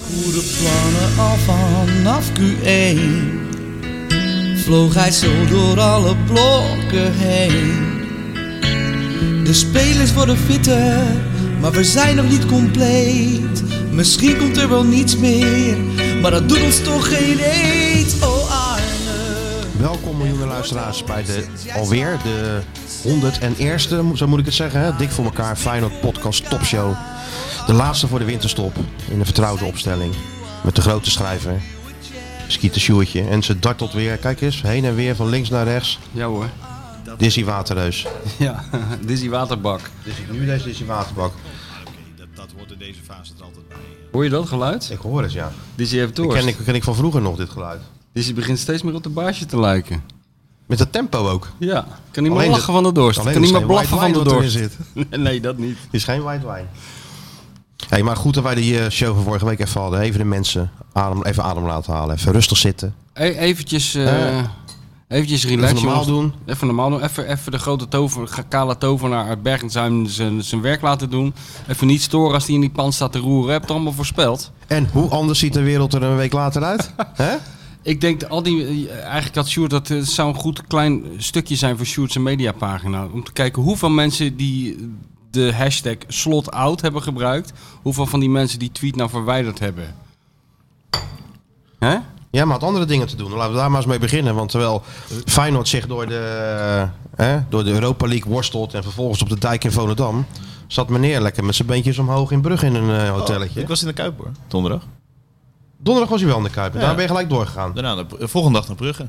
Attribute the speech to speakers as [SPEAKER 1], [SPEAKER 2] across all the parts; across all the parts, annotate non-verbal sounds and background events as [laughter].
[SPEAKER 1] goede plannen al vanaf Q1 Vloog hij zo door alle blokken heen De spelers worden fitter, maar we zijn nog niet compleet Misschien komt er wel niets meer, maar dat doet ons toch geen eet Oh Arne
[SPEAKER 2] Welkom miljoenen luisteraars bij de alweer de 101ste, zo moet ik het zeggen. Hè? Dik voor elkaar, Feyenoord Podcast Topshow. De laatste voor de winterstop in een vertrouwde opstelling. Met de grote schrijver, Skeeter Sjoertje. En ze dartelt weer, kijk eens, heen en weer van links naar rechts.
[SPEAKER 3] Ja
[SPEAKER 2] [laughs]
[SPEAKER 3] hoor.
[SPEAKER 2] Dizzy Waterreus.
[SPEAKER 3] [laughs] Ja, dit is die waterbak.
[SPEAKER 2] Dizzy- Nu deze Dizzy Waterbak.
[SPEAKER 4] Dat, dat hoort in deze fase er altijd bij.
[SPEAKER 3] Hoor je dat geluid?
[SPEAKER 2] Ik hoor het, ja.
[SPEAKER 3] Dizzy heeft
[SPEAKER 2] Die
[SPEAKER 3] dorst.
[SPEAKER 2] ken ik, ken ik van vroeger nog, dit geluid.
[SPEAKER 3] Dizzy begint steeds meer op de baasje te lijken.
[SPEAKER 2] Met dat tempo ook.
[SPEAKER 3] Ja, kan niet meer
[SPEAKER 2] Alleen
[SPEAKER 3] lachen
[SPEAKER 2] de-
[SPEAKER 3] van de dorst.
[SPEAKER 2] alleen
[SPEAKER 3] Kan
[SPEAKER 2] is
[SPEAKER 3] niet meer
[SPEAKER 2] geen
[SPEAKER 3] blaffen van
[SPEAKER 2] white
[SPEAKER 3] de
[SPEAKER 2] wine wat
[SPEAKER 3] dorst.
[SPEAKER 2] erin zit.
[SPEAKER 3] Nee, [laughs] nee, dat niet.
[SPEAKER 2] Het is geen white wine. Hey, maar goed dat wij die eh, show van vorige week even hadden. Even de mensen adem, even adem laten halen. Even rustig zitten.
[SPEAKER 3] E eventjes, eh,
[SPEAKER 2] Eh,
[SPEAKER 3] eventjes relaxen.
[SPEAKER 2] Even normaal
[SPEAKER 3] jongens.
[SPEAKER 2] doen.
[SPEAKER 3] Even normaal doen. Even, even de grote tover, ga- kale tovenaar uit Bergenzuim zijn, zijn werk laten doen. Even niet storen als hij in die pan staat te roeren. Heb het allemaal voorspeld.
[SPEAKER 2] En hoe anders ziet de wereld er een week later
[SPEAKER 4] [laughs]
[SPEAKER 2] uit? Hè?
[SPEAKER 3] Ik denk dat al die. eh, Eigenlijk had Sjoerd dat. eh, zou een goed klein stukje zijn voor Sjoerd zijn mediapagina. Om te kijken hoeveel mensen die de hashtag slotout hebben gebruikt. Hoeveel van die mensen die tweet nou verwijderd hebben. Hè?
[SPEAKER 2] Ja, maar had andere dingen te doen. Laten we daar maar eens mee beginnen. Want terwijl Feyenoord zich door de, eh, door de Europa League worstelt en vervolgens op de dijk in Volendam, zat meneer lekker met zijn beentjes omhoog in Brugge in een eh, hotelletje.
[SPEAKER 4] Ik was in de Kuip hoor, donderdag.
[SPEAKER 2] Donderdag was hij wel in de Kuip en
[SPEAKER 4] Ja.
[SPEAKER 2] daar ben je gelijk doorgegaan.
[SPEAKER 4] Daarna de, de volgende dag naar Brugge.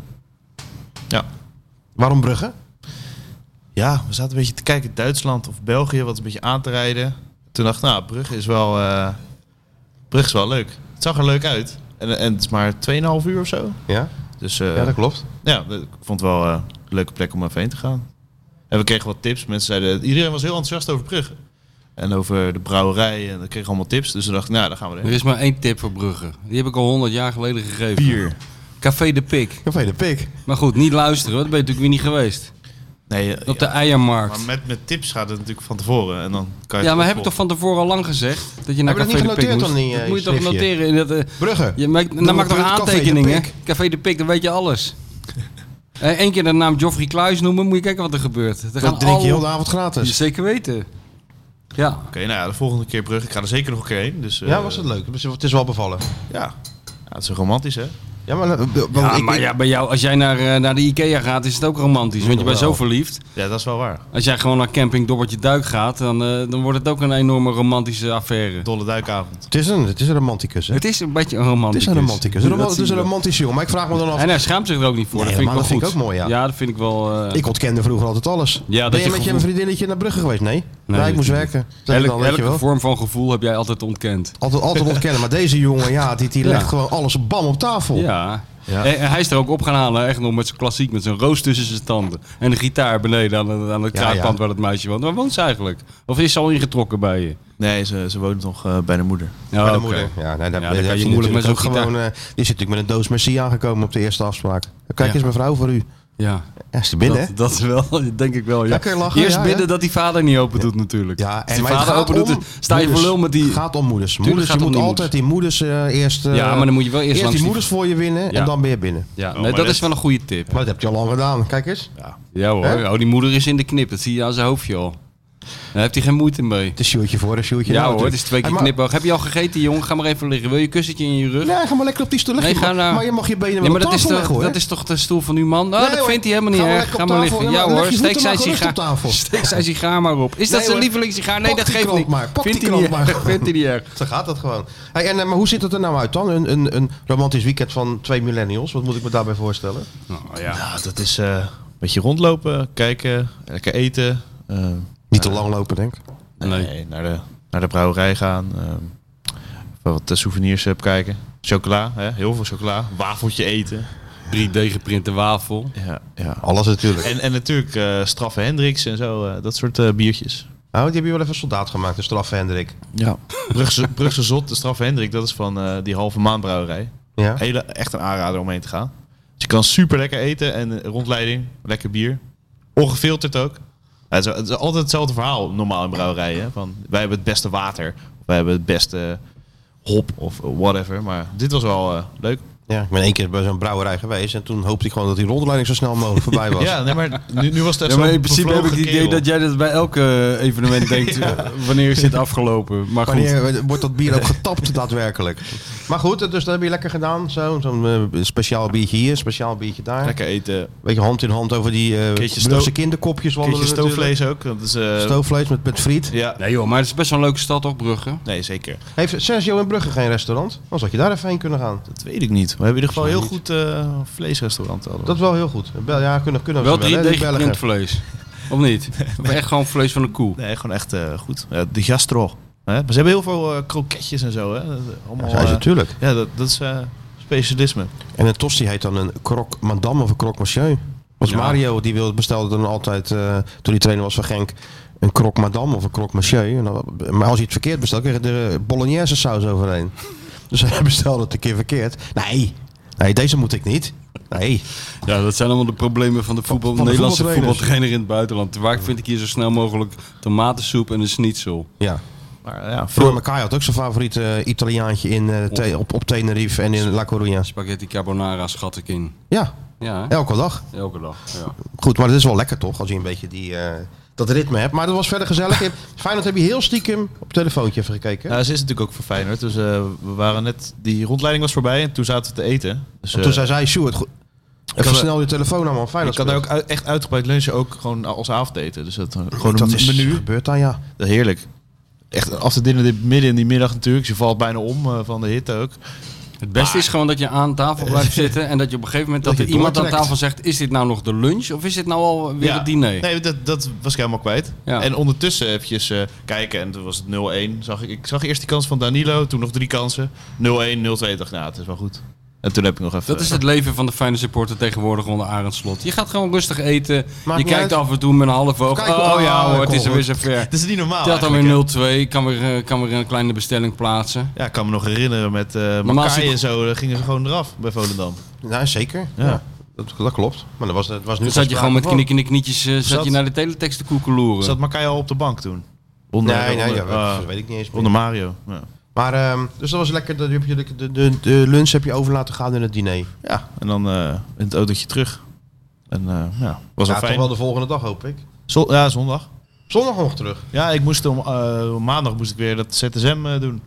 [SPEAKER 4] Ja.
[SPEAKER 2] Waarom Brugge?
[SPEAKER 4] Ja, we zaten een beetje te kijken Duitsland of België, wat een beetje aan te rijden. Toen dacht ik, nou, Brugge is wel, eh, Brugge is wel leuk. Het zag er leuk uit. En, en het is maar 2,5 uur of zo.
[SPEAKER 2] Ja,
[SPEAKER 4] Dus eh,
[SPEAKER 2] ja dat klopt.
[SPEAKER 4] ja, ik vond het wel eh, een leuke plek om even heen te gaan. En we kregen wat tips. Mensen zeiden, iedereen was heel enthousiast over Brugge. En over de brouwerij. En we kregen allemaal tips. Dus toen dacht ik, nou, daar gaan we
[SPEAKER 3] Er
[SPEAKER 4] heen.
[SPEAKER 3] is maar één tip voor Brugge. Die heb ik al honderd jaar geleden gegeven. Café de Pik.
[SPEAKER 2] Café de Pik.
[SPEAKER 3] Maar goed, niet luisteren. want Dan ben je natuurlijk weer niet geweest.
[SPEAKER 4] Nee, eh,
[SPEAKER 3] Op de
[SPEAKER 4] ja.
[SPEAKER 3] Eiermarkt.
[SPEAKER 4] Maar met, met tips gaat het natuurlijk van tevoren. En dan kan je
[SPEAKER 3] Ja,
[SPEAKER 4] het
[SPEAKER 3] maar heb ik
[SPEAKER 4] opvolgen.
[SPEAKER 3] toch van tevoren al lang gezegd? Dat je naar
[SPEAKER 2] Heb je dat
[SPEAKER 3] Café
[SPEAKER 2] niet
[SPEAKER 3] de Pik
[SPEAKER 2] genoteerd
[SPEAKER 3] moest?
[SPEAKER 2] dan in je-
[SPEAKER 3] dat moet je toch
[SPEAKER 2] schriftje?
[SPEAKER 3] noteren. In dat, eh,
[SPEAKER 2] Brugge.
[SPEAKER 3] Je maakt, dan
[SPEAKER 2] Noem
[SPEAKER 3] maak
[SPEAKER 2] het
[SPEAKER 3] toch
[SPEAKER 2] punt, Café de
[SPEAKER 3] aantekeningen.
[SPEAKER 2] Pik.
[SPEAKER 3] Café de Pik, dan weet je
[SPEAKER 2] [laughs]
[SPEAKER 3] alles. Eén keer de naam Geoffrey Kluis noemen, moet je kijken wat er gebeurt. Er
[SPEAKER 2] Dat drink je heel de Oh, avond gratis.
[SPEAKER 3] Zeker weten. Ja.
[SPEAKER 4] Oké, nou ja, de volgende keer Brugge. Ik ga er zeker nog een keer heen. Dus, eh,
[SPEAKER 2] Ja, was het leuk. Het is wel bevallen.
[SPEAKER 4] Ja. ja, het is romantisch, hè?
[SPEAKER 2] Ja, maar, eh, want
[SPEAKER 3] Ja,
[SPEAKER 2] ik-
[SPEAKER 3] maar
[SPEAKER 2] ik-
[SPEAKER 3] ja, bij jou, als jij naar, eh, naar de Ikea gaat, is het ook romantisch. Want je bent zo
[SPEAKER 2] Wel.
[SPEAKER 3] verliefd.
[SPEAKER 4] Ja, dat is wel waar.
[SPEAKER 3] Als jij gewoon naar camping Dobbertje Duik gaat, dan, eh, dan wordt het ook een enorme romantische affaire.
[SPEAKER 4] Dolle duikavond.
[SPEAKER 2] het, is een, het is een romanticus. Hè?
[SPEAKER 3] Het is een beetje een
[SPEAKER 2] Het
[SPEAKER 3] romanticus.
[SPEAKER 2] is een romanticus. Een
[SPEAKER 3] Dat
[SPEAKER 2] roman- Het
[SPEAKER 3] zie
[SPEAKER 2] is een
[SPEAKER 3] je wel.
[SPEAKER 2] romantisch jongen. Maar ik vraag me dan af.
[SPEAKER 3] En hij schaamt zich er ook niet voor.
[SPEAKER 2] Nee,
[SPEAKER 3] dat vind ik wel
[SPEAKER 2] maar dat
[SPEAKER 3] goed.
[SPEAKER 2] vind ik ook mooi, ja.
[SPEAKER 3] dat vind ik wel... eh,
[SPEAKER 2] Ik ontkende vroeger altijd alles.
[SPEAKER 3] dat
[SPEAKER 2] ben je
[SPEAKER 3] je
[SPEAKER 2] met je
[SPEAKER 3] gevoel-
[SPEAKER 2] vriendinnetje naar Brugge geweest? Nee. Nee, ik
[SPEAKER 3] natuurlijk
[SPEAKER 2] moest
[SPEAKER 3] niet.
[SPEAKER 2] werken. Zeg ik
[SPEAKER 3] elke
[SPEAKER 2] dan, weet je
[SPEAKER 3] elke
[SPEAKER 2] wel.
[SPEAKER 3] vorm van gevoel heb jij altijd ontkend.
[SPEAKER 2] Altijd, altijd ontkennen. Maar deze jongen, ja, die, die
[SPEAKER 3] [laughs] Ja.
[SPEAKER 2] legt gewoon alles bam op tafel.
[SPEAKER 3] Ja.
[SPEAKER 2] Ja.
[SPEAKER 3] En, en hij is er ook op gaan halen, echt nog met zijn klassiek, met zijn roos tussen zijn tanden. En de gitaar beneden aan, de- aan het
[SPEAKER 2] Ja,
[SPEAKER 3] kraakpand
[SPEAKER 2] ja.
[SPEAKER 3] waar dat meisje woont. Waar woont ze eigenlijk? Of is ze al ingetrokken bij je?
[SPEAKER 4] Nee, ze, ze woont nog eh, bij de moeder.
[SPEAKER 3] Ja,
[SPEAKER 2] Bij de
[SPEAKER 3] oké.
[SPEAKER 2] moeder. Ja, nee, daar
[SPEAKER 3] Ja,
[SPEAKER 2] daar
[SPEAKER 3] dan kan
[SPEAKER 2] heb
[SPEAKER 3] je
[SPEAKER 2] je
[SPEAKER 3] moeilijk
[SPEAKER 2] moeilijk
[SPEAKER 3] met
[SPEAKER 2] met
[SPEAKER 3] zo'n
[SPEAKER 2] ook gewoon. eh, die zit natuurlijk met een doos Messi aangekomen op de eerste afspraak. Kijk
[SPEAKER 3] Ja.
[SPEAKER 2] eens, mevrouw, voor u.
[SPEAKER 3] Ja,
[SPEAKER 2] Ja, is te binnen, hè?
[SPEAKER 3] dat, dat is wel, [laughs] denk ik wel. Ja.
[SPEAKER 2] Lekker lachen,
[SPEAKER 3] Eerst
[SPEAKER 2] ja,
[SPEAKER 3] bidden
[SPEAKER 2] ja.
[SPEAKER 3] dat die vader niet open doet natuurlijk.
[SPEAKER 2] Ja,
[SPEAKER 3] Als die
[SPEAKER 2] maar het
[SPEAKER 3] vader
[SPEAKER 2] gaat
[SPEAKER 3] open doet,
[SPEAKER 2] om
[SPEAKER 3] dan sta je voor
[SPEAKER 2] moeders.
[SPEAKER 3] lul met die...
[SPEAKER 2] Het gaat om moeders. moeders
[SPEAKER 3] gaat
[SPEAKER 2] je
[SPEAKER 3] het
[SPEAKER 2] moet
[SPEAKER 3] om die
[SPEAKER 2] altijd die moeders eh, eerst... eh,
[SPEAKER 3] Ja, maar dan moet je wel eerst langs
[SPEAKER 2] die
[SPEAKER 3] die-
[SPEAKER 2] moeders voor je winnen
[SPEAKER 3] Ja.
[SPEAKER 2] en dan ben je binnen.
[SPEAKER 3] Ja,
[SPEAKER 4] Oh,
[SPEAKER 3] nee,
[SPEAKER 4] maar
[SPEAKER 3] dat
[SPEAKER 4] dit-
[SPEAKER 3] is wel een goede tip.
[SPEAKER 2] Maar dat heb je al lang gedaan. Kijk eens.
[SPEAKER 3] Ja hoor,
[SPEAKER 2] Hè?
[SPEAKER 3] oh, die moeder is in de knip, dat zie je aan zijn hoofdje al. Daar heeft hij geen moeite mee.
[SPEAKER 2] Het is shootje voor, een shootje
[SPEAKER 3] Ja,
[SPEAKER 2] na
[SPEAKER 3] hoor, het
[SPEAKER 2] natuurlijk.
[SPEAKER 3] is twee keer
[SPEAKER 2] Hey, maar-
[SPEAKER 3] knipoog. Heb je al gegeten, jongen? Ga maar even liggen. Wil je een kussentje in je rug?
[SPEAKER 2] Nee, ga maar lekker op die stoel
[SPEAKER 3] Nee,
[SPEAKER 2] liggen.
[SPEAKER 3] ga nou-
[SPEAKER 2] Maar je mag je benen wel
[SPEAKER 3] Ja, maar
[SPEAKER 2] op
[SPEAKER 3] dat is,
[SPEAKER 2] tafel
[SPEAKER 3] toch,
[SPEAKER 2] leggen, hoor.
[SPEAKER 3] dat is toch de stoel van uw man? Ah,
[SPEAKER 2] Nee,
[SPEAKER 3] dat
[SPEAKER 2] hoor.
[SPEAKER 3] vindt hij helemaal
[SPEAKER 2] Ga
[SPEAKER 3] niet
[SPEAKER 2] maar
[SPEAKER 3] erg.
[SPEAKER 2] lekker
[SPEAKER 3] Ga
[SPEAKER 2] op
[SPEAKER 3] maar
[SPEAKER 2] tafel.
[SPEAKER 3] liggen.
[SPEAKER 2] Ja,
[SPEAKER 3] Ja
[SPEAKER 2] maar leg
[SPEAKER 3] hoor,
[SPEAKER 2] je
[SPEAKER 3] steek
[SPEAKER 2] voeten
[SPEAKER 3] zijn
[SPEAKER 2] maar gerust
[SPEAKER 3] sigaar.
[SPEAKER 2] op tafel.
[SPEAKER 3] [laughs] Steek zijn sigaar maar op. Is dat
[SPEAKER 2] Nee,
[SPEAKER 3] zijn
[SPEAKER 2] hoor.
[SPEAKER 3] lievelingssigaar? Nee,
[SPEAKER 2] Pak
[SPEAKER 3] dat
[SPEAKER 2] die
[SPEAKER 3] geeft
[SPEAKER 2] krant
[SPEAKER 3] niet.
[SPEAKER 2] maar. Pak
[SPEAKER 3] Vindt
[SPEAKER 2] die
[SPEAKER 3] hij niet
[SPEAKER 2] krant
[SPEAKER 3] erg.
[SPEAKER 2] maar.
[SPEAKER 3] Vindt hij niet erg.
[SPEAKER 2] Zo gaat dat gewoon. Hey, en, eh, maar hoe ziet het er nou uit dan? Een, een, een romantisch weekend van twee millennials. Wat moet ik me daarbij voorstellen?
[SPEAKER 3] Nou
[SPEAKER 4] Ja, dat is eh, een beetje rondlopen, kijken, lekker eten. eh,
[SPEAKER 2] Niet te lang lopen, denk ik.
[SPEAKER 3] Nee.
[SPEAKER 4] nee. naar, de, naar de brouwerij gaan. eh, even wat eh, souvenirs heb kijken. Chocola, hè? heel veel chocola. Wafeltje eten.
[SPEAKER 3] 3D geprinte wafel.
[SPEAKER 4] Ja, ja.
[SPEAKER 2] Alles natuurlijk.
[SPEAKER 4] En, en natuurlijk eh, straffe Hendricks en zo. eh, dat soort eh, biertjes.
[SPEAKER 2] Nou, die heb je wel even soldaat gemaakt, de straffe Hendrik.
[SPEAKER 4] Ja. Brugse, Brugse Zot, de straffe Hendrik, dat is van eh, die halve maanbrouwerij.
[SPEAKER 2] Ja?
[SPEAKER 4] Hele, echt een aanrader om heen te gaan. Dus je kan super lekker eten en eh, rondleiding, lekker bier. Ongefilterd ook. Ja, het, is, het is altijd hetzelfde verhaal normaal in brouwerijen. Van, wij hebben het beste water. Wij hebben het beste hop of whatever. Maar dit was wel eh, leuk.
[SPEAKER 2] Ja, ik ben één keer bij zo'n brouwerij geweest en toen hoopte ik gewoon dat die rondleiding zo snel mogelijk voorbij [laughs] was.
[SPEAKER 4] Ja, nee, maar nu, nu was het
[SPEAKER 3] [laughs]
[SPEAKER 4] echt
[SPEAKER 3] Ja,
[SPEAKER 4] zo'n
[SPEAKER 3] maar in principe heb ik het
[SPEAKER 4] bevlogen
[SPEAKER 3] idee
[SPEAKER 4] kerel.
[SPEAKER 3] dat jij dat bij elke [laughs] evenement denkt. eh, Wanneer is dit afgelopen? Maar goed.
[SPEAKER 2] Wanneer wordt dat [laughs] bier ook getapt daadwerkelijk? Maar goed, dus dat heb je lekker gedaan. Zo, Zo'n eh, speciaal biertje hier, speciaal biertje daar.
[SPEAKER 4] Lekker eten.
[SPEAKER 2] Beetje hand in hand over die eh
[SPEAKER 4] Keertje
[SPEAKER 2] Brugse
[SPEAKER 4] sto-
[SPEAKER 2] kinderkopjes wandelen
[SPEAKER 4] Keertje
[SPEAKER 2] natuurlijk.
[SPEAKER 4] stoofvlees ook. Dat is, eh,
[SPEAKER 2] Stoofvlees met, met friet.
[SPEAKER 4] ja.
[SPEAKER 3] Nee joh, maar het is best wel een leuke stad toch, Brugge?
[SPEAKER 4] Nee, zeker.
[SPEAKER 2] Heeft Sergio in Brugge geen restaurant? Anders had je daar even heen kunnen gaan.
[SPEAKER 4] Dat weet ik niet. We hebben in ieder geval
[SPEAKER 2] Volgens mij
[SPEAKER 4] heel
[SPEAKER 2] niet.
[SPEAKER 4] goed eh, vleesrestaurant hadden. we.
[SPEAKER 2] Dat is wel heel goed. Bel, ja, kunnen, kunnen we
[SPEAKER 3] Wel
[SPEAKER 2] ze bellen,
[SPEAKER 3] drie
[SPEAKER 2] hè, die
[SPEAKER 3] degen
[SPEAKER 2] Belgen.
[SPEAKER 3] rundvlees. Of
[SPEAKER 2] [laughs]
[SPEAKER 3] niet? Of echt gewoon vlees van de koe?
[SPEAKER 4] Nee, gewoon echt eh, goed. Ja, de gastro. Hè? Maar ze hebben heel veel eh kroketjes en zo. Hè? Dat is Allemaal,
[SPEAKER 2] Ja, zijn ze
[SPEAKER 4] eh,
[SPEAKER 2] natuurlijk.
[SPEAKER 4] ja, dat, dat is eh, specialisme.
[SPEAKER 2] En een tosti heet dan een croque madame of een croque monsieur. Was
[SPEAKER 3] Ja.
[SPEAKER 2] Mario, die wilde, bestelde dan altijd, eh, toen hij trainer was van Genk, een croque madame of een croque monsieur. En dan- maar als je het verkeerd bestelt, kreeg je er bolognese saus overheen. [laughs] Dus hij bestelde het een keer verkeerd. Nee, nee deze moet ik niet. Nee,
[SPEAKER 3] Ja, dat zijn allemaal de problemen van de, voetbal,
[SPEAKER 2] van de
[SPEAKER 3] Nederlandse
[SPEAKER 2] voetbaltrainers.
[SPEAKER 3] voetbaltrainer in het buitenland. Waar vind ik hier zo snel mogelijk tomatensoep en een schnitzel?
[SPEAKER 2] ja.
[SPEAKER 4] Maar ja,
[SPEAKER 2] Roy
[SPEAKER 4] veel,
[SPEAKER 2] Makai had ook zijn favoriete eh, Italiaantje in, eh, Te- op, op Tenerife en in La Coruña.
[SPEAKER 3] Spaghetti carbonara schat ik in.
[SPEAKER 2] Ja,
[SPEAKER 3] Ja, hè?
[SPEAKER 2] elke dag.
[SPEAKER 3] elke dag. Ja.
[SPEAKER 2] Goed, maar dat is wel lekker toch, als je een beetje die, eh, dat ritme hebt. Maar dat was verder gezellig. Je- Feyenoord heb je heel stiekem op het telefoontje even gekeken.
[SPEAKER 4] Ja, ze is natuurlijk ook voor Feyenoord. Dus eh, we waren net... Die rondleiding was voorbij en toen zaten we te eten. Dus, eh,
[SPEAKER 2] Toen zei zij, Sjoerd, goed, even
[SPEAKER 4] had-
[SPEAKER 2] snel je telefoon aan, man.
[SPEAKER 4] ik
[SPEAKER 2] Feyenoord
[SPEAKER 4] kan daar ook
[SPEAKER 2] speelt."
[SPEAKER 4] uit- echt uitgebreid lunchen ook gewoon als avondeten. Dus dat, eh, gewoon
[SPEAKER 2] dat
[SPEAKER 4] een
[SPEAKER 2] is
[SPEAKER 4] menu.
[SPEAKER 2] gebeurd dan, ja.
[SPEAKER 4] Dat is heerlijk. Echt af te dinnen dit midden in die middag natuurlijk. Ze valt bijna om eh, van de hitte ook.
[SPEAKER 3] Het beste is gewoon dat je aan tafel [laughs] blijft zitten en dat je op een gegeven moment dat,
[SPEAKER 2] Dat je
[SPEAKER 3] er iemand aan
[SPEAKER 2] doortrekt.
[SPEAKER 3] tafel zegt: is dit nou nog de lunch of is dit nou al weer het diner?
[SPEAKER 4] Nee, dat, dat was ik helemaal kwijt.
[SPEAKER 3] Ja.
[SPEAKER 4] En ondertussen eventjes eh, kijken. En toen was het 0-1. Zag ik, ik zag eerst die kans van Danilo. Toen nog drie kansen. 0-1, 0-2. Ik dacht, nou, het is wel goed. En toen heb ik nog even...
[SPEAKER 3] Dat is
[SPEAKER 4] [laughs]
[SPEAKER 3] het leven van de fijne supporter tegenwoordig onder Arend Slot. Je gaat gewoon rustig eten. je
[SPEAKER 2] niet
[SPEAKER 3] kijkt
[SPEAKER 2] uit.
[SPEAKER 3] af en toe met een half oog.
[SPEAKER 2] Kijk,
[SPEAKER 3] Oh
[SPEAKER 2] oh,
[SPEAKER 3] ja hoor, het is er
[SPEAKER 2] kom,
[SPEAKER 3] weer zover.
[SPEAKER 4] Het is niet normaal
[SPEAKER 3] Telt dan
[SPEAKER 4] eigenlijk, hè.
[SPEAKER 3] weer 0-2. Kan weer, eh, kan weer een kleine bestelling plaatsen.
[SPEAKER 4] Ja, ik kan me nog herinneren met eh
[SPEAKER 3] Normaal is
[SPEAKER 4] Makai
[SPEAKER 3] het-
[SPEAKER 4] en zo. Daar gingen ze gewoon eraf bij Volendam.
[SPEAKER 2] Nou, zeker. Ja.
[SPEAKER 4] Ja.
[SPEAKER 2] Dat, dat klopt. Maar dat was, dat was nu
[SPEAKER 3] Dan zat je
[SPEAKER 2] geen
[SPEAKER 3] gewoon met
[SPEAKER 2] sprake
[SPEAKER 3] knikkende knietjes eh, zat
[SPEAKER 4] Zat-
[SPEAKER 3] je naar de teletext te koekeloeren.
[SPEAKER 4] Zat Makai al op de bank toen? Onder,
[SPEAKER 2] van. Nee, nee, ja,
[SPEAKER 4] onder,
[SPEAKER 2] dat-
[SPEAKER 4] ah,
[SPEAKER 2] dat weet ik niet eens meer.
[SPEAKER 4] onder Mario. Ja.
[SPEAKER 2] Maar, ehm, dus dat was lekker. Dat heb je de, de, de, de lunch heb je over laten gaan in het diner.
[SPEAKER 4] Ja, en dan eh, in het autootje terug. En eh, ja, was wel
[SPEAKER 2] ja, toch
[SPEAKER 4] fijn.
[SPEAKER 2] wel de volgende dag, hoop ik.
[SPEAKER 4] Zo- ja, zondag.
[SPEAKER 2] Zondag nog terug.
[SPEAKER 4] Ja, ik moest om eh, maandag moest ik weer dat ZSM eh, doen.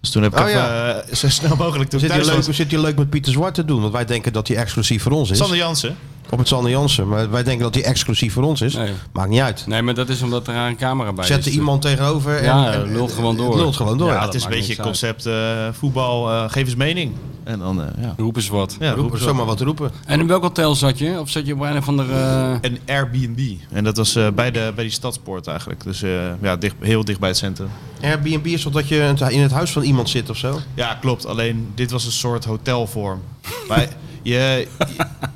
[SPEAKER 4] Dus toen heb ik
[SPEAKER 2] Oh,
[SPEAKER 4] even,
[SPEAKER 2] ja.
[SPEAKER 4] eh, zo snel mogelijk toen
[SPEAKER 2] Zit hij,
[SPEAKER 4] thuis
[SPEAKER 2] leuk,
[SPEAKER 4] was.
[SPEAKER 2] zit hij leuk met Pieter Zwart te doen? Want wij denken dat hij exclusief voor ons is.
[SPEAKER 4] Sander Jansen.
[SPEAKER 2] Op het Sander Jansen. Maar wij denken dat hij exclusief voor ons is.
[SPEAKER 3] Nee.
[SPEAKER 2] Maakt niet uit.
[SPEAKER 3] Nee, maar dat is omdat er aan een camera bij
[SPEAKER 2] Zet er
[SPEAKER 3] is.
[SPEAKER 2] iemand
[SPEAKER 4] eh,
[SPEAKER 2] tegenover en,
[SPEAKER 3] Ja,
[SPEAKER 2] en-
[SPEAKER 3] lult gewoon
[SPEAKER 2] en-
[SPEAKER 3] door.
[SPEAKER 2] Lult gewoon door.
[SPEAKER 4] Ja,
[SPEAKER 2] Ja,
[SPEAKER 4] het is een
[SPEAKER 3] maakt
[SPEAKER 4] beetje
[SPEAKER 3] niks
[SPEAKER 4] concept eh, voetbal, eh, geef eens mening. En dan, eh, ja.
[SPEAKER 3] Roep eens wat.
[SPEAKER 4] ja roepen
[SPEAKER 2] roepen,
[SPEAKER 4] ze
[SPEAKER 2] zomaar wat roepen.
[SPEAKER 3] En in welk hotel zat je? Of eh, zat je op een van de...
[SPEAKER 4] wat. Een Airbnb. En dat was eh, bij, de, bij die stadspoort eigenlijk. Dus eh, ja, dicht, heel dicht bij het centrum.
[SPEAKER 2] Airbnb is toch dat je in het huis van iemand zit of zo?
[SPEAKER 4] Ja, klopt. Alleen dit was een soort hotelvorm. [laughs] maar je,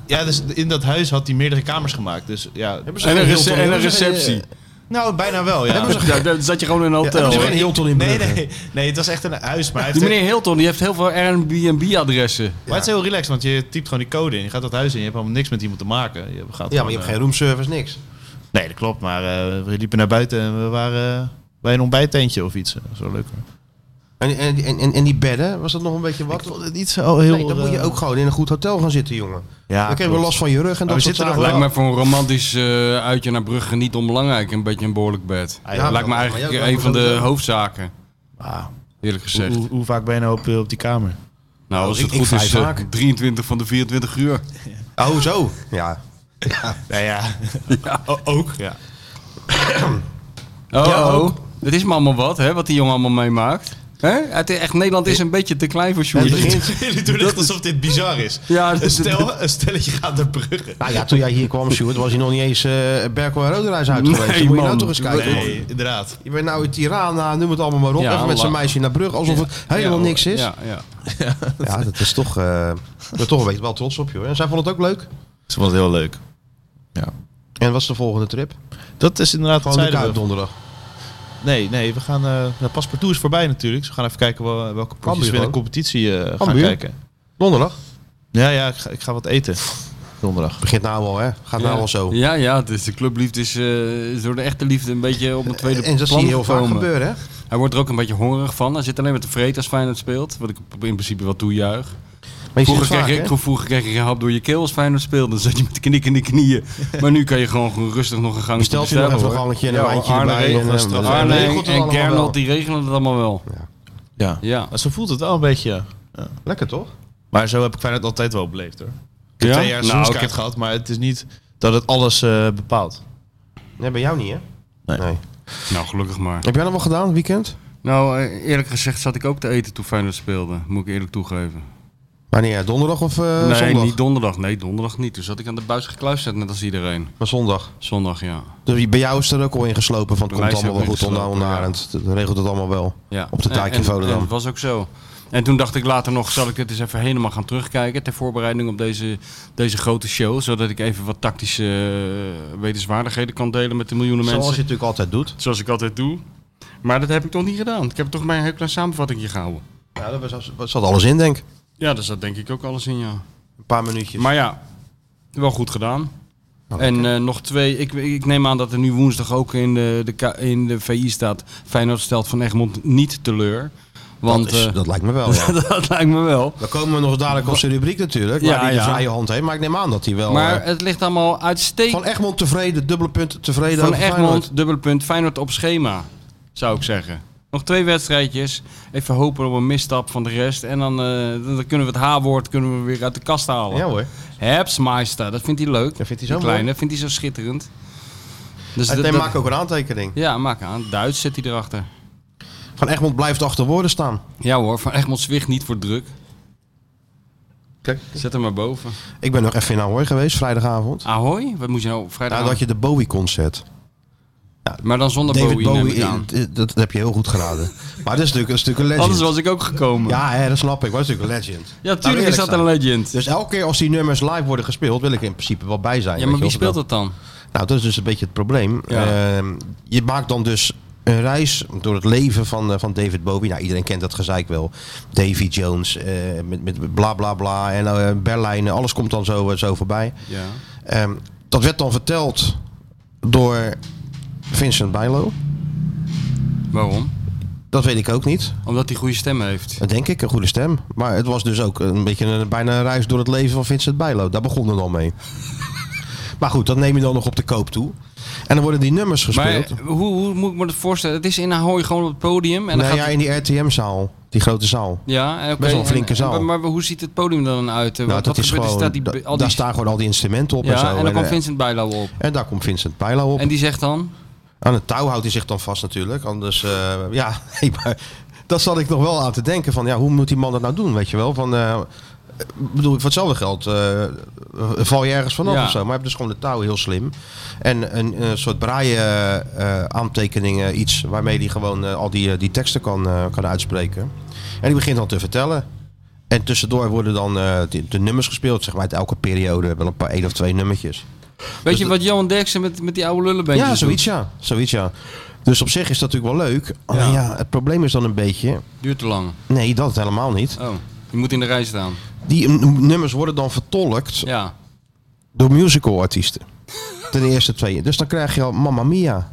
[SPEAKER 4] ja, dus in dat huis had hij meerdere kamers gemaakt. Dus ja,
[SPEAKER 2] Hebben ze
[SPEAKER 3] en, een
[SPEAKER 2] geen
[SPEAKER 3] rece-
[SPEAKER 2] Hilton?
[SPEAKER 3] en een
[SPEAKER 2] Hebben ze geen,
[SPEAKER 3] receptie.
[SPEAKER 4] nou bijna wel. Ja.
[SPEAKER 3] [laughs] Ja, dan zat je gewoon in een
[SPEAKER 2] eh, hebben
[SPEAKER 3] hotel.
[SPEAKER 2] ze geen Hilton in
[SPEAKER 4] Nee,
[SPEAKER 2] Brugge?
[SPEAKER 4] nee, nee, het was echt een huis. Maar hij
[SPEAKER 3] Die
[SPEAKER 4] heeft
[SPEAKER 3] meneer Hilton die heeft heel veel Airbnb-adressen.
[SPEAKER 4] Maar het is heel relaxed, want je typt gewoon die code in. Je gaat dat huis in, je hebt helemaal niks met iemand te maken. Je gaat
[SPEAKER 2] Ja, maar
[SPEAKER 4] gewoon,
[SPEAKER 2] je hebt
[SPEAKER 4] eh,
[SPEAKER 2] geen roomservice, niks.
[SPEAKER 4] Nee, dat klopt, maar eh, we liepen naar buiten en we waren eh, bij een ontbijtteentje of iets. Zo leuk.
[SPEAKER 2] En, en, en, en- en die bedden, was dat nog een beetje wat?
[SPEAKER 4] het niet zo heel...
[SPEAKER 2] nee, dan moet je ook gewoon in een goed hotel gaan zitten, jongen.
[SPEAKER 4] eh, Ja,
[SPEAKER 2] dan krijg je
[SPEAKER 4] klopt.
[SPEAKER 2] last van je rug en dat
[SPEAKER 4] we
[SPEAKER 2] soort
[SPEAKER 4] zitten nog
[SPEAKER 2] zaken.
[SPEAKER 3] Lijkt mij voor een romantisch eh, uitje naar Brugge niet onbelangrijk. Een beetje een behoorlijk bed.
[SPEAKER 2] ja,
[SPEAKER 3] Lijkt me
[SPEAKER 2] maar
[SPEAKER 3] eigenlijk
[SPEAKER 2] jij ook
[SPEAKER 3] een
[SPEAKER 2] wel
[SPEAKER 3] van de
[SPEAKER 2] sowieso.
[SPEAKER 3] hoofdzaken,
[SPEAKER 4] Ah,
[SPEAKER 3] eerlijk
[SPEAKER 4] hoe,
[SPEAKER 3] gezegd.
[SPEAKER 4] hoe, hoe vaak ben je nou op, eh, op die kamer?
[SPEAKER 3] Nou, als
[SPEAKER 2] Ik-
[SPEAKER 3] het
[SPEAKER 2] ik
[SPEAKER 3] goed
[SPEAKER 2] vrij
[SPEAKER 3] is, eh,
[SPEAKER 2] vaak.
[SPEAKER 3] 23 van de 24 uur.
[SPEAKER 2] Oh, zo. Ja.
[SPEAKER 4] Nou ja, ook. [laughs] Ja.
[SPEAKER 3] Oh,
[SPEAKER 2] Ja,
[SPEAKER 3] oh.
[SPEAKER 2] ook.
[SPEAKER 3] Het is me allemaal wat, hè, wat die jongen allemaal meemaakt. Hè? Het is echt, Nederland is een beetje te klein voor
[SPEAKER 2] Het
[SPEAKER 3] Sjoerd.
[SPEAKER 4] [laughs]
[SPEAKER 2] begint-
[SPEAKER 4] Jullie doen het alsof dit bizar is.
[SPEAKER 3] Ja,
[SPEAKER 4] een,
[SPEAKER 3] dat-
[SPEAKER 4] stel, een stelletje gaat naar Brugge.
[SPEAKER 2] Nou ja, toen jij hier kwam, Sjoerd, was hij nog niet eens eh Berkel en Roderijs uit
[SPEAKER 3] Nee,
[SPEAKER 2] geweest. Dan moet je nou
[SPEAKER 3] man.
[SPEAKER 2] toch eens kijken. man.
[SPEAKER 4] Nee, inderdaad.
[SPEAKER 2] Je bent nou in Tirana, noem het allemaal maar op.
[SPEAKER 3] Ja,
[SPEAKER 2] even met zijn
[SPEAKER 3] la-
[SPEAKER 2] meisje naar Brugge, alsof het helemaal
[SPEAKER 3] Ja,
[SPEAKER 2] niks is.
[SPEAKER 3] Ja, ja.
[SPEAKER 2] Ja, dat is toch. eh ik ben toch een beetje wel trots op, joh. En zij vond het ook leuk.
[SPEAKER 4] Ze was heel leuk.
[SPEAKER 2] En wat is de volgende trip?
[SPEAKER 4] Dat is inderdaad
[SPEAKER 2] Gewoon de
[SPEAKER 4] zeiden we.
[SPEAKER 2] Kuip donderdag.
[SPEAKER 4] Nee, nee, we gaan. eh nou, paspartout is voorbij natuurlijk. Dus we gaan even kijken wel- welke potjes
[SPEAKER 2] Cambuur
[SPEAKER 4] we in de
[SPEAKER 2] ook.
[SPEAKER 4] competitie eh, gaan
[SPEAKER 2] Cambuur?
[SPEAKER 4] kijken.
[SPEAKER 2] Donderdag?
[SPEAKER 4] Ja, ja, ik ga, ik ga wat eten. Donderdag.
[SPEAKER 2] Begint nou al, hè? Gaat nou al zo.
[SPEAKER 3] Ja, ja, dus de clubliefde is, eh, is door de echte liefde een beetje op een tweede
[SPEAKER 2] En dat zie
[SPEAKER 3] plan
[SPEAKER 2] je heel vaak
[SPEAKER 3] gekomen.
[SPEAKER 2] gebeuren, hè?
[SPEAKER 3] Hij wordt er ook een beetje hongerig van. Hij zit alleen met de vreet als Feyenoord speelt. Wat ik in principe wel toejuich.
[SPEAKER 2] Maar je ziet
[SPEAKER 3] Vroeger
[SPEAKER 2] het
[SPEAKER 3] kreeg,
[SPEAKER 2] vaak,
[SPEAKER 3] ik,
[SPEAKER 2] hè?
[SPEAKER 3] vroeger kreeg ik een hap door je keel als Feyenoord speelde. Dan zat je met de knik in de
[SPEAKER 2] [laughs]
[SPEAKER 3] knieën. maar nu kan je gewoon, gewoon rustig nog een gang
[SPEAKER 2] Bestelt u nog even een gangetje en een wijntje erbij. en, eh,
[SPEAKER 4] straf.
[SPEAKER 2] dan
[SPEAKER 4] Arne
[SPEAKER 2] regelt het
[SPEAKER 3] Ah, en
[SPEAKER 2] allemaal eh, wel.
[SPEAKER 3] Gernot die regelen het allemaal wel.
[SPEAKER 4] Ja.
[SPEAKER 3] Ja.
[SPEAKER 4] Maar zo voelt het wel een beetje.
[SPEAKER 2] Lekker toch?
[SPEAKER 4] Maar zo heb ik Feyenoord altijd wel beleefd hoor. Ik heb
[SPEAKER 3] Ja?
[SPEAKER 4] twee jaar
[SPEAKER 3] Nou,
[SPEAKER 4] seizoenskaart
[SPEAKER 3] ik heb-
[SPEAKER 4] gehad, maar het is niet dat het alles eh, bepaalt.
[SPEAKER 2] Nee, bij jou niet, hè?
[SPEAKER 4] Nee.
[SPEAKER 3] Nou, gelukkig maar.
[SPEAKER 2] Heb jij dat wel gedaan, het weekend?
[SPEAKER 3] Nou, eh, eerlijk gezegd zat ik ook te eten toen Feyenoord speelde. Moet ik eerlijk toegeven.
[SPEAKER 2] Wanneer? Donderdag of eh,
[SPEAKER 3] nee,
[SPEAKER 2] zondag?
[SPEAKER 3] niet donderdag. Nee, donderdag niet. Toen zat ik aan de buis gekluisterd, net als iedereen.
[SPEAKER 2] Maar zondag.
[SPEAKER 3] Zondag, ja.
[SPEAKER 2] Dus bij jou is er ook al ingeslopen van het
[SPEAKER 3] Bij
[SPEAKER 2] komt
[SPEAKER 3] mij is
[SPEAKER 2] allemaal wel
[SPEAKER 3] het
[SPEAKER 2] goed nou- onder
[SPEAKER 3] ingeslopen, ja.
[SPEAKER 2] Arend. Het regelt het allemaal wel.
[SPEAKER 3] ja.
[SPEAKER 2] Op de
[SPEAKER 3] En-
[SPEAKER 2] dijk in
[SPEAKER 3] en-
[SPEAKER 2] Volendam.
[SPEAKER 3] en Dat was ook zo. En toen dacht ik later nog, zal ik het eens even helemaal gaan terugkijken ter voorbereiding op deze, deze grote show. Zodat ik even wat tactische eh, wetenswaardigheden kan delen met de miljoenen
[SPEAKER 2] Zoals je
[SPEAKER 3] mensen.
[SPEAKER 2] het natuurlijk altijd doet.
[SPEAKER 3] Zoals ik altijd doe. Maar dat heb ik toch niet gedaan. Ik heb toch mijn heel klein samenvattingje gehouden.
[SPEAKER 2] Ja, daar was- was- zat alles in, denk ik.
[SPEAKER 3] Ja, daar zat denk ik ook alles in, ja.
[SPEAKER 2] Een paar minuutjes.
[SPEAKER 3] Maar ja, wel goed gedaan.
[SPEAKER 2] Nou,
[SPEAKER 3] en eh, nog twee. Ik, ik neem aan dat er nu woensdag ook in de, de, K- in de VI staat. Feyenoord stelt Van Egmond niet teleur. Want
[SPEAKER 2] dat, is-
[SPEAKER 3] eh,
[SPEAKER 2] dat lijkt me
[SPEAKER 3] [laughs]
[SPEAKER 2] wel, ja.
[SPEAKER 3] dat lijkt me wel.
[SPEAKER 2] Dan komen we nog dadelijk op zijn rubriek natuurlijk.
[SPEAKER 3] Ja,
[SPEAKER 2] waar hij de
[SPEAKER 3] ja.
[SPEAKER 2] vrije hand heeft. Maar ik neem aan dat hij wel...
[SPEAKER 3] Maar
[SPEAKER 2] eh,
[SPEAKER 3] het ligt allemaal
[SPEAKER 2] van
[SPEAKER 3] uitstekend.
[SPEAKER 2] Egmond tevreden, dubbele punt tevreden
[SPEAKER 3] Van
[SPEAKER 2] over Feyenoord.
[SPEAKER 3] Egmond, dubbele punt. Feyenoord op schema, zou ik zeggen. Nog twee wedstrijdjes. Even hopen op een misstap van de rest. En dan, eh, dan dan kunnen we het H-woord kunnen we weer uit de kast halen.
[SPEAKER 2] Ja hoor.
[SPEAKER 3] Hebsmeister, dat vindt hij leuk.
[SPEAKER 2] Dat vindt hij zo
[SPEAKER 3] Die kleine, vindt hij zo schitterend. Dus
[SPEAKER 2] Hij
[SPEAKER 3] dat-
[SPEAKER 2] deed-
[SPEAKER 3] dat-
[SPEAKER 2] maakt ook een aantekening.
[SPEAKER 3] Ja, maak aan. Duits zit hij erachter.
[SPEAKER 2] Van Egmond blijft achter woorden staan.
[SPEAKER 3] Ja hoor, Van Egmond zwicht niet voor druk.
[SPEAKER 2] Kijk.
[SPEAKER 3] Zet hem maar boven.
[SPEAKER 2] Ik ben nog even in Ahoy geweest, vrijdagavond.
[SPEAKER 3] Ahoy? Wat moet je nou vrijdag
[SPEAKER 2] Nadat
[SPEAKER 3] aan?
[SPEAKER 2] je de Bowie-concert.
[SPEAKER 3] Maar dan zonder
[SPEAKER 2] David
[SPEAKER 3] Bowie, neem ik aan.
[SPEAKER 2] eh, dat heb je heel goed
[SPEAKER 3] [laughs]
[SPEAKER 2] geraden. maar dat is natuurlijk, dat is natuurlijk een legend.
[SPEAKER 3] Anders was ik ook gekomen. Ja,
[SPEAKER 2] Ja, hè, dat snap ik. Maar dat is natuurlijk een legend. Laten we
[SPEAKER 3] tuurlijk is dat een
[SPEAKER 2] eerlijk
[SPEAKER 3] legend.
[SPEAKER 2] zijn. Dus elke keer als die nummers live worden gespeeld, wil ik er in principe wel bij zijn.
[SPEAKER 3] Ja,
[SPEAKER 2] weet
[SPEAKER 3] maar
[SPEAKER 2] je
[SPEAKER 3] wie
[SPEAKER 2] wel.
[SPEAKER 3] speelt dat dan?
[SPEAKER 2] Nou, dat is dus een beetje het probleem.
[SPEAKER 3] Ja.
[SPEAKER 2] Ehm, je maakt dan dus een reis door het leven van, eh, van David Bowie. Nou, iedereen kent dat gezeik wel. Davy Jones, eh, met, met bla bla bla en eh, Berlijn. Alles komt dan zo, eh, zo voorbij.
[SPEAKER 3] Ja.
[SPEAKER 2] Ehm, dat werd dan verteld door Vincent Bijlo.
[SPEAKER 3] Waarom?
[SPEAKER 2] Dat weet ik ook niet.
[SPEAKER 3] Omdat hij goede stem heeft.
[SPEAKER 2] Dat denk ik, een goede stem. Maar het was dus ook een beetje een, bijna een reis door het leven van Vincent Bijlo. Daar begon het al
[SPEAKER 3] [laughs]
[SPEAKER 2] mee. maar goed, dat neem je dan nog op de koop toe. En dan worden die nummers
[SPEAKER 3] Maar eh,
[SPEAKER 2] gespeeld.
[SPEAKER 3] hoe, hoe moet ik me dat voorstellen? Het is in Ahoy gewoon op het podium. En dan
[SPEAKER 2] nou
[SPEAKER 3] gaat
[SPEAKER 2] ja, in die RTM-zaal. Die grote zaal.
[SPEAKER 3] ja, oké.
[SPEAKER 2] best wel een
[SPEAKER 3] En-
[SPEAKER 2] flinke
[SPEAKER 3] en-
[SPEAKER 2] zaal.
[SPEAKER 3] maar hoe ziet het podium dan uit? Eh,
[SPEAKER 2] nou,
[SPEAKER 3] wat
[SPEAKER 2] dat
[SPEAKER 3] wat
[SPEAKER 2] is
[SPEAKER 3] gebeurt er?
[SPEAKER 2] gewoon,
[SPEAKER 3] Staat die,
[SPEAKER 2] da-
[SPEAKER 3] al die,
[SPEAKER 2] daar staan gewoon al die instrumenten op en zo.
[SPEAKER 3] ja, en dan
[SPEAKER 2] eh,
[SPEAKER 3] komt Vincent Bijlo op.
[SPEAKER 2] en daar komt Vincent Bijlo op.
[SPEAKER 3] En die zegt dan?
[SPEAKER 2] Aan het touw houdt hij zich dan vast natuurlijk. Anders, eh, ja, [laughs] nee, maar dat zat ik nog wel aan te denken. Van ja, hoe moet die man dat nou doen, weet je wel? Van, eh, ik bedoel, voor hetzelfde geld eh, val je ergens vanaf
[SPEAKER 3] Ja.
[SPEAKER 2] of zo. Maar hij heeft dus gewoon de touw heel slim. En een, een soort braaie eh, aantekeningen, iets waarmee hij gewoon eh, al die, eh, die teksten kan, eh, kan uitspreken. En die begint dan te vertellen. En tussendoor worden dan eh, de, de nummers gespeeld. Zeg maar uit elke periode wel een paar één of twee nummertjes.
[SPEAKER 3] Weet je wat Johan Derksen met, met die oude lullenbeentjes
[SPEAKER 2] Dus Ja,
[SPEAKER 3] doet?
[SPEAKER 2] zoiets ja. zoiets ja. Dus op zich is dat natuurlijk wel leuk. Alleen ja. het probleem is dan een beetje...
[SPEAKER 3] Duurt te lang.
[SPEAKER 2] Nee, dat helemaal niet.
[SPEAKER 3] Oh, je moet in de rij staan.
[SPEAKER 2] Die mm, nummers worden dan vertolkt
[SPEAKER 3] Ja.
[SPEAKER 2] door musicalartiesten. Ten eerste twee. Dus dan krijg je al Mamma Mia.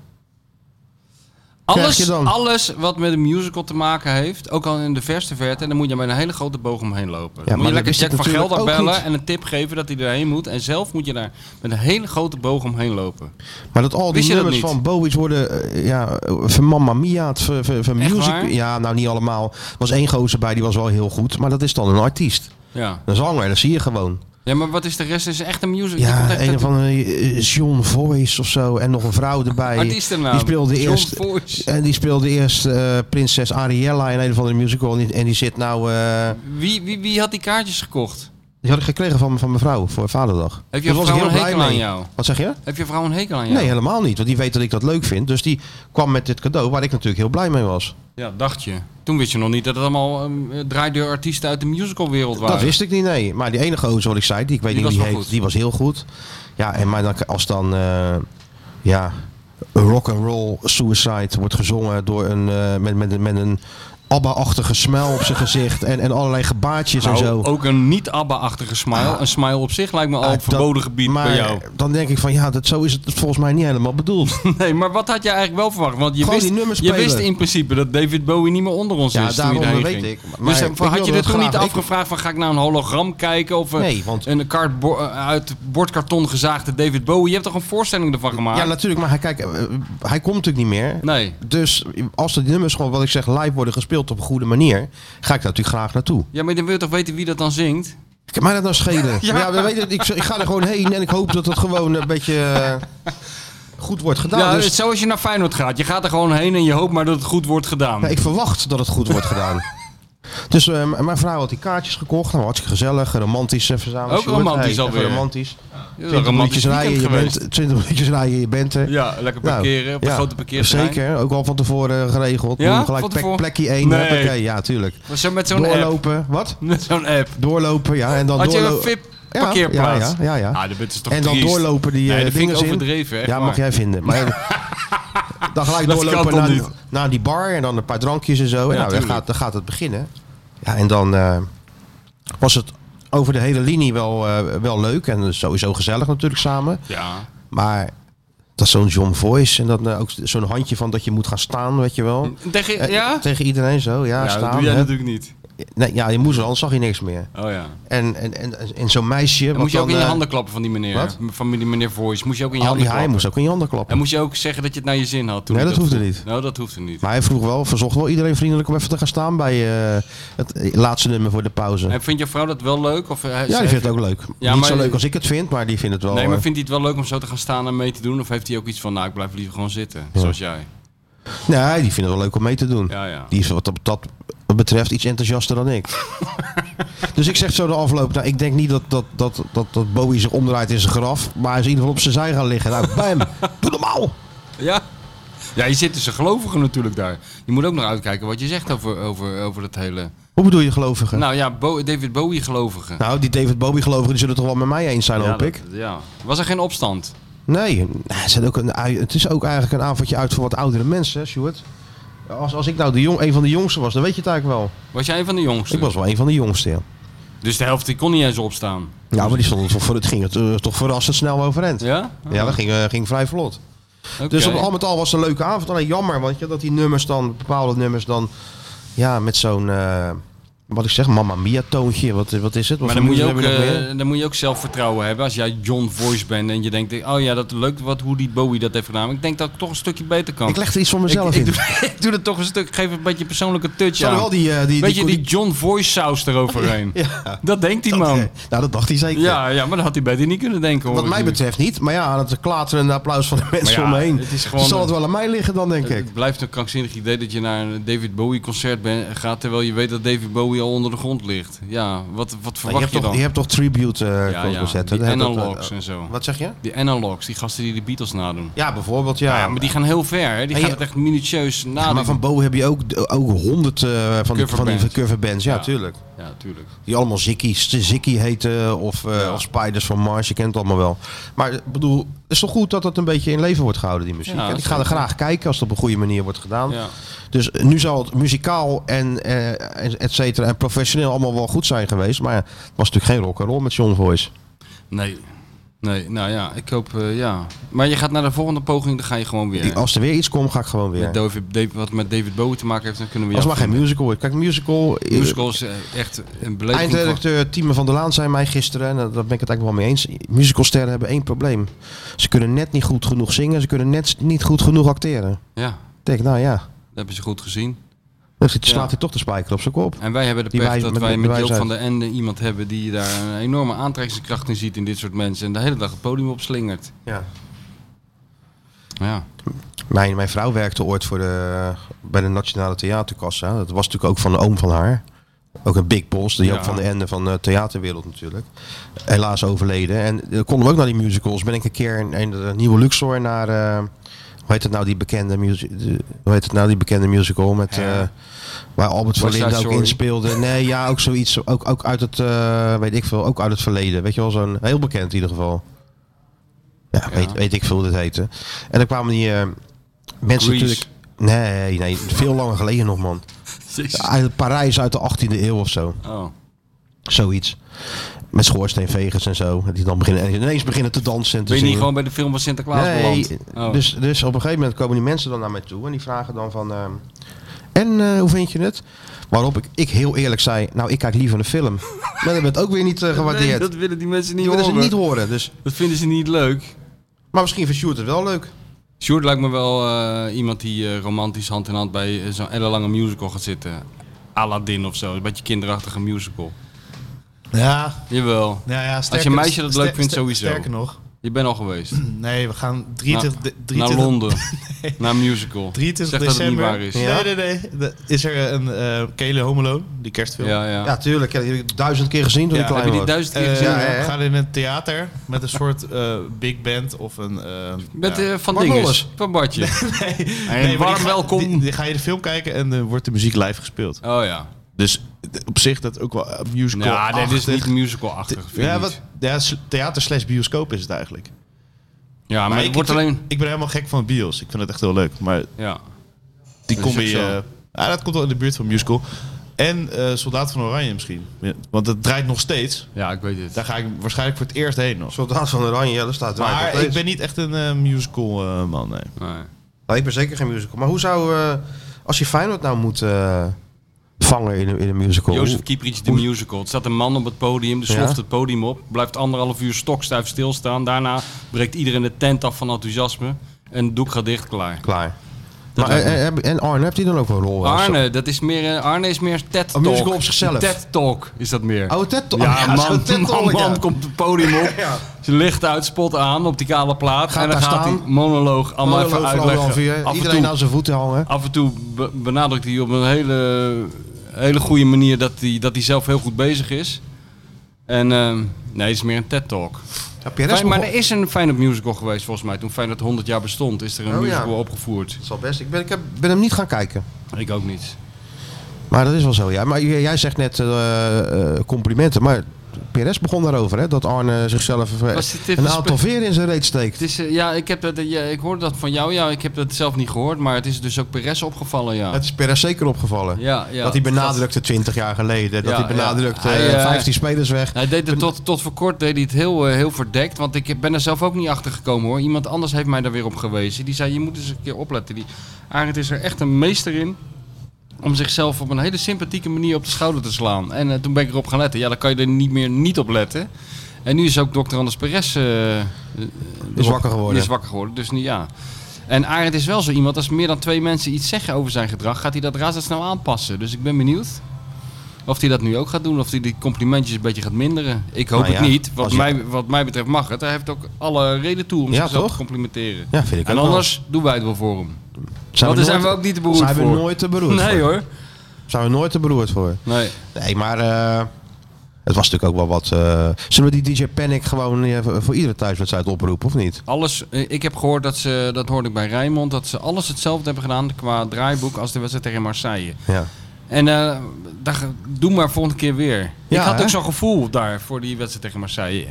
[SPEAKER 2] je
[SPEAKER 3] Alles,
[SPEAKER 2] dan?
[SPEAKER 3] alles wat met een musical te maken heeft, ook al in de verste verte, dan moet je met een hele grote boog omheen lopen.
[SPEAKER 2] maar
[SPEAKER 3] dan moet je
[SPEAKER 2] dat
[SPEAKER 3] lekker
[SPEAKER 2] is het
[SPEAKER 3] Jack van
[SPEAKER 2] natuurlijk
[SPEAKER 3] Gelder
[SPEAKER 2] ook
[SPEAKER 3] bellen
[SPEAKER 2] niet.
[SPEAKER 3] en een tip geven dat hij erheen moet. En zelf moet je daar met een hele grote boog omheen lopen.
[SPEAKER 2] Maar dat al
[SPEAKER 3] Wist
[SPEAKER 2] die
[SPEAKER 3] je dat
[SPEAKER 2] nummers
[SPEAKER 3] niet?
[SPEAKER 2] van Bowie's worden eh, ja, eh, van Mamma Mia, het van, van, van
[SPEAKER 3] Echt
[SPEAKER 2] music.
[SPEAKER 3] waar?
[SPEAKER 2] Ja, nou niet allemaal. Er was één gozer bij, die was wel heel goed. Maar dat is dan een artiest.
[SPEAKER 3] Ja,
[SPEAKER 2] Een zanger, dat zie je gewoon.
[SPEAKER 3] ja maar wat is de rest? Is echt een musical? Die komt
[SPEAKER 2] Ja,
[SPEAKER 3] echt
[SPEAKER 2] een
[SPEAKER 3] uit
[SPEAKER 2] of andere eh, John Voice of zo. En nog een vrouw erbij.
[SPEAKER 3] de artiestennaam.
[SPEAKER 2] Die speelde
[SPEAKER 3] John
[SPEAKER 2] eerst-
[SPEAKER 3] Voice.
[SPEAKER 2] En die speelde eerst eh, prinses Ariella in een of andere musical. En die, en die zit nou... eh,
[SPEAKER 3] Wie, wie, wie had die kaartjes gekocht?
[SPEAKER 2] die had ik gekregen van, van mijn vrouw voor Vaderdag.
[SPEAKER 3] Heeft
[SPEAKER 2] Daar
[SPEAKER 3] je
[SPEAKER 2] was ik
[SPEAKER 3] vrouw een
[SPEAKER 2] heel blij
[SPEAKER 3] hekel aan
[SPEAKER 2] mee.
[SPEAKER 3] jou?
[SPEAKER 2] Wat zeg je?
[SPEAKER 3] Heb je vrouw een hekel aan jou?
[SPEAKER 2] Nee, helemaal niet. Want die weet dat ik dat leuk vind. Dus die kwam met dit cadeau waar ik natuurlijk heel blij mee was.
[SPEAKER 3] Ja, dacht je. Toen wist je nog niet dat het allemaal ehm, draaideurartiesten uit de musicalwereld waren.
[SPEAKER 2] Dat wist ik niet, nee. Maar die ene gozer wat ik zei, die ik weet
[SPEAKER 3] Die
[SPEAKER 2] niet wie
[SPEAKER 3] was wel
[SPEAKER 2] heet,
[SPEAKER 3] goed.
[SPEAKER 2] die was heel goed. Ja, en maar dan, als dan... eh, ja... Rock and roll suicide wordt gezongen door een, eh, met, met, met een ABBA-achtige smel op zijn gezicht en, en allerlei gebaartjes en
[SPEAKER 3] Nou,
[SPEAKER 2] zo.
[SPEAKER 3] Ook een niet-ABBA-achtige smile. een smile op zich lijkt me al
[SPEAKER 2] Ah,
[SPEAKER 3] op verboden
[SPEAKER 2] dat-
[SPEAKER 3] gebied
[SPEAKER 2] maar
[SPEAKER 3] bij jou. [laughs]
[SPEAKER 2] dan denk ik van ja, dat, zo is het volgens mij niet helemaal bedoeld.
[SPEAKER 3] Nee, [laughs] maar wat had jij eigenlijk wel verwacht? Want je,
[SPEAKER 2] Gewoon
[SPEAKER 3] wist,
[SPEAKER 2] die nummers
[SPEAKER 3] je
[SPEAKER 2] spelen.
[SPEAKER 3] wist in principe dat David Bowie niet meer onder ons
[SPEAKER 2] Ja,
[SPEAKER 3] is toen je
[SPEAKER 2] daarom,
[SPEAKER 3] daarheen
[SPEAKER 2] dat
[SPEAKER 3] ging.
[SPEAKER 2] weet ik. Maar
[SPEAKER 3] dus
[SPEAKER 2] ik
[SPEAKER 3] eh, had
[SPEAKER 2] wilde
[SPEAKER 3] je dit
[SPEAKER 2] het
[SPEAKER 3] toen niet
[SPEAKER 2] graag- ik-
[SPEAKER 3] afgevraagd van ga ik naar een hologram kijken of eh,
[SPEAKER 2] Nee, want-
[SPEAKER 3] een kaartbo- eh, uit bordkarton gezaagde David Bowie? Je hebt toch een voorstelling ervan gemaakt?
[SPEAKER 2] Ja, natuurlijk, maar hij, kijk, eh, hij komt natuurlijk niet meer.
[SPEAKER 3] nee.
[SPEAKER 2] Dus als de nummers gewoon, wat ik zeg, live worden gespeeld op een goede manier, ga ik daar natuurlijk graag naartoe.
[SPEAKER 3] Ja, maar dan wil je toch weten wie dat dan zingt?
[SPEAKER 2] Ik kan mij dat nou
[SPEAKER 3] [laughs]
[SPEAKER 2] schelen. ja, we weten, het, ik, ik ga er gewoon heen en ik hoop dat het gewoon een beetje eh, goed wordt gedaan.
[SPEAKER 3] ja,
[SPEAKER 2] Dus-
[SPEAKER 3] het is zoals je naar Feyenoord gaat. Je gaat er gewoon heen en je hoopt maar dat het goed wordt gedaan.
[SPEAKER 2] Ja, ik verwacht dat het goed wordt gedaan. Dus eh, m- mijn vrouw had die kaartjes gekocht. Nou, hartstikke gezellig, romantisch eh, verzameling.
[SPEAKER 3] Ook romantisch
[SPEAKER 2] al
[SPEAKER 3] alweer.
[SPEAKER 2] romantisch.
[SPEAKER 3] Ja, dat is
[SPEAKER 2] 20
[SPEAKER 3] een
[SPEAKER 2] minuutjes
[SPEAKER 3] romantisch
[SPEAKER 2] rijden,
[SPEAKER 3] weekend
[SPEAKER 2] je
[SPEAKER 3] geweest.
[SPEAKER 2] bent, 20 minuutjes rijden, je bent er.
[SPEAKER 3] Ja, lekker
[SPEAKER 2] Nou,
[SPEAKER 3] parkeren op een
[SPEAKER 2] ja,
[SPEAKER 3] grote parkeerterrein.
[SPEAKER 2] Zeker, ook al van tevoren geregeld.
[SPEAKER 3] Ja,
[SPEAKER 2] Boem, gelijk
[SPEAKER 3] van
[SPEAKER 2] plek,
[SPEAKER 3] tevoren?
[SPEAKER 2] plekje 1.
[SPEAKER 3] Nee.
[SPEAKER 2] ja, tuurlijk.
[SPEAKER 3] Maar Zo met zo'n app.
[SPEAKER 2] Doorlopen, wat?
[SPEAKER 3] Met zo'n app. [laughs]
[SPEAKER 2] Doorlopen, ja. En dan
[SPEAKER 3] Had je een
[SPEAKER 2] doorlo-
[SPEAKER 3] VIP
[SPEAKER 2] Ja,
[SPEAKER 3] parkeerplaats?
[SPEAKER 2] Ja, ja, ja. ja.
[SPEAKER 3] Ah, dat is toch
[SPEAKER 2] en dan
[SPEAKER 3] triest.
[SPEAKER 2] doorlopen die
[SPEAKER 3] Nee,
[SPEAKER 2] eh,
[SPEAKER 3] dat vind ik
[SPEAKER 2] dingen in.
[SPEAKER 3] overdreven, echt
[SPEAKER 2] ja, mag
[SPEAKER 3] waar.
[SPEAKER 2] jij vinden.
[SPEAKER 3] [laughs]
[SPEAKER 2] Maar dan gelijk
[SPEAKER 3] Dat
[SPEAKER 2] doorlopen
[SPEAKER 3] kan toch
[SPEAKER 2] naar,
[SPEAKER 3] niet?
[SPEAKER 2] naar die bar en dan een paar drankjes en zo. En
[SPEAKER 3] Ja,
[SPEAKER 2] nou, dan,
[SPEAKER 3] tuurlijk.
[SPEAKER 2] gaat, dan gaat het beginnen. Ja, en dan eh, was het over de hele linie wel, eh, wel leuk en sowieso gezellig natuurlijk samen.
[SPEAKER 3] Ja.
[SPEAKER 2] Maar dat is zo'n John Voice en dan eh, ook zo'n handje van dat je moet gaan staan, weet je wel.
[SPEAKER 3] Tegen,
[SPEAKER 2] Eh,
[SPEAKER 3] ja?
[SPEAKER 2] Tegen iedereen zo, ja,
[SPEAKER 3] Ja, dat
[SPEAKER 2] staan.
[SPEAKER 3] doe jij
[SPEAKER 2] hè.
[SPEAKER 3] natuurlijk niet.
[SPEAKER 2] Nee, ja, je moest wel, anders zag je niks meer.
[SPEAKER 3] Oh ja. Dan
[SPEAKER 2] En, en, en, en- en zo'n meisje... wat
[SPEAKER 3] moest je ook
[SPEAKER 2] dan,
[SPEAKER 3] in je
[SPEAKER 2] eh,
[SPEAKER 3] handen klappen van die meneer.
[SPEAKER 2] wat?
[SPEAKER 3] Van die meneer Voice. Moest je ook in je
[SPEAKER 2] Ali
[SPEAKER 3] handen
[SPEAKER 2] Hij
[SPEAKER 3] klappen.
[SPEAKER 2] moest ook in je handen klappen.
[SPEAKER 3] En moest je ook zeggen dat je het naar je zin had? Toen
[SPEAKER 2] Nee,
[SPEAKER 3] je
[SPEAKER 2] dat hoefde
[SPEAKER 3] vroeg?
[SPEAKER 2] niet.
[SPEAKER 3] Nou, dat hoefde niet.
[SPEAKER 2] Maar hij vroeg wel, verzocht wel iedereen vriendelijk om even te gaan staan bij eh, het laatste nummer voor de pauze.
[SPEAKER 3] En vindt je vrouw dat wel leuk? Of, eh, ze
[SPEAKER 2] ja, die
[SPEAKER 3] heeft-
[SPEAKER 2] vindt het ook leuk.
[SPEAKER 3] Ja,
[SPEAKER 2] Niet
[SPEAKER 3] maar-
[SPEAKER 2] zo leuk als ik het vind, maar die vindt het wel.
[SPEAKER 3] Nee, maar
[SPEAKER 2] eh,
[SPEAKER 3] vindt hij het wel leuk om zo te gaan staan en mee te doen? Of heeft hij ook iets van, nou, ik blijf liever gewoon zitten, zoals jij?
[SPEAKER 2] nee, die vindt het wel leuk om mee te doen.
[SPEAKER 3] Ja, ja.
[SPEAKER 2] Die is wat dat- dat betreft iets enthousiaster dan [laughs] ik. dus ik zeg zo de afloop, nou, ik denk niet dat, dat, dat, dat, dat Bowie zich omdraait in zijn graf, maar hij is in ieder geval op zijn zij gaan liggen. [laughs] Nou, bam, doe normaal!
[SPEAKER 3] Ja. Ja, je zit tussen gelovigen natuurlijk daar. Je moet ook nog uitkijken wat je zegt over, over, over dat hele...
[SPEAKER 2] Hoe bedoel je gelovigen? Nou,
[SPEAKER 3] Nou ja, Bo- David Bowie gelovigen.
[SPEAKER 2] die David Bowie gelovigen, die zullen het toch wel met mij eens zijn,
[SPEAKER 3] ja,
[SPEAKER 2] hoop
[SPEAKER 3] dat-
[SPEAKER 2] ik.
[SPEAKER 3] Ja. Was er geen opstand?
[SPEAKER 2] Nee, nou, het, zijn ook een, ui- het is ook eigenlijk een avondje uit voor wat oudere mensen, hè, Sjoerd. Als, als ik nou de jong, een van de jongsten was, dan weet je het eigenlijk wel.
[SPEAKER 3] Was jij een van de jongsten?
[SPEAKER 2] Ik was wel een van de jongsten, ja.
[SPEAKER 3] Dus de helft die kon niet eens opstaan.
[SPEAKER 2] Ja, maar die stonden toch voor het ging het, eh, toch verrassend snel overeind. Ja,
[SPEAKER 3] Ja?
[SPEAKER 2] dat ging, eh, ging vrij vlot.
[SPEAKER 3] Oké.
[SPEAKER 2] Dus op al met al was het een leuke avond. Alleen jammer, want je, dat die nummers dan, bepaalde nummers dan, ja, met zo'n, eh, wat ik zeg, mamma mia toontje. Wat, wat is het? Wat
[SPEAKER 3] Maar
[SPEAKER 2] voor
[SPEAKER 3] dan moet, je
[SPEAKER 2] nummers
[SPEAKER 3] ook,
[SPEAKER 2] hebben we nog meer?
[SPEAKER 3] eh, dan moet je ook zelfvertrouwen hebben als jij John Voice bent en je denkt, oh ja, dat leuk wat, hoe die Bowie dat heeft gedaan. Maar Ik denk dat ik toch een stukje beter kan.
[SPEAKER 2] ik leg er iets voor mezelf
[SPEAKER 3] eh, ik,
[SPEAKER 2] in.
[SPEAKER 3] ik doe, [laughs] ik doe er toch een stuk, geef een beetje persoonlijke touch
[SPEAKER 2] Zou er
[SPEAKER 3] aan.
[SPEAKER 2] wel die, eh, die,
[SPEAKER 3] Weet je, die John Voice saus eroverheen.
[SPEAKER 2] [laughs] Ja.
[SPEAKER 3] Dat denkt die
[SPEAKER 2] dat-
[SPEAKER 3] man.
[SPEAKER 2] Nou, dat dacht hij zeker.
[SPEAKER 3] Ja, ja, maar dat had hij beter niet kunnen denken. hoor
[SPEAKER 2] Wat
[SPEAKER 3] ik
[SPEAKER 2] mij
[SPEAKER 3] nu.
[SPEAKER 2] betreft niet. Maar ja, aan het klaterende applaus van de mensen
[SPEAKER 3] ja,
[SPEAKER 2] om me heen.
[SPEAKER 3] het is gewoon
[SPEAKER 2] zal het
[SPEAKER 3] een- Eh,
[SPEAKER 2] wel aan mij liggen dan, denk ik.
[SPEAKER 3] Het blijft een krankzinnig idee dat je naar een David Bowie concert bent, gaat terwijl je weet dat David Bowie al onder de grond ligt. Ja, wat, wat
[SPEAKER 2] Maar Je
[SPEAKER 3] verwacht
[SPEAKER 2] hebt,
[SPEAKER 3] je,
[SPEAKER 2] toch,
[SPEAKER 3] dan?
[SPEAKER 2] je hebt toch tribute eh
[SPEAKER 3] ja, ja,
[SPEAKER 2] concerten?
[SPEAKER 3] die
[SPEAKER 2] Dan heb je dat,
[SPEAKER 3] analogs
[SPEAKER 2] eh,
[SPEAKER 3] en zo.
[SPEAKER 2] Wat zeg je?
[SPEAKER 3] Die analogs, die gasten die de Beatles nadoen.
[SPEAKER 2] Ja, bijvoorbeeld, ja.
[SPEAKER 3] Ja, maar die gaan heel ver, hè? die
[SPEAKER 2] En
[SPEAKER 3] gaan
[SPEAKER 2] je-
[SPEAKER 3] het echt minutieus nadoen.
[SPEAKER 2] Ja, maar van Bo heb je ook, ook honderd eh, van, die, van die
[SPEAKER 3] Coverbands.
[SPEAKER 2] coverbands. Ja,
[SPEAKER 3] Ja.
[SPEAKER 2] tuurlijk.
[SPEAKER 3] Ja, tuurlijk.
[SPEAKER 2] Die allemaal Zikkies, de Zikkie heten of, eh,
[SPEAKER 3] Ja.
[SPEAKER 2] of Spiders van Mars. Je kent het allemaal wel. Maar ik bedoel, het is toch goed dat dat een beetje in leven wordt gehouden, die muziek.
[SPEAKER 3] Ja,
[SPEAKER 2] en ik ga er
[SPEAKER 3] zeker.
[SPEAKER 2] graag kijken als het op een goede manier wordt gedaan.
[SPEAKER 3] Ja.
[SPEAKER 2] Dus nu zal het muzikaal en eh, en et cetera en professioneel allemaal wel goed zijn geweest. Maar het was natuurlijk geen rock and roll met John Voice.
[SPEAKER 3] Nee. Nee, nou ja, ik hoop, eh, ja. Maar je gaat naar de volgende poging, dan ga je gewoon weer.
[SPEAKER 2] Ik- Als er weer iets komt, ga ik gewoon weer.
[SPEAKER 3] Met David, David- wat met David Bowie te maken heeft, dan kunnen we
[SPEAKER 2] Als
[SPEAKER 3] jou
[SPEAKER 2] het maar geen musical wordt. Kijk, musical. eh,
[SPEAKER 3] Musical is eh, echt een beleving. van-
[SPEAKER 2] Eindredacteur Tieme van der Laan zei mij gisteren, en daar ben ik het eigenlijk wel mee eens. Musicalsterren hebben één probleem. Ze kunnen net niet goed genoeg zingen, ze kunnen net niet goed genoeg acteren. Ik
[SPEAKER 3] Ja,
[SPEAKER 2] denk, nou ja,
[SPEAKER 3] dat hebben ze goed gezien.
[SPEAKER 2] dan zit-
[SPEAKER 3] Ja.
[SPEAKER 2] slaat hij toch de spijker op zijn kop.
[SPEAKER 3] En wij hebben de
[SPEAKER 2] Die
[SPEAKER 3] pech
[SPEAKER 2] wijs-
[SPEAKER 3] dat
[SPEAKER 2] met-
[SPEAKER 3] wij
[SPEAKER 2] met de
[SPEAKER 3] met Joop
[SPEAKER 2] wijsheid.
[SPEAKER 3] van der Ende iemand hebben die daar een enorme aantrekkingskracht in ziet in dit soort mensen. En de hele dag het podium op slingert. Ja.
[SPEAKER 2] Mijn, mijn vrouw werkte ooit voor de, bij de Nationale Theaterkassa. Dat was natuurlijk ook van de oom van haar. Ook een big boss, de Joop
[SPEAKER 3] Ja.
[SPEAKER 2] van de Ende van de theaterwereld natuurlijk. Helaas overleden. En eh, konden we ook naar die musicals. Ben ik een keer in, in de Nieuwe Luxor naar... eh, hoe heet het nou, die bekende, musi- de- hoe heet het nou, die bekende musical met...
[SPEAKER 3] Ja.
[SPEAKER 2] eh, waar Albert van
[SPEAKER 3] West Side
[SPEAKER 2] Linden ook in
[SPEAKER 3] Story.
[SPEAKER 2] speelde. Nee, ja, ook zoiets. Ook, ook uit het, eh, weet ik veel, ook uit het verleden. Weet je wel, zo'n heel bekend in ieder geval. Ja,
[SPEAKER 3] Ja.
[SPEAKER 2] Weet, weet ik veel hoe dit heette. En dan kwamen die eh, mensen
[SPEAKER 3] Grease.
[SPEAKER 2] natuurlijk... Nee, nee, veel langer geleden nog, man.
[SPEAKER 3] Jezus.
[SPEAKER 2] Uit Parijs uit de 18e eeuw of zo.
[SPEAKER 3] Oh.
[SPEAKER 2] Zoiets. Met schoorsteenvegers en zo. Die dan beginnen, en ineens beginnen te dansen en te
[SPEAKER 3] Ben je niet
[SPEAKER 2] zingen.
[SPEAKER 3] gewoon bij de film van Sinterklaas beland? Oh.
[SPEAKER 2] dus, dus op een gegeven moment komen die mensen dan naar mij toe en die vragen dan van... ehm, en eh, hoe vind je het? Waarop ik, ik heel eerlijk zei, nou ik kijk liever een film. [laughs] maar dat werd ook weer niet eh, gewaardeerd.
[SPEAKER 3] Nee, dat willen die mensen niet
[SPEAKER 2] die willen
[SPEAKER 3] horen.
[SPEAKER 2] ze niet horen. Dus.
[SPEAKER 3] dat vinden ze niet leuk.
[SPEAKER 2] Maar misschien vindt Sjoerd het wel leuk.
[SPEAKER 3] Sjoerd lijkt me wel eh, iemand die eh, romantisch hand in hand bij eh, zo'n ellenlange musical gaat zitten. Aladdin of zo, een beetje kinderachtige musical.
[SPEAKER 4] Ja,
[SPEAKER 3] Jawel,
[SPEAKER 4] nou ja sterker-
[SPEAKER 3] je meisje dat leuk
[SPEAKER 4] ster-
[SPEAKER 3] vindt,
[SPEAKER 4] ster-
[SPEAKER 3] sowieso.
[SPEAKER 4] Sterker nog,
[SPEAKER 3] je bent al geweest.
[SPEAKER 4] nee, we gaan 23, de-
[SPEAKER 3] Naar
[SPEAKER 4] 23
[SPEAKER 3] Londen, naar een musical.
[SPEAKER 4] 23
[SPEAKER 3] zeg dat het niet
[SPEAKER 4] december.
[SPEAKER 3] waar is. Ja,
[SPEAKER 2] Ja.
[SPEAKER 4] Nee, nee, nee. De- is er een eh Kele Homelo, die kerstfilm.
[SPEAKER 3] ja.
[SPEAKER 2] Ja, tuurlijk. Ja, die heb ik duizend keer gezien toen
[SPEAKER 4] Ja,
[SPEAKER 2] ik klein
[SPEAKER 3] Heb je die
[SPEAKER 2] was.
[SPEAKER 3] duizend keer
[SPEAKER 4] Eh,
[SPEAKER 3] gezien?
[SPEAKER 2] Ja, ja, ja.
[SPEAKER 4] We gaan in een theater met een soort eh, big band of een...
[SPEAKER 3] [laughs]
[SPEAKER 4] eh,
[SPEAKER 3] Met
[SPEAKER 4] ja.
[SPEAKER 3] eh, Van
[SPEAKER 2] Bart
[SPEAKER 3] Dinges,
[SPEAKER 2] Nolles.
[SPEAKER 3] van Bartje.
[SPEAKER 4] Nee,
[SPEAKER 3] Hey,
[SPEAKER 4] maar
[SPEAKER 3] warm
[SPEAKER 4] die ga-
[SPEAKER 3] welkom.
[SPEAKER 4] die- die ga je de film kijken en dan wordt de muziek live gespeeld.
[SPEAKER 3] Oh ja.
[SPEAKER 4] Dus eh, op zich dat ook wel eh, musical
[SPEAKER 3] Nou, nee, dit is niet
[SPEAKER 4] achtig.
[SPEAKER 3] musical-achtig, vind
[SPEAKER 4] ja,
[SPEAKER 3] ik.
[SPEAKER 4] wat, ja, s- theater slash bioscoop is het eigenlijk. Maar,
[SPEAKER 3] Ja, maar, het
[SPEAKER 4] ik,
[SPEAKER 3] wordt
[SPEAKER 4] ik,
[SPEAKER 3] alleen...
[SPEAKER 4] ik ben helemaal gek van bios. Ik vind het echt heel leuk. Maar
[SPEAKER 3] Ja. Dat
[SPEAKER 4] die
[SPEAKER 3] is
[SPEAKER 4] combi...
[SPEAKER 3] ook
[SPEAKER 4] eh
[SPEAKER 3] zo.
[SPEAKER 4] ja, dat komt wel in de buurt van musical. En eh Soldaat van Oranje misschien. Ja, want het draait nog steeds.
[SPEAKER 3] ja, ik weet het.
[SPEAKER 4] Daar ga ik waarschijnlijk voor het eerst heen nog.
[SPEAKER 2] Soldaat van Oranje, ja, dat staat waar.
[SPEAKER 4] Maar
[SPEAKER 2] ik,
[SPEAKER 4] ik ben niet echt een eh, musical eh, man, nee.
[SPEAKER 3] Nee.
[SPEAKER 2] nou, ik ben zeker geen musical. Maar hoe zou... eh, als je Feyenoord nou moet eh, vangen in een, in een musical...
[SPEAKER 3] Jozef
[SPEAKER 2] hoe-
[SPEAKER 3] Kieprits, de musical. Het staat een man op het podium, dus
[SPEAKER 2] Ja.
[SPEAKER 3] sloft het podium op. Blijft anderhalf uur stokstijf stilstaan. Daarna breekt iedereen de tent af van enthousiasme. En het doek gaat dicht, klaar.
[SPEAKER 2] Klaar.
[SPEAKER 3] Dat
[SPEAKER 2] Maar,
[SPEAKER 3] lijkt me.
[SPEAKER 2] en, en- en Arne, heeft hij dan ook een rol? eh,
[SPEAKER 3] Arne, dat is meer, eh, Arne is meer TED
[SPEAKER 2] Een
[SPEAKER 3] Talk.
[SPEAKER 2] musical op zichzelf.
[SPEAKER 3] TED Talk is dat meer.
[SPEAKER 2] Oh, TED Talk.
[SPEAKER 3] Ja,
[SPEAKER 2] [laughs] Ja, zo'n
[SPEAKER 3] man,
[SPEAKER 2] TED
[SPEAKER 3] man,
[SPEAKER 2] Talk, ja.
[SPEAKER 3] man komt het podium op.
[SPEAKER 2] [laughs] Ja.
[SPEAKER 3] Ze licht uit, spot aan op die kale plaat.
[SPEAKER 2] Gaat
[SPEAKER 3] en dan
[SPEAKER 2] daar
[SPEAKER 3] gaat
[SPEAKER 2] staan.
[SPEAKER 3] hij monoloog allemaal even
[SPEAKER 2] Monoloog van anderhalf uur,
[SPEAKER 3] uitleggen. Af en
[SPEAKER 2] Iedereen
[SPEAKER 3] toe
[SPEAKER 2] aan zijn voeten hangen.
[SPEAKER 3] af en toe be- benadrukt hij op een hele, hele goede manier dat hij, dat hij zelf heel goed bezig is. En ehm, nee, het is meer een TED-talk.
[SPEAKER 2] Ja, PRS begon-
[SPEAKER 3] Maar er is een Feyenoord musical geweest volgens mij. Toen Feyenoord 100 jaar bestond is er een
[SPEAKER 2] Oh, ja.
[SPEAKER 3] musical opgevoerd.
[SPEAKER 2] Het zal best. Ik ben, ik heb, ben hem niet gaan kijken.
[SPEAKER 3] Ik ook niet.
[SPEAKER 2] Maar dat is wel zo, ja. Maar j- jij zegt net eh, eh, complimenten, maar PRS begon daarover, hè? Dat Arne zichzelf eh,
[SPEAKER 3] Was het even
[SPEAKER 2] een aantal veren in zijn reet steekt.
[SPEAKER 3] Het is, eh, ja, ik, heb dat, eh, ja, ik hoorde dat van jou. Ja, ik heb dat zelf niet gehoord, maar het is dus ook Perez opgevallen. Ja.
[SPEAKER 2] Het is PRS zeker opgevallen.
[SPEAKER 3] ja, ja.
[SPEAKER 2] dat hij benadrukte 20 jaar geleden. Dat
[SPEAKER 3] Ja,
[SPEAKER 2] hij benadrukte
[SPEAKER 3] ja.
[SPEAKER 2] eh,
[SPEAKER 3] Hij, eh,
[SPEAKER 2] 15 spelers weg.
[SPEAKER 3] Hij deed het tot, tot voor kort deed hij het heel, eh, heel verdekt. Want ik ben er zelf ook niet achter gekomen hoor. Iemand anders heeft mij daar weer op gewezen. Die zei: Je moet eens een keer opletten. Die Arend is er echt een meester in. Om zichzelf op een hele sympathieke manier op de schouder te slaan. En eh, toen ben ik erop gaan letten. Ja, dan kan je er niet meer niet op letten. En nu is ook dokter Anders Perez. eh, eh,
[SPEAKER 2] Is
[SPEAKER 3] erop-
[SPEAKER 2] wakker geworden.
[SPEAKER 3] Is wakker geworden. Dus nu ja. En Arend is wel zo iemand. Als meer dan twee mensen iets zeggen over zijn gedrag, gaat hij dat razendsnel aanpassen. Dus ik ben benieuwd. Of hij dat nu ook gaat doen, of hij die complimentjes een beetje gaat minderen. Ik hoop
[SPEAKER 2] Nou ja,
[SPEAKER 3] het niet. Wat,
[SPEAKER 2] als je-
[SPEAKER 3] mij, wat mij betreft mag het. Hij heeft ook alle reden toe om
[SPEAKER 2] Ja,
[SPEAKER 3] zichzelf
[SPEAKER 2] toch?
[SPEAKER 3] te complimenteren.
[SPEAKER 2] Ja, vind ik
[SPEAKER 3] en
[SPEAKER 2] ook wel.
[SPEAKER 3] anders doen wij het wel voor hem.
[SPEAKER 2] Zijn
[SPEAKER 3] Want daar zijn we
[SPEAKER 2] nooit-
[SPEAKER 3] ook niet te beroerd
[SPEAKER 2] zijn we
[SPEAKER 3] voor.
[SPEAKER 2] nooit te beroerd
[SPEAKER 3] nee
[SPEAKER 2] voor.
[SPEAKER 3] hoor.
[SPEAKER 2] Zijn we nooit te beroerd voor.
[SPEAKER 3] Nee.
[SPEAKER 2] Nee, maar eh, het was natuurlijk ook wel wat... eh, zullen we die DJ Panic gewoon eh, voor voor iedere thuiswedstrijd oproepen, of niet?
[SPEAKER 3] Alles, eh, ik heb gehoord dat ze, dat hoorde ik bij Rijnmond, dat ze alles hetzelfde hebben gedaan qua draaiboek als de wedstrijd tegen Marseille.
[SPEAKER 2] Ja.
[SPEAKER 3] En eh, daar, ge- doe maar volgende keer weer.
[SPEAKER 2] Ja,
[SPEAKER 3] ik had
[SPEAKER 2] hè?
[SPEAKER 3] ook zo'n gevoel daar voor die wedstrijd tegen Marseille.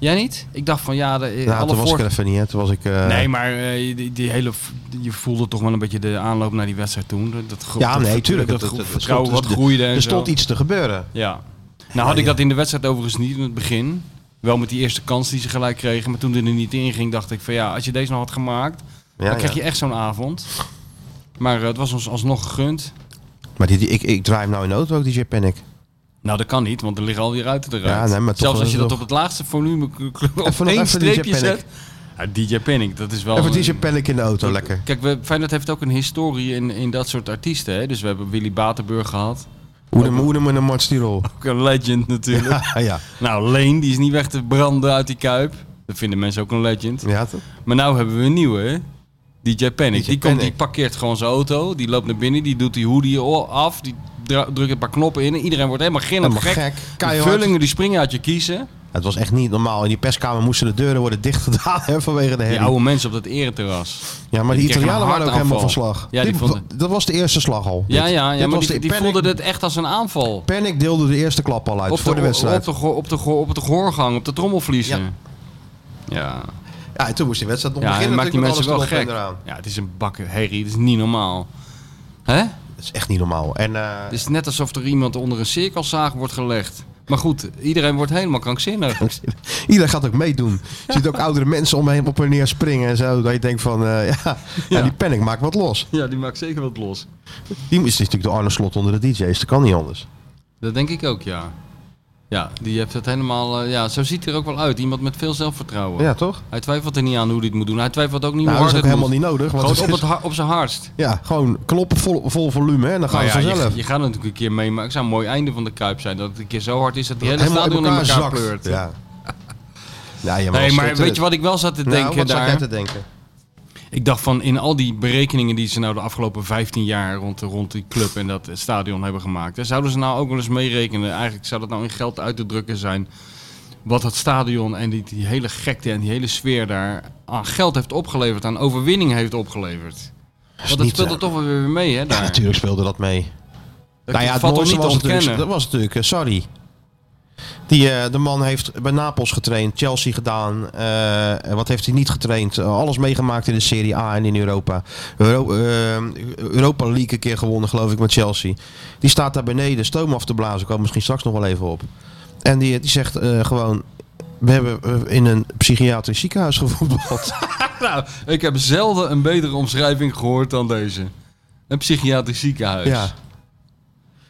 [SPEAKER 3] Jij niet? Ik dacht van ja, de, eh,
[SPEAKER 2] Ja,
[SPEAKER 3] alle
[SPEAKER 2] toen was
[SPEAKER 3] voor-
[SPEAKER 2] ik er even niet, hè. Toen was ik... eh,
[SPEAKER 3] Nee, maar eh, die, die hele, v- je voelde toch wel een beetje de aanloop naar die wedstrijd toen. Dat- Dat, gro-
[SPEAKER 2] Ja,
[SPEAKER 3] dat-
[SPEAKER 2] nee, tuurlijk.
[SPEAKER 3] Dat,
[SPEAKER 2] Het- het- het
[SPEAKER 3] vertrouwen
[SPEAKER 2] stond-
[SPEAKER 3] wat groeide en
[SPEAKER 2] Dus Er stond
[SPEAKER 3] zo.
[SPEAKER 2] iets te gebeuren.
[SPEAKER 3] Ja. Nou had ik dat in de wedstrijd overigens niet in het begin. Wel met die eerste kans die ze gelijk kregen. Maar toen die er niet in ging, dacht ik van ja, als je deze nog had gemaakt,
[SPEAKER 2] Ja,
[SPEAKER 3] dan krijg
[SPEAKER 2] ja.
[SPEAKER 3] je echt zo'n avond. Maar eh, het was ons alsnog gegund.
[SPEAKER 2] Maar die, die- ik, ik draai hem nou in de auto ook, DJ Panic.
[SPEAKER 3] Nou, dat kan niet, want er liggen al die ruiten eruit.
[SPEAKER 2] Ja, nee, maar toch
[SPEAKER 3] Zelfs als je dat
[SPEAKER 2] nog-
[SPEAKER 3] op het laagste volume op
[SPEAKER 2] nog
[SPEAKER 3] één
[SPEAKER 2] even
[SPEAKER 3] streepje
[SPEAKER 2] DJ Panic.
[SPEAKER 3] zet. Ja, DJ Panic, dat is wel...
[SPEAKER 2] Even
[SPEAKER 3] een-
[SPEAKER 2] DJ Panic in de auto, lekker.
[SPEAKER 3] Kijk, we, Feyenoord heeft ook een historie in, in dat soort artiesten. Hè? Dus we hebben Willy Batenburg gehad.
[SPEAKER 2] Oedem, Oedem en een Mart
[SPEAKER 3] [laughs]
[SPEAKER 2] Stirol.
[SPEAKER 3] Ook een legend natuurlijk.
[SPEAKER 2] Ja, ja.
[SPEAKER 3] Nou, Leen, die is niet weg te branden uit die kuip. Dat vinden mensen ook een legend.
[SPEAKER 2] Ja, toch?
[SPEAKER 3] Maar nou hebben we een nieuwe, hè? DJ Panic.
[SPEAKER 2] DJ
[SPEAKER 3] die, komt, die
[SPEAKER 2] Panic.
[SPEAKER 3] parkeert gewoon zijn auto. Die loopt naar binnen. Die doet die hoodie o- af. Die dra- drukt een paar knoppen in. Iedereen wordt helemaal gillend
[SPEAKER 2] Helemaal
[SPEAKER 3] gek.
[SPEAKER 2] gek.
[SPEAKER 3] De
[SPEAKER 2] Keihard.
[SPEAKER 3] vullingen die springen uit je kiezen.
[SPEAKER 2] Het was echt niet normaal. In die perskamer moesten de deuren worden dichtgedaan [laughs] hè, vanwege de
[SPEAKER 3] Die
[SPEAKER 2] herrie.
[SPEAKER 3] oude mensen op dat ereterras.
[SPEAKER 2] ja, maar die,
[SPEAKER 3] die kregen
[SPEAKER 2] Italianen
[SPEAKER 3] een
[SPEAKER 2] waren ook helemaal van
[SPEAKER 3] hartaanval.
[SPEAKER 2] slag.
[SPEAKER 3] Ja, die
[SPEAKER 2] Dit-
[SPEAKER 3] vonden-
[SPEAKER 2] Dat was de eerste slag al.
[SPEAKER 3] Ja,
[SPEAKER 2] Dit-
[SPEAKER 3] ja,
[SPEAKER 2] dit
[SPEAKER 3] ja maar
[SPEAKER 2] was
[SPEAKER 3] die,
[SPEAKER 2] de-
[SPEAKER 3] die
[SPEAKER 2] Panic-
[SPEAKER 3] voelden het echt als een aanval.
[SPEAKER 2] Panic deelde de eerste klap al uit voor de,
[SPEAKER 3] go-
[SPEAKER 2] wedstrijd.
[SPEAKER 3] Op de, go- op, de, go- op de gehoorgang, op de trommelvliezen.
[SPEAKER 2] Ja.
[SPEAKER 3] Ja. Ja,
[SPEAKER 2] Ja, en toen moest die wedstrijd nog
[SPEAKER 3] ja en
[SPEAKER 2] beginnen.
[SPEAKER 3] maakt die mensen wel
[SPEAKER 2] natuurlijk met
[SPEAKER 3] gek.
[SPEAKER 2] alles erop en eraan.
[SPEAKER 3] Ja, het is een bakken herrie, het is niet normaal. Hè?
[SPEAKER 2] Dat is echt niet normaal. En eh,
[SPEAKER 3] Het is net alsof er iemand onder een cirkelzaag wordt gelegd. Maar goed, iedereen wordt helemaal krankzinnig.
[SPEAKER 2] iedereen gaat ook meedoen. Je ziet ook
[SPEAKER 3] [laughs]
[SPEAKER 2] oudere mensen omheen op en neer springen en zo. Dat je denkt van, eh, ja, ja.
[SPEAKER 3] Ja.
[SPEAKER 2] die panic maakt wat los.
[SPEAKER 3] Ja, die maakt zeker wat los.
[SPEAKER 2] Die is natuurlijk de Arne Slot onder de DJ's. Dat kan niet anders.
[SPEAKER 3] Dat denk ik ook, ja. Ja, die heeft het helemaal... eh, ja, zo ziet hij er ook wel uit. Iemand met veel zelfvertrouwen.
[SPEAKER 2] Ja, toch?
[SPEAKER 3] Hij twijfelt er niet aan hoe hij het moet doen. Hij twijfelt ook niet
[SPEAKER 2] Nou,
[SPEAKER 3] hoe
[SPEAKER 2] dat
[SPEAKER 3] hard
[SPEAKER 2] is ook
[SPEAKER 3] het
[SPEAKER 2] helemaal
[SPEAKER 3] moet.
[SPEAKER 2] niet nodig. Want
[SPEAKER 3] Gewoon
[SPEAKER 2] het
[SPEAKER 3] op, het
[SPEAKER 2] is-
[SPEAKER 3] ha- op zijn hardst.
[SPEAKER 2] ja, gewoon kloppen vol, vol volume hè, en dan gaan
[SPEAKER 3] Nou
[SPEAKER 2] we
[SPEAKER 3] ja,
[SPEAKER 2] vanzelf.
[SPEAKER 3] je, je gaat natuurlijk een keer meemaken. Het zou een mooi einde van de Kuip zijn. Dat het een keer zo hard is dat die hele
[SPEAKER 2] Helemaal in
[SPEAKER 3] stadion in
[SPEAKER 2] elkaar,
[SPEAKER 3] elkaar,
[SPEAKER 2] zakt.
[SPEAKER 3] pleurt. [laughs]
[SPEAKER 2] Ja. Ja, ja,
[SPEAKER 3] Nee,
[SPEAKER 2] dat
[SPEAKER 3] maar
[SPEAKER 2] schitterend.
[SPEAKER 3] weet je wat ik wel zat te
[SPEAKER 2] Nou,
[SPEAKER 3] denken
[SPEAKER 2] wat zat
[SPEAKER 3] daar?
[SPEAKER 2] jij te denken?
[SPEAKER 3] Ik dacht van in al die berekeningen die ze nou de afgelopen 15 jaar rond, rond die club en dat stadion hebben gemaakt. hè, Zouden ze nou ook wel eens meerekenen? Eigenlijk zou dat nou in geld uit te drukken zijn. Wat dat stadion en die, die hele gekte en die hele sfeer daar aan geld heeft opgeleverd, aan overwinning heeft opgeleverd.
[SPEAKER 2] is
[SPEAKER 3] Want dat
[SPEAKER 2] niet,
[SPEAKER 3] speelt
[SPEAKER 2] eh,
[SPEAKER 3] er toch wel weer mee, hè?
[SPEAKER 2] Ja,
[SPEAKER 3] Daar.
[SPEAKER 2] natuurlijk speelde dat mee.
[SPEAKER 3] Dat
[SPEAKER 2] nou ja, het
[SPEAKER 3] valt toch
[SPEAKER 2] mooiste
[SPEAKER 3] niet te
[SPEAKER 2] was natuurlijk,
[SPEAKER 3] ontkennen.
[SPEAKER 2] dat was natuurlijk eh, Sarri. Die, eh, de man heeft bij Napels getraind, Chelsea gedaan. eh, en wat heeft hij niet getraind? Eh, alles meegemaakt in de Serie A en in Europa. Euro- eh, Europa League een keer gewonnen, geloof ik, met Chelsea. Die staat daar beneden, stoom af te blazen. Ik kom misschien straks nog wel even op. En die, die zegt eh, gewoon... We hebben eh, in een psychiatrisch ziekenhuis
[SPEAKER 3] [laughs]
[SPEAKER 2] gevoetbald.
[SPEAKER 3] Nou, ik heb zelden een betere omschrijving gehoord dan deze. Een psychiatrisch ziekenhuis.
[SPEAKER 2] ja.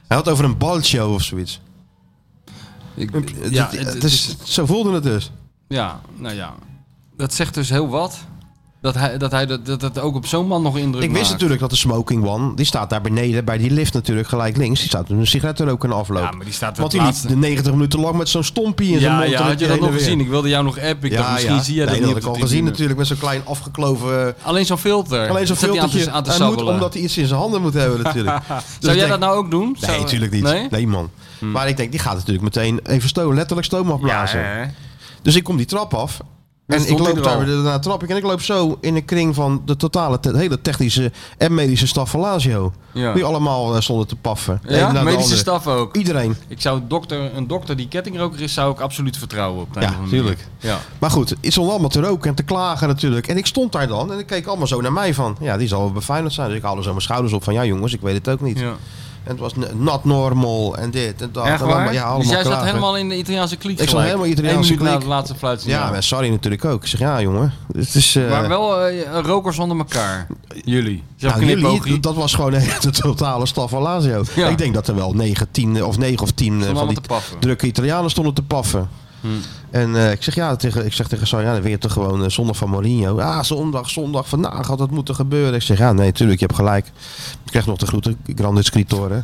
[SPEAKER 2] Hij had over een balshow of zoiets.
[SPEAKER 3] Ik-
[SPEAKER 2] ja,
[SPEAKER 3] ja, het- het
[SPEAKER 2] is,
[SPEAKER 3] is-
[SPEAKER 2] zo voelde het dus.
[SPEAKER 3] Ja, nou ja. Dat zegt dus heel wat. Dat hij dat, hij, dat, dat, dat ook op zo'n man nog indruk
[SPEAKER 2] Ik wist
[SPEAKER 3] maakt.
[SPEAKER 2] natuurlijk dat de smoking one, die staat daar beneden bij die lift natuurlijk gelijk links. Die staat met een sigaret te roken en afloop.
[SPEAKER 3] Ja, maar die staat er
[SPEAKER 2] Want
[SPEAKER 3] het
[SPEAKER 2] die liep
[SPEAKER 3] laatste...
[SPEAKER 2] de 90 minuten lang met zo'n stompie in zijn
[SPEAKER 3] Ja,
[SPEAKER 2] mond.
[SPEAKER 3] ja,
[SPEAKER 2] en
[SPEAKER 3] had je
[SPEAKER 2] heen
[SPEAKER 3] dat
[SPEAKER 2] en
[SPEAKER 3] nog
[SPEAKER 2] weer.
[SPEAKER 3] gezien? Ik wilde jou nog appen. Ik dacht, misschien zie jij
[SPEAKER 2] Nee,
[SPEAKER 3] dat
[SPEAKER 2] dat
[SPEAKER 3] niet
[SPEAKER 2] had ik al
[SPEAKER 3] op de
[SPEAKER 2] gezien
[SPEAKER 3] tribune.
[SPEAKER 2] natuurlijk met zo'n klein afgekloven...
[SPEAKER 3] Alleen zo'n filter.
[SPEAKER 2] Alleen zo'n
[SPEAKER 3] Zat die aan te-
[SPEAKER 2] filmpje.
[SPEAKER 3] aan te
[SPEAKER 2] Hij moet,
[SPEAKER 3] sabbelen.
[SPEAKER 2] omdat hij iets in zijn handen moet hebben natuurlijk.
[SPEAKER 3] [laughs]
[SPEAKER 2] Dus
[SPEAKER 3] Zou jij dat nou ook doen?
[SPEAKER 2] Nee,
[SPEAKER 3] Zou-
[SPEAKER 2] natuurlijk niet. Nee,
[SPEAKER 3] Nee? Hmm.
[SPEAKER 2] man. Maar ik denk, die gaat natuurlijk meteen even stoom, letterlijk stoom afblazen.
[SPEAKER 3] hè?
[SPEAKER 2] Dus ik kom die trap af.
[SPEAKER 3] Dan
[SPEAKER 2] En ik
[SPEAKER 3] stond hij
[SPEAKER 2] loop
[SPEAKER 3] er
[SPEAKER 2] daar
[SPEAKER 3] al.
[SPEAKER 2] weer naar de trap. ik- En ik loop zo in een kring van de totale, te- hele technische en medische staf van Lazio.
[SPEAKER 3] Ja.
[SPEAKER 2] Die allemaal eh, stonden te paffen. De ene na
[SPEAKER 3] Ja,
[SPEAKER 2] de
[SPEAKER 3] medische
[SPEAKER 2] andere.
[SPEAKER 3] staf ook.
[SPEAKER 2] Iedereen.
[SPEAKER 3] Ik zou dokter, een dokter die kettingroker is, zou ik absoluut vertrouwen op. de
[SPEAKER 2] Ja,
[SPEAKER 3] een of andere manier.
[SPEAKER 2] tuurlijk.
[SPEAKER 3] Ja.
[SPEAKER 2] Maar goed, het stond allemaal te roken en te klagen natuurlijk. En ik stond daar dan en ik keek allemaal zo naar mij van... Ja, die zal wel beveiligd zijn. Dus ik haalde zo mijn schouders op van... Ja jongens, ik weet het ook niet.
[SPEAKER 3] Ja.
[SPEAKER 2] En het was n- not normal en dit en dat.
[SPEAKER 3] Echt
[SPEAKER 2] En
[SPEAKER 3] waar?
[SPEAKER 2] allemaal- Ja, allemaal
[SPEAKER 3] dus jij zat
[SPEAKER 2] klagen.
[SPEAKER 3] helemaal in de Italiaanse kliek
[SPEAKER 2] Ik zat
[SPEAKER 3] gelijk.
[SPEAKER 2] helemaal Italiaanse
[SPEAKER 3] Eén minuut na
[SPEAKER 2] kliek.
[SPEAKER 3] het laatste fluitsignaal.
[SPEAKER 2] Ja, en sorry natuurlijk ook. Ik zeg, ja jongen, het is... eh,
[SPEAKER 3] Maar wel eh, rokers onder elkaar. Jullie. Zo'n
[SPEAKER 2] Nou, jullie,
[SPEAKER 3] knipoogje.
[SPEAKER 2] dat was gewoon echt de [laughs] totale staf van Lazio.
[SPEAKER 3] Ja.
[SPEAKER 2] Ik denk dat er wel 9, 10 of 9 of 10
[SPEAKER 3] Stonden
[SPEAKER 2] van die
[SPEAKER 3] allemaal te paffen.
[SPEAKER 2] drukke Italianen stonden te paffen.
[SPEAKER 3] Hmm.
[SPEAKER 2] En eh, ik zeg ja tegen, ik zeg tegen Sarri, ja, dan weer toch gewoon eh, zondag van Mourinho. Ah, zondag, zondag, vandaag had dat moeten gebeuren. Ik zeg ja, nee, tuurlijk, je hebt gelijk. Ik krijg nog de groeten, Grande Scrittore.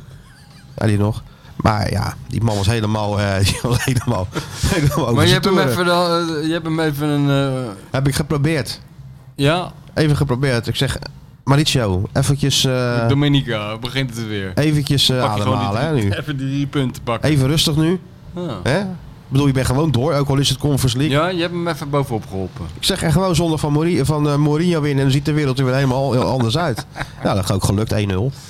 [SPEAKER 2] Ja, die nog. Maar ja, die man was helemaal, eh, [laughs] die was helemaal, helemaal over
[SPEAKER 3] Maar je
[SPEAKER 2] zijn
[SPEAKER 3] hebt, hem
[SPEAKER 2] toeren.
[SPEAKER 3] even, de- eh, je hebt hem even een... eh,
[SPEAKER 2] Heb ik geprobeerd.
[SPEAKER 3] ja,
[SPEAKER 2] Even geprobeerd. Ik zeg, Mauricio, eventjes, eh,
[SPEAKER 3] Dominica. Begint het weer.
[SPEAKER 2] eventjes eh,
[SPEAKER 3] Pak je gewoon
[SPEAKER 2] ademhalen hè,
[SPEAKER 3] die,
[SPEAKER 2] nu.
[SPEAKER 3] Even die drie punten pakken.
[SPEAKER 2] Even rustig nu.
[SPEAKER 3] Ja.
[SPEAKER 2] Hè? Ik bedoel, je bent gewoon door, ook al is het Conference League.
[SPEAKER 3] Ja, je hebt hem even bovenop geholpen.
[SPEAKER 2] Ik zeg er gewoon zonder van, Mori- van eh, Mourinho winnen en dan ziet de wereld er weer helemaal heel anders
[SPEAKER 3] [laughs]
[SPEAKER 2] uit. Ja, dat gaat ook gelukt, 1-0.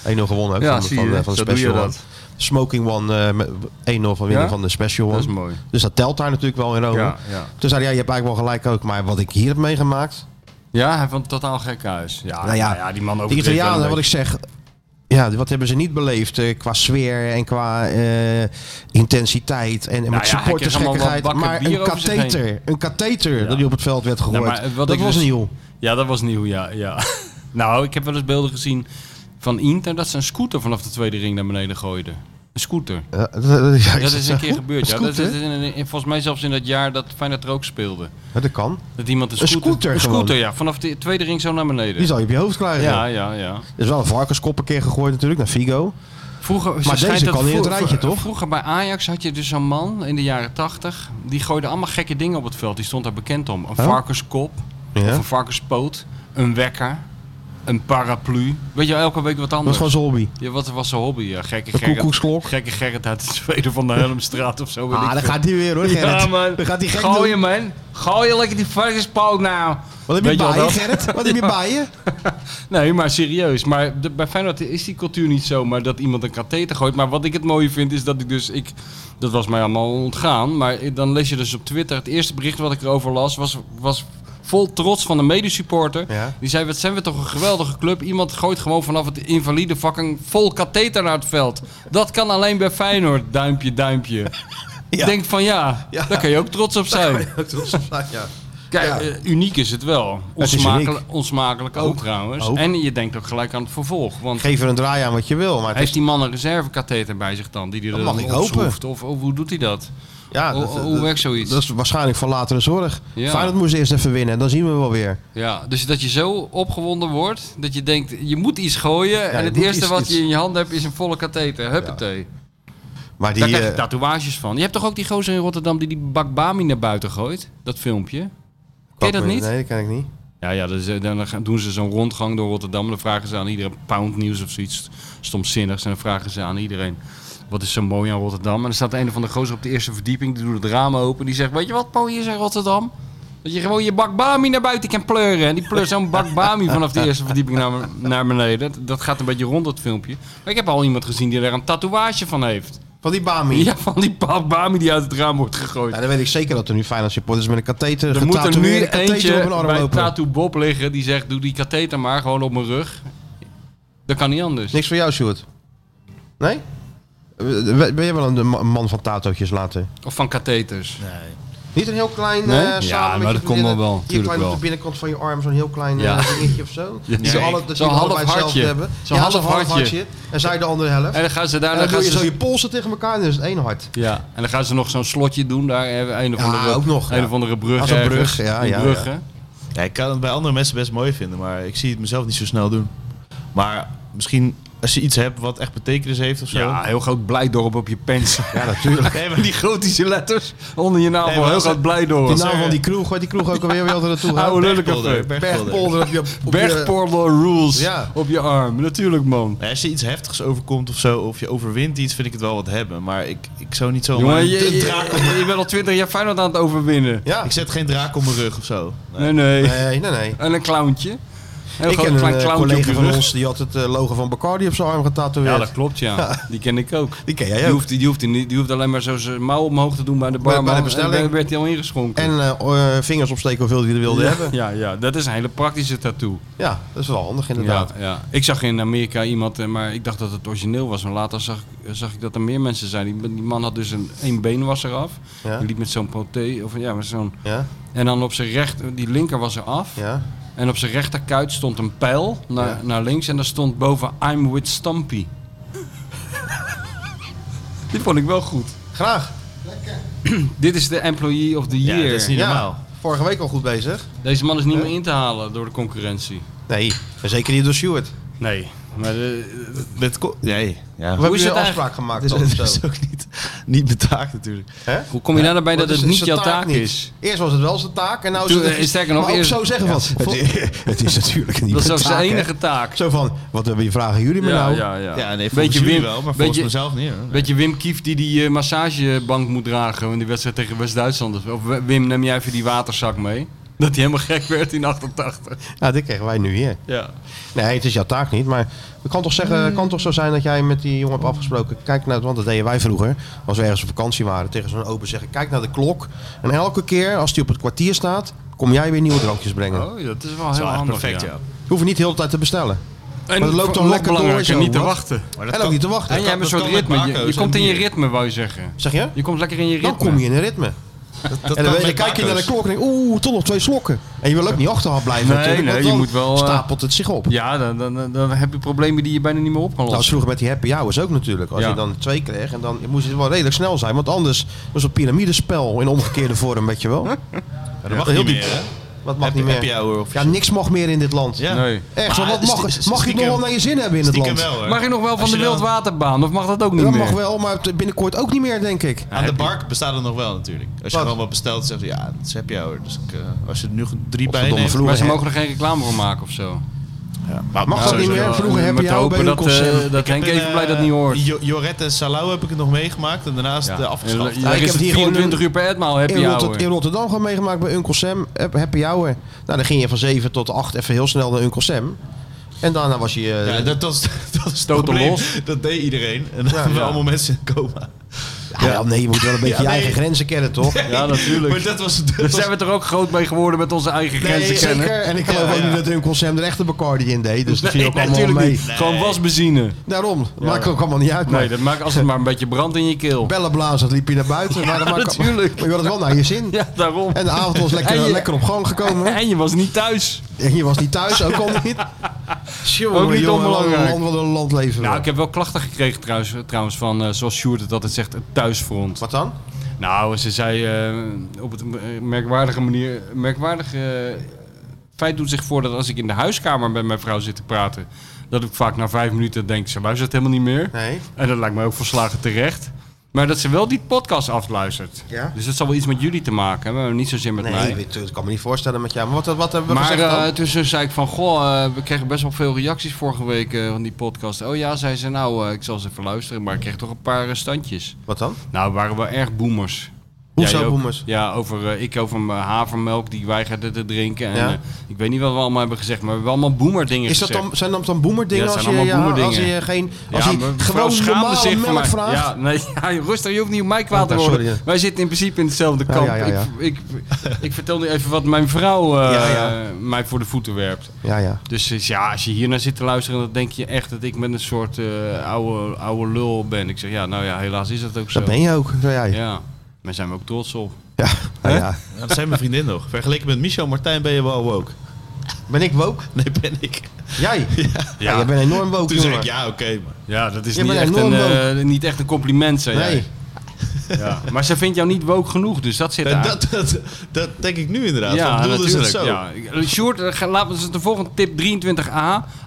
[SPEAKER 2] 1-0 gewonnen ook
[SPEAKER 3] Ja,
[SPEAKER 2] van,
[SPEAKER 3] zie
[SPEAKER 2] van,
[SPEAKER 3] je,
[SPEAKER 2] eh, van de
[SPEAKER 3] zo doe je
[SPEAKER 2] Special One.
[SPEAKER 3] dat.
[SPEAKER 2] Smoking One, eh, met 1-0 van winnen
[SPEAKER 3] Ja?
[SPEAKER 2] van de Special
[SPEAKER 3] Dat
[SPEAKER 2] One.
[SPEAKER 3] is mooi.
[SPEAKER 2] Dus dat telt daar natuurlijk wel in Rome.
[SPEAKER 3] Ja, ja.
[SPEAKER 2] Toen zei hij, ja, je hebt eigenlijk wel gelijk ook, maar wat ik hier heb meegemaakt...
[SPEAKER 3] ja, hij vond het totaal gek huis. Ja,
[SPEAKER 2] Nou ja,
[SPEAKER 3] ja, ja, die man ook.
[SPEAKER 2] Die Italianen, wat ik zeg, ja, wat hebben ze niet beleefd eh, qua sfeer en qua eh, intensiteit en en
[SPEAKER 3] Nou ja,
[SPEAKER 2] met
[SPEAKER 3] hij kreeg allemaal
[SPEAKER 2] supportersgekkigheid.
[SPEAKER 3] wat bakken
[SPEAKER 2] Maar
[SPEAKER 3] bier
[SPEAKER 2] een
[SPEAKER 3] over zich
[SPEAKER 2] katheter, een katheter dat die op het veld werd gegooid.
[SPEAKER 3] Nou, maar wat
[SPEAKER 2] dat
[SPEAKER 3] ik
[SPEAKER 2] was
[SPEAKER 3] dus-
[SPEAKER 2] nieuw.
[SPEAKER 3] Ja, dat was nieuw, ja. ja. [laughs] nou, ik heb wel eens beelden gezien van Inter dat ze een scooter vanaf de tweede ring naar beneden gooiden. Een scooter.
[SPEAKER 2] [laughs] Ja, dat, dat- ja,
[SPEAKER 3] Dat
[SPEAKER 2] ik-
[SPEAKER 3] is een keer gebeurd, ja. Dat is
[SPEAKER 2] scooter?
[SPEAKER 3] in, in- in- volgens mij zelfs in dat jaar dat Feyenoord er ook speelde.
[SPEAKER 2] Ja, dat kan.
[SPEAKER 3] Dat iemand een
[SPEAKER 2] Een
[SPEAKER 3] scooter...
[SPEAKER 2] scooter gewoon.
[SPEAKER 3] scooter, ja. Vanaf de tweede ring zo naar
[SPEAKER 2] Die
[SPEAKER 3] beneden.
[SPEAKER 2] zal je op je hoofd krijgen.
[SPEAKER 3] Ja, ja, ja.
[SPEAKER 2] Er is wel een varkenskop een keer gegooid natuurlijk naar Figo.
[SPEAKER 3] Vroeger, zo
[SPEAKER 2] deze
[SPEAKER 3] schijnt dat
[SPEAKER 2] kan in het
[SPEAKER 3] vro-
[SPEAKER 2] rijtje,
[SPEAKER 3] vro-
[SPEAKER 2] toch?
[SPEAKER 3] Vroeger bij Ajax had je dus zo'n man in de jaren tachtig. Die gooide allemaal gekke dingen op het veld. Die stond daar bekend om. Een
[SPEAKER 2] Oh.
[SPEAKER 3] varkenskop,
[SPEAKER 2] Ja.
[SPEAKER 3] of een varkenspoot, een wekker, een paraplu. Weet je, wel, elke week wat
[SPEAKER 2] Dat was
[SPEAKER 3] anders.
[SPEAKER 2] gewoon Zolby.
[SPEAKER 3] Ja, wat was zijn hobby? Ja, gekke
[SPEAKER 2] Een
[SPEAKER 3] Gerrit.
[SPEAKER 2] koekoeksklok.
[SPEAKER 3] Gekke Gerrit uit de tweede van de Helmstraat of zo. weet ik
[SPEAKER 2] Ah, dan
[SPEAKER 3] veel.
[SPEAKER 2] gaat die weer hoor, Gerrit.
[SPEAKER 3] Ja, man.
[SPEAKER 2] Dan gaat die gek
[SPEAKER 3] Gooi
[SPEAKER 2] doen.
[SPEAKER 3] hem, man. Gooi je lekker die varkenspoot nou.
[SPEAKER 2] Wat heb
[SPEAKER 3] Weet
[SPEAKER 2] je
[SPEAKER 3] je wel
[SPEAKER 2] bij je,
[SPEAKER 3] dat?
[SPEAKER 2] Gerrit? Wat heb je bij
[SPEAKER 3] [laughs]
[SPEAKER 2] je?
[SPEAKER 3] Nee, maar serieus. Maar de- bij Feyenoord is die cultuur niet zo, maar dat iemand een katheter gooit. Maar wat ik het mooie vind, is dat ik dus... Ik, dat was mij allemaal ontgaan. Maar ik- dan lees je dus op Twitter... Het eerste bericht wat ik erover las, was, was vol trots van een medesupporter.
[SPEAKER 2] Ja.
[SPEAKER 3] Die zei, wat zijn we toch een geweldige club. Iemand gooit gewoon vanaf het invalide fucking vol katheter naar het veld. Dat kan alleen bij Feyenoord, duimpje, duimpje. Ik denk van ja,
[SPEAKER 2] Ja.
[SPEAKER 3] daar kan je ook trots op zijn.
[SPEAKER 2] ja.
[SPEAKER 3] Kijk,
[SPEAKER 2] Ja.
[SPEAKER 3] eh, uniek is het wel.
[SPEAKER 2] Het is
[SPEAKER 3] Onsmakelijk, onsmakelijk ook, trouwens.
[SPEAKER 2] Ook.
[SPEAKER 3] En je denkt ook gelijk aan het vervolg. Want
[SPEAKER 2] Geef er een draai aan wat je wil, maar het
[SPEAKER 3] heeft
[SPEAKER 2] is,
[SPEAKER 3] die man een reservekatheter bij zich dan? Die die er
[SPEAKER 2] mag
[SPEAKER 3] dan
[SPEAKER 2] ik hopen.
[SPEAKER 3] opschroeft? Of, of hoe doet hij dat?
[SPEAKER 2] ja,
[SPEAKER 3] hoe- hoe werkt zoiets?
[SPEAKER 2] Dat is waarschijnlijk voor latere zorg.
[SPEAKER 3] Ja.
[SPEAKER 2] Feyenoord moest eerst even winnen en dan zien we wel weer.
[SPEAKER 3] Ja, dus dat je zo opgewonden wordt, dat je denkt, je moet iets gooien. en
[SPEAKER 2] je
[SPEAKER 3] het
[SPEAKER 2] moet
[SPEAKER 3] eerste
[SPEAKER 2] iets-
[SPEAKER 3] wat
[SPEAKER 2] iets-
[SPEAKER 3] je in je hand hebt is een volle katheter. Huppatee.
[SPEAKER 2] Maar die,
[SPEAKER 3] Daar krijg je
[SPEAKER 2] eh,
[SPEAKER 3] tatoeages van. Je hebt toch ook die gozer in Rotterdam die die bak Bami naar buiten gooit? Dat filmpje. Ken je dat niet?
[SPEAKER 2] Nee, dat ken ik niet.
[SPEAKER 3] Ja, ja dus, eh, dan gaan- doen ze zo'n rondgang door Rotterdam. en Dan vragen ze aan iedereen pound nieuws of zoiets stomzinnigs. En dan vragen ze aan iedereen, wat is zo mooi aan Rotterdam? En dan staat een van de gozer op de eerste verdieping. Die doet het raam open. Die zegt, weet je wat mooi is aan Rotterdam? Dat je gewoon je bak Bami naar buiten kan pleuren. En die pleurt zo'n bak Bami vanaf de eerste verdieping naar, naar beneden. Dat, dat gaat een beetje rond, dat filmpje. Maar ik heb al iemand gezien die er een tatoeage van heeft.
[SPEAKER 2] Van die Bami.
[SPEAKER 3] Ja, van die bak Bami die uit het raam wordt gegooid.
[SPEAKER 2] Ja, dan weet ik zeker dat er nu Feyenoord supporters met een katheter
[SPEAKER 3] Er moet er nu
[SPEAKER 2] getatoeëerde katheter
[SPEAKER 3] eentje
[SPEAKER 2] op hun arm
[SPEAKER 3] bij
[SPEAKER 2] lopen.
[SPEAKER 3] Tattoo Bob liggen die zegt: Doe die katheter maar gewoon op mijn rug. Dat kan niet anders.
[SPEAKER 2] Niks voor jou, Sjoerd? Nee? Eh, Ben ben je wel een een man van tatootjes later?
[SPEAKER 3] Of van katheters.
[SPEAKER 2] Niet een heel klein
[SPEAKER 3] Nee?
[SPEAKER 2] eh,
[SPEAKER 3] Ja,
[SPEAKER 2] sabeltje
[SPEAKER 3] maar
[SPEAKER 2] met je
[SPEAKER 3] dat komt wel wel,
[SPEAKER 2] vriendinnen, Hier
[SPEAKER 3] tuurlijk
[SPEAKER 2] klein op de
[SPEAKER 3] wel.
[SPEAKER 2] binnenkant van je arm, zo'n heel klein eh,
[SPEAKER 3] Ja.
[SPEAKER 2] dingetje of zo.
[SPEAKER 3] Ja.
[SPEAKER 2] Die ze
[SPEAKER 3] Nee.
[SPEAKER 2] alle- dat
[SPEAKER 3] Zo'n
[SPEAKER 2] die allebei
[SPEAKER 3] half
[SPEAKER 2] hetzelfde
[SPEAKER 3] hartje.
[SPEAKER 2] hebben.
[SPEAKER 3] Zo'n half hartje.
[SPEAKER 2] En zij de andere helft.
[SPEAKER 3] En dan gaan ze
[SPEAKER 2] En
[SPEAKER 3] daarna.
[SPEAKER 2] dan
[SPEAKER 3] gaan
[SPEAKER 2] doe je
[SPEAKER 3] ze
[SPEAKER 2] zo je polsen tegen elkaar en dan is het één hart.
[SPEAKER 3] ja. En dan gaan ze nog zo'n slotje doen daar. eh, Een of
[SPEAKER 2] Ja,
[SPEAKER 3] andere,
[SPEAKER 2] ook nog,
[SPEAKER 3] Een
[SPEAKER 2] ja.
[SPEAKER 3] of andere brug.
[SPEAKER 2] Als een brug,
[SPEAKER 3] ergens.
[SPEAKER 2] ja,
[SPEAKER 3] Die
[SPEAKER 2] ja,
[SPEAKER 3] bruggen.
[SPEAKER 4] Ja, ik kan het bij andere mensen best mooi vinden, maar ik zie het mezelf niet zo snel doen. Maar misschien als je iets hebt wat echt betekenis heeft of zo.
[SPEAKER 3] Ja, heel groot blijdorp op je [laughs] pens.
[SPEAKER 2] Ja, natuurlijk.
[SPEAKER 4] Nee,
[SPEAKER 3] [laughs]
[SPEAKER 4] maar die
[SPEAKER 3] Gotische letters onder je naam.
[SPEAKER 4] Nee, maar
[SPEAKER 3] heel
[SPEAKER 4] als-
[SPEAKER 3] groot
[SPEAKER 2] Die
[SPEAKER 3] blijdorp.
[SPEAKER 2] naam van die kroeg, wat die kroeg ook alweer, weer altijd naartoe gaat.
[SPEAKER 3] Oude lullenke
[SPEAKER 4] Bergpolder, Bergpolder.
[SPEAKER 2] Bergpolder op je... op je-
[SPEAKER 3] Bergporlo rules
[SPEAKER 2] Ja.
[SPEAKER 3] op je arm. Natuurlijk, man.
[SPEAKER 4] Maar Als je iets heftigs overkomt of zo, of je overwint iets, vind ik het wel wat hebben. Maar ik, ik zou niet zo.
[SPEAKER 3] Jongen, je, je- je bent al 20 jaar Feyenoord aan het overwinnen.
[SPEAKER 2] Ja.
[SPEAKER 4] Ik zet geen draak op mijn rug of zo.
[SPEAKER 3] Nee, nee.
[SPEAKER 2] Nee, nee, nee.
[SPEAKER 3] En een clowntje. En
[SPEAKER 2] Ik
[SPEAKER 3] gewoon
[SPEAKER 2] ken
[SPEAKER 3] een
[SPEAKER 2] een
[SPEAKER 3] klein
[SPEAKER 2] eh,
[SPEAKER 3] clowntje op
[SPEAKER 2] collega
[SPEAKER 3] je
[SPEAKER 2] van
[SPEAKER 3] rug.
[SPEAKER 2] ons, die had het eh, logo van Bacardi op zijn arm
[SPEAKER 3] Ja,
[SPEAKER 2] getatoeëerd.
[SPEAKER 3] dat klopt, ja. Die ken ik ook.
[SPEAKER 2] Die ken
[SPEAKER 3] Die
[SPEAKER 2] jij ook.
[SPEAKER 3] hoeft, die, hoeft, niet- die hoeft alleen maar zo zijn mouw omhoog te doen bij de
[SPEAKER 2] Bij- bij de
[SPEAKER 3] barman.
[SPEAKER 2] bestelling.
[SPEAKER 3] En dan werd hij al ingeschonken.
[SPEAKER 2] En eh, eh, vingers opsteken hoeveel die er wilde
[SPEAKER 3] ja,
[SPEAKER 2] hebben.
[SPEAKER 3] ja, ja, dat is een hele praktische tattoo.
[SPEAKER 2] Ja, dat is wel handig
[SPEAKER 3] Ja,
[SPEAKER 2] inderdaad.
[SPEAKER 3] ja. Ik zag in Amerika iemand, eh, maar ik dacht dat het origineel was. Maar later zag, ik- zag ik dat er meer mensen zijn. Die, die man had dus een één been was eraf.
[SPEAKER 2] Ja.
[SPEAKER 3] Die liep met zo'n prothé. Of, ja, met zo'n,
[SPEAKER 2] Ja,
[SPEAKER 3] en dan op zijn rechter, die linker was eraf.
[SPEAKER 2] ja.
[SPEAKER 3] En op zijn rechterkuit stond een pijl naar,
[SPEAKER 2] Ja.
[SPEAKER 3] naar links en daar stond boven I'm with Stampy. Die vond ik wel goed.
[SPEAKER 2] Graag.
[SPEAKER 3] Dit is de employee of the
[SPEAKER 4] Ja,
[SPEAKER 3] year.
[SPEAKER 4] dat is niet
[SPEAKER 2] Ja.
[SPEAKER 4] normaal.
[SPEAKER 2] Vorige week al goed bezig.
[SPEAKER 3] Deze man is niet
[SPEAKER 2] Hè?
[SPEAKER 3] meer in te halen door de concurrentie.
[SPEAKER 2] Nee, en zeker niet door Stuart.
[SPEAKER 3] Nee. Maar de,
[SPEAKER 4] Met ko- nee, ja.
[SPEAKER 2] We
[SPEAKER 4] [laughs]
[SPEAKER 2] hebben
[SPEAKER 3] is
[SPEAKER 2] hier een
[SPEAKER 3] het
[SPEAKER 2] afspraak
[SPEAKER 4] Het
[SPEAKER 2] gemaakt.
[SPEAKER 4] is,
[SPEAKER 2] dan of
[SPEAKER 4] het
[SPEAKER 2] zo.
[SPEAKER 4] is ook niet, niet mijn taak natuurlijk.
[SPEAKER 2] Hè?
[SPEAKER 3] hoe kom je daarbij
[SPEAKER 2] Want dus
[SPEAKER 3] dat het
[SPEAKER 2] is-
[SPEAKER 3] niet
[SPEAKER 2] zijn
[SPEAKER 3] jouw taak
[SPEAKER 2] niet.
[SPEAKER 3] is?
[SPEAKER 2] Eerst was het wel zijn taak en nou is
[SPEAKER 3] Toen,
[SPEAKER 2] het... echt-
[SPEAKER 3] eh, sterker nog,
[SPEAKER 2] maar ook
[SPEAKER 3] eerst-
[SPEAKER 2] zo zeggen van... vol-
[SPEAKER 5] Het is natuurlijk niet
[SPEAKER 3] Dat is
[SPEAKER 5] mijn
[SPEAKER 3] zelfs zijn
[SPEAKER 5] taak, hè.
[SPEAKER 3] enige taak.
[SPEAKER 2] Zo van, wat hebben je vragen jullie me nou?
[SPEAKER 3] ja, ja.
[SPEAKER 4] Ja, nee, volgens
[SPEAKER 3] beetje
[SPEAKER 4] jullie
[SPEAKER 3] Wim,
[SPEAKER 4] wel, maar volgens
[SPEAKER 3] beetje,
[SPEAKER 4] mezelf niet. hoor.
[SPEAKER 3] beetje Wim Kief die die eh, massagebank moet dragen in die wedstrijd tegen West-Duitsland. Of eh, Wim, neem jij even die waterzak mee? Dat hij helemaal gek werd in 88.
[SPEAKER 2] Nou, dit krijgen wij nu hier.
[SPEAKER 3] Ja.
[SPEAKER 2] Nee, het is jouw taak niet, maar het kan toch, zeggen, het kan toch zo zijn dat jij met die jongen hebt afgesproken... Kijk naar, want dat deden wij vroeger, als we ergens op vakantie waren, tegen zo'n open zeggen... Kijk naar de klok en elke keer als die op het kwartier staat, kom jij weer nieuwe drankjes brengen.
[SPEAKER 3] Oh, dat is wel
[SPEAKER 4] Dat is
[SPEAKER 3] heel
[SPEAKER 4] wel echt
[SPEAKER 3] handig.
[SPEAKER 4] perfect, ja.
[SPEAKER 2] We hoeven niet de hele tijd te bestellen.
[SPEAKER 3] En
[SPEAKER 2] Maar het loopt dan
[SPEAKER 3] nog
[SPEAKER 2] lekker door,
[SPEAKER 3] belangrijker,
[SPEAKER 2] zo,
[SPEAKER 3] niet te
[SPEAKER 2] wat?
[SPEAKER 3] wachten.
[SPEAKER 2] En
[SPEAKER 4] Maar dat
[SPEAKER 2] ook
[SPEAKER 4] kan-
[SPEAKER 2] niet te wachten.
[SPEAKER 3] en jij hebt een
[SPEAKER 4] dat
[SPEAKER 3] soort
[SPEAKER 4] kan met
[SPEAKER 3] ritme. Je,
[SPEAKER 4] bako's
[SPEAKER 3] je
[SPEAKER 4] en
[SPEAKER 3] komt in je
[SPEAKER 4] bier.
[SPEAKER 3] ritme, wou je zeggen.
[SPEAKER 2] Zeg je?
[SPEAKER 3] Je komt lekker in je ritme.
[SPEAKER 2] Dan kom je in een ritme.
[SPEAKER 4] dat dus-
[SPEAKER 2] en
[SPEAKER 4] kan
[SPEAKER 2] dan, dan
[SPEAKER 4] met
[SPEAKER 2] kijk je naar de
[SPEAKER 4] bako's.
[SPEAKER 2] klok en denk oeh, tot nog twee slokken. En je wil ook niet achteraf blijven
[SPEAKER 3] Nee,
[SPEAKER 2] natuurlijk, want
[SPEAKER 3] nee, je
[SPEAKER 2] dan
[SPEAKER 3] moet wel, eh,
[SPEAKER 2] stapelt het zich op.
[SPEAKER 3] Ja, dan, dan, dan, dan heb je problemen die je bijna niet meer op kan
[SPEAKER 2] Dat was
[SPEAKER 3] lossen.
[SPEAKER 2] vroeger met die happy hours ook natuurlijk. Als
[SPEAKER 3] Ja.
[SPEAKER 2] je dan twee kreeg, en dan moest het wel redelijk snel zijn. Want anders was het piramidespel in omgekeerde vorm, weet je wel.
[SPEAKER 4] Ja, dat mag niet meer, hè?
[SPEAKER 2] Wat mag
[SPEAKER 4] Happy-
[SPEAKER 2] niet meer.
[SPEAKER 4] happy hour of
[SPEAKER 2] ja, niks mag meer in dit land.
[SPEAKER 4] Ja.
[SPEAKER 3] Nee.
[SPEAKER 2] Echt,
[SPEAKER 4] Maar
[SPEAKER 2] want wat mag,
[SPEAKER 4] sti-
[SPEAKER 2] mag je het
[SPEAKER 4] sti-
[SPEAKER 2] nog
[SPEAKER 4] stiekem-
[SPEAKER 2] wel naar je zin hebben in het
[SPEAKER 4] Stiekem
[SPEAKER 2] land?
[SPEAKER 4] wel, hoor.
[SPEAKER 3] Mag je nog wel van
[SPEAKER 4] Als
[SPEAKER 3] de
[SPEAKER 4] je dan-
[SPEAKER 3] wildwaterbaan? Of mag dat ook niet
[SPEAKER 2] Dat
[SPEAKER 3] meer?
[SPEAKER 2] mag wel, maar binnenkort ook niet meer, denk ik.
[SPEAKER 4] Aan de bar bestaat het nog wel natuurlijk. Als je
[SPEAKER 2] Wat?
[SPEAKER 4] gewoon wat bestelt, zeg je ja, dat heb je hoor. Dus ik, eh, als je er nu drie bij
[SPEAKER 2] Godverdomme,
[SPEAKER 4] neemt...
[SPEAKER 2] vroeger
[SPEAKER 3] Maar ze
[SPEAKER 2] hè.
[SPEAKER 3] mogen er geen reclame voor maken of zo.
[SPEAKER 4] Ja.
[SPEAKER 2] Mag dat niet
[SPEAKER 4] sowieso
[SPEAKER 2] meer?
[SPEAKER 4] wel.
[SPEAKER 2] Vroeger
[SPEAKER 3] Met
[SPEAKER 2] happy
[SPEAKER 3] te
[SPEAKER 2] hour bij
[SPEAKER 3] hopen
[SPEAKER 2] een
[SPEAKER 3] dat, eh,
[SPEAKER 2] concert.
[SPEAKER 3] dat Henk
[SPEAKER 4] heb in,
[SPEAKER 3] even blij
[SPEAKER 4] eh,
[SPEAKER 3] dat niet hoort.
[SPEAKER 4] Jo- Jorette en Salau heb ik het nog meegemaakt en daarnaast
[SPEAKER 3] Ja.
[SPEAKER 4] eh, afgeschaft.
[SPEAKER 3] En-
[SPEAKER 2] Ja,
[SPEAKER 3] ja,
[SPEAKER 2] ik
[SPEAKER 3] is
[SPEAKER 2] heb
[SPEAKER 3] het
[SPEAKER 2] hier gewoon
[SPEAKER 3] 24 uur per etmaal heb
[SPEAKER 2] in,
[SPEAKER 3] je
[SPEAKER 2] Rotter- in
[SPEAKER 3] ouwe.
[SPEAKER 2] Rotterdam gewoon meegemaakt bij Uncle Sam. Hap- Happy hour. Nou, dan ging je van 7 tot 8 even heel snel naar Uncle Sam. En daarna was je... eh,
[SPEAKER 4] Ja, [laughs] dat, dat, is- dat is het
[SPEAKER 3] Total
[SPEAKER 4] probleem.
[SPEAKER 3] los.
[SPEAKER 4] Dat deed iedereen. En dan hebben we
[SPEAKER 2] ja.
[SPEAKER 4] allemaal mensen in coma.
[SPEAKER 2] Ja, ah, wel, nee, je moet wel een beetje
[SPEAKER 4] [laughs] Ja,
[SPEAKER 2] je
[SPEAKER 4] nee.
[SPEAKER 2] eigen grenzen kennen, toch?
[SPEAKER 3] Ja, natuurlijk.
[SPEAKER 4] Maar dat was het.
[SPEAKER 3] Daar zijn we er ook groot mee geworden met onze eigen grenzen kennen.
[SPEAKER 2] zeker. En ik geloof ook niet dat Dunkel Sam er echt een Bacardi in deed. Dus dat viel
[SPEAKER 3] Nee,
[SPEAKER 2] ook allemaal
[SPEAKER 3] natuurlijk
[SPEAKER 2] mee.
[SPEAKER 3] niet. Gewoon wasbenzine.
[SPEAKER 2] Daarom. Maakt ook allemaal niet uit.
[SPEAKER 3] Nee,
[SPEAKER 2] maar-
[SPEAKER 3] dat
[SPEAKER 2] [laughs]
[SPEAKER 3] maakt als het maar een beetje brand in je keel.
[SPEAKER 2] bellenblaas, dat liep je naar buiten. maar dat maakt-
[SPEAKER 3] natuurlijk.
[SPEAKER 2] Maar je had het wel naar je zin.
[SPEAKER 3] [laughs] Ja, daarom.
[SPEAKER 2] En de avond was lekker,
[SPEAKER 3] En je-
[SPEAKER 2] lekker op gang gekomen.
[SPEAKER 3] En je was niet thuis.
[SPEAKER 2] En je was niet thuis, ook al niet. Jongen,
[SPEAKER 3] Ook niet
[SPEAKER 2] jongen, wat een
[SPEAKER 3] onbelangrijk.
[SPEAKER 2] land, wat een land leven. we.
[SPEAKER 3] Nou, ik heb wel klachten gekregen trouwens, trouwens van, eh, zoals Sjoerd het altijd zegt, het thuisfront.
[SPEAKER 2] Wat dan?
[SPEAKER 3] Nou, ze zei eh, op een merkwaardige manier, merkwaardige eh, feit doet zich voor dat als ik in de huiskamer met mijn vrouw zit te praten, dat ik vaak na vijf minuten denk, ze luistert helemaal niet meer.
[SPEAKER 2] Nee.
[SPEAKER 3] En dat lijkt me ook verslagen terecht. Maar dat ze wel die podcast afluistert.
[SPEAKER 2] Ja.
[SPEAKER 3] Dus dat zal wel iets met jullie te maken hebben, maar niet zozeer met
[SPEAKER 2] Nee,
[SPEAKER 3] mij.
[SPEAKER 2] weet- dat kan me niet voorstellen met jou. Maar wat, wat hebben we
[SPEAKER 3] Maar
[SPEAKER 2] gezegd
[SPEAKER 3] eh
[SPEAKER 2] dan?
[SPEAKER 3] tussen zei ik van, goh, eh, we kregen best wel veel reacties vorige week eh, van die podcast. Oh ja, zei ze, nou, eh, ik zal ze even luisteren, maar ik kreeg toch een paar eh, standjes.
[SPEAKER 2] Wat dan?
[SPEAKER 3] Nou, we waren wel erg boomers.
[SPEAKER 2] Hoezo
[SPEAKER 3] Jij ook?
[SPEAKER 2] boomers?
[SPEAKER 3] Ja, over, eh, ik over mijn havermelk, die weigerde te drinken. En,
[SPEAKER 2] Ja.
[SPEAKER 3] eh, ik weet niet wat we allemaal hebben gezegd, maar we hebben allemaal boomerdingen
[SPEAKER 2] Is dat
[SPEAKER 3] gezegd.
[SPEAKER 2] dan, zijn dat dan boemerdingen
[SPEAKER 3] Ja, het
[SPEAKER 2] als, je,
[SPEAKER 3] zijn allemaal
[SPEAKER 2] ja, als
[SPEAKER 3] boemerdingen.
[SPEAKER 2] je geen als
[SPEAKER 3] maar
[SPEAKER 2] je
[SPEAKER 3] mevrouw
[SPEAKER 2] gewoon
[SPEAKER 3] schaamde
[SPEAKER 2] normale
[SPEAKER 3] voor
[SPEAKER 2] melk
[SPEAKER 3] mij.
[SPEAKER 2] vraagt?
[SPEAKER 3] Ja, nee, [laughs] ja, rustig, je hoeft niet op mij kwaad te
[SPEAKER 2] Oh,
[SPEAKER 3] worden.
[SPEAKER 2] sorry.
[SPEAKER 3] Wij zitten in principe in hetzelfde
[SPEAKER 2] Ja,
[SPEAKER 3] kamp.
[SPEAKER 2] ja, ja, ja.
[SPEAKER 3] Ik, ik, ik vertel nu even wat mijn vrouw eh,
[SPEAKER 2] Ja, ja.
[SPEAKER 3] mij voor de voeten werpt.
[SPEAKER 2] ja, ja.
[SPEAKER 3] Dus eh, ja, als je hier naar zit te luisteren, dan denk je echt dat ik met een soort eh, oude, oude lul ben. Ik zeg ja, nou ja, helaas is dat ook zo.
[SPEAKER 2] Dat ben je ook, zei jij. Ja,
[SPEAKER 3] Ja, daar zijn we ook trots op.
[SPEAKER 2] ja. Nou ja.
[SPEAKER 4] dat zijn mijn vriendin nog. Vergeleken met Michel Martijn ben je wel woke.
[SPEAKER 2] Ben ik woke?
[SPEAKER 4] Nee, ben ik.
[SPEAKER 2] Jij? Ja, jij bent enorm woke,
[SPEAKER 4] Toen zei
[SPEAKER 2] jongen.
[SPEAKER 4] ik, ja, oké, maar...
[SPEAKER 3] Ja, dat is
[SPEAKER 2] Je
[SPEAKER 3] niet
[SPEAKER 2] bent
[SPEAKER 3] echt, een,
[SPEAKER 2] enorm
[SPEAKER 3] eh, niet echt een compliment, zei
[SPEAKER 2] Nee.
[SPEAKER 3] jij. Ja. Maar ze vindt jou niet woke genoeg, dus dat zit
[SPEAKER 4] En
[SPEAKER 3] daar.
[SPEAKER 4] dat, dat, dat denk ik nu inderdaad.
[SPEAKER 3] ja,
[SPEAKER 4] Ja, bedoelden ze het zo?
[SPEAKER 3] Ja. Sjoerd, eh, ga- laten we de volgende tip 23a.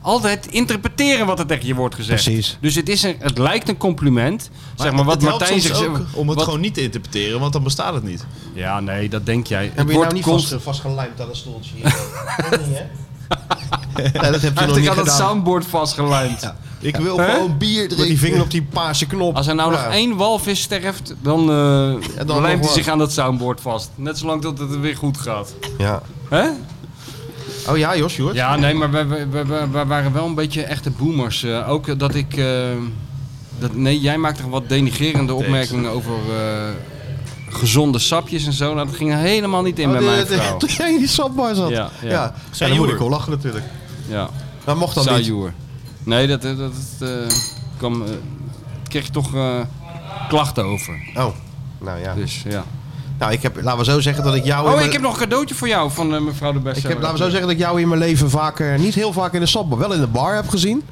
[SPEAKER 3] Altijd interpreteren wat er tegen je wordt gezegd.
[SPEAKER 2] Precies.
[SPEAKER 3] Dus het, is een, het lijkt een compliment. zeg maar wat
[SPEAKER 4] het helpt
[SPEAKER 3] Martijn
[SPEAKER 4] soms
[SPEAKER 3] zegt.
[SPEAKER 4] ook om het
[SPEAKER 3] wat-
[SPEAKER 4] gewoon niet te interpreteren, want dan bestaat het niet.
[SPEAKER 3] Ja, nee, dat denk jij.
[SPEAKER 2] Heb
[SPEAKER 3] Het
[SPEAKER 2] je nou
[SPEAKER 3] wordt
[SPEAKER 2] niet
[SPEAKER 3] const-
[SPEAKER 2] vast, vastgelijmd aan een stoeltje? hier? Dat niet, hè? nee, dat heb je
[SPEAKER 3] Hij
[SPEAKER 2] nog
[SPEAKER 3] heeft
[SPEAKER 2] niet
[SPEAKER 3] ik aan dat
[SPEAKER 2] gedaan.
[SPEAKER 3] soundboard vastgelijmd.
[SPEAKER 2] Ik wil
[SPEAKER 3] Hè?
[SPEAKER 2] gewoon bier drinken. Met die vinger op die paarse knop.
[SPEAKER 3] Als er nou nog één walvis sterft, dan, eh
[SPEAKER 2] nog
[SPEAKER 3] lijmt hij
[SPEAKER 2] wat.
[SPEAKER 3] zich aan dat soundboard vast. Net zolang dat het weer goed gaat.
[SPEAKER 2] Ja.
[SPEAKER 3] Hè?
[SPEAKER 2] Oh ja, Jos, Jort.
[SPEAKER 3] Ja, nee, maar we, we, we- we- we waren wel een beetje echte boomers. Eh, ook eh, dat ik... eh, dat, nee, jij maakte gewoon wat denigerende opmerkingen over eh, gezonde sapjes en zo. Nou, dat ging er helemaal niet
[SPEAKER 2] Oh,
[SPEAKER 3] in bij mijn
[SPEAKER 2] [laughs]
[SPEAKER 3] vrouw.
[SPEAKER 2] Toen jij in die sapbar zat.
[SPEAKER 3] Ja,
[SPEAKER 2] Ja,
[SPEAKER 3] ja.
[SPEAKER 2] ja.
[SPEAKER 4] Sajoer.
[SPEAKER 2] dan moet ik wel lachen natuurlijk.
[SPEAKER 3] Ja,
[SPEAKER 2] Dat mocht dan niet.
[SPEAKER 3] sajoer. Nee, dat, dat, dat eh, kwam... eh, kreeg je toch eh, klachten over.
[SPEAKER 2] Oh, nou ja.
[SPEAKER 3] Dus ja.
[SPEAKER 2] Nou, ik heb, laten we zo zeggen dat ik jou... in
[SPEAKER 3] Oh,
[SPEAKER 2] mijn-
[SPEAKER 3] ik heb nog een cadeautje voor jou van eh, mevrouw de Beste.
[SPEAKER 2] Ik heb, laten we zo zeggen dat ik jou in mijn leven vaker, niet heel vaak in de sapbar, wel in de bar heb gezien,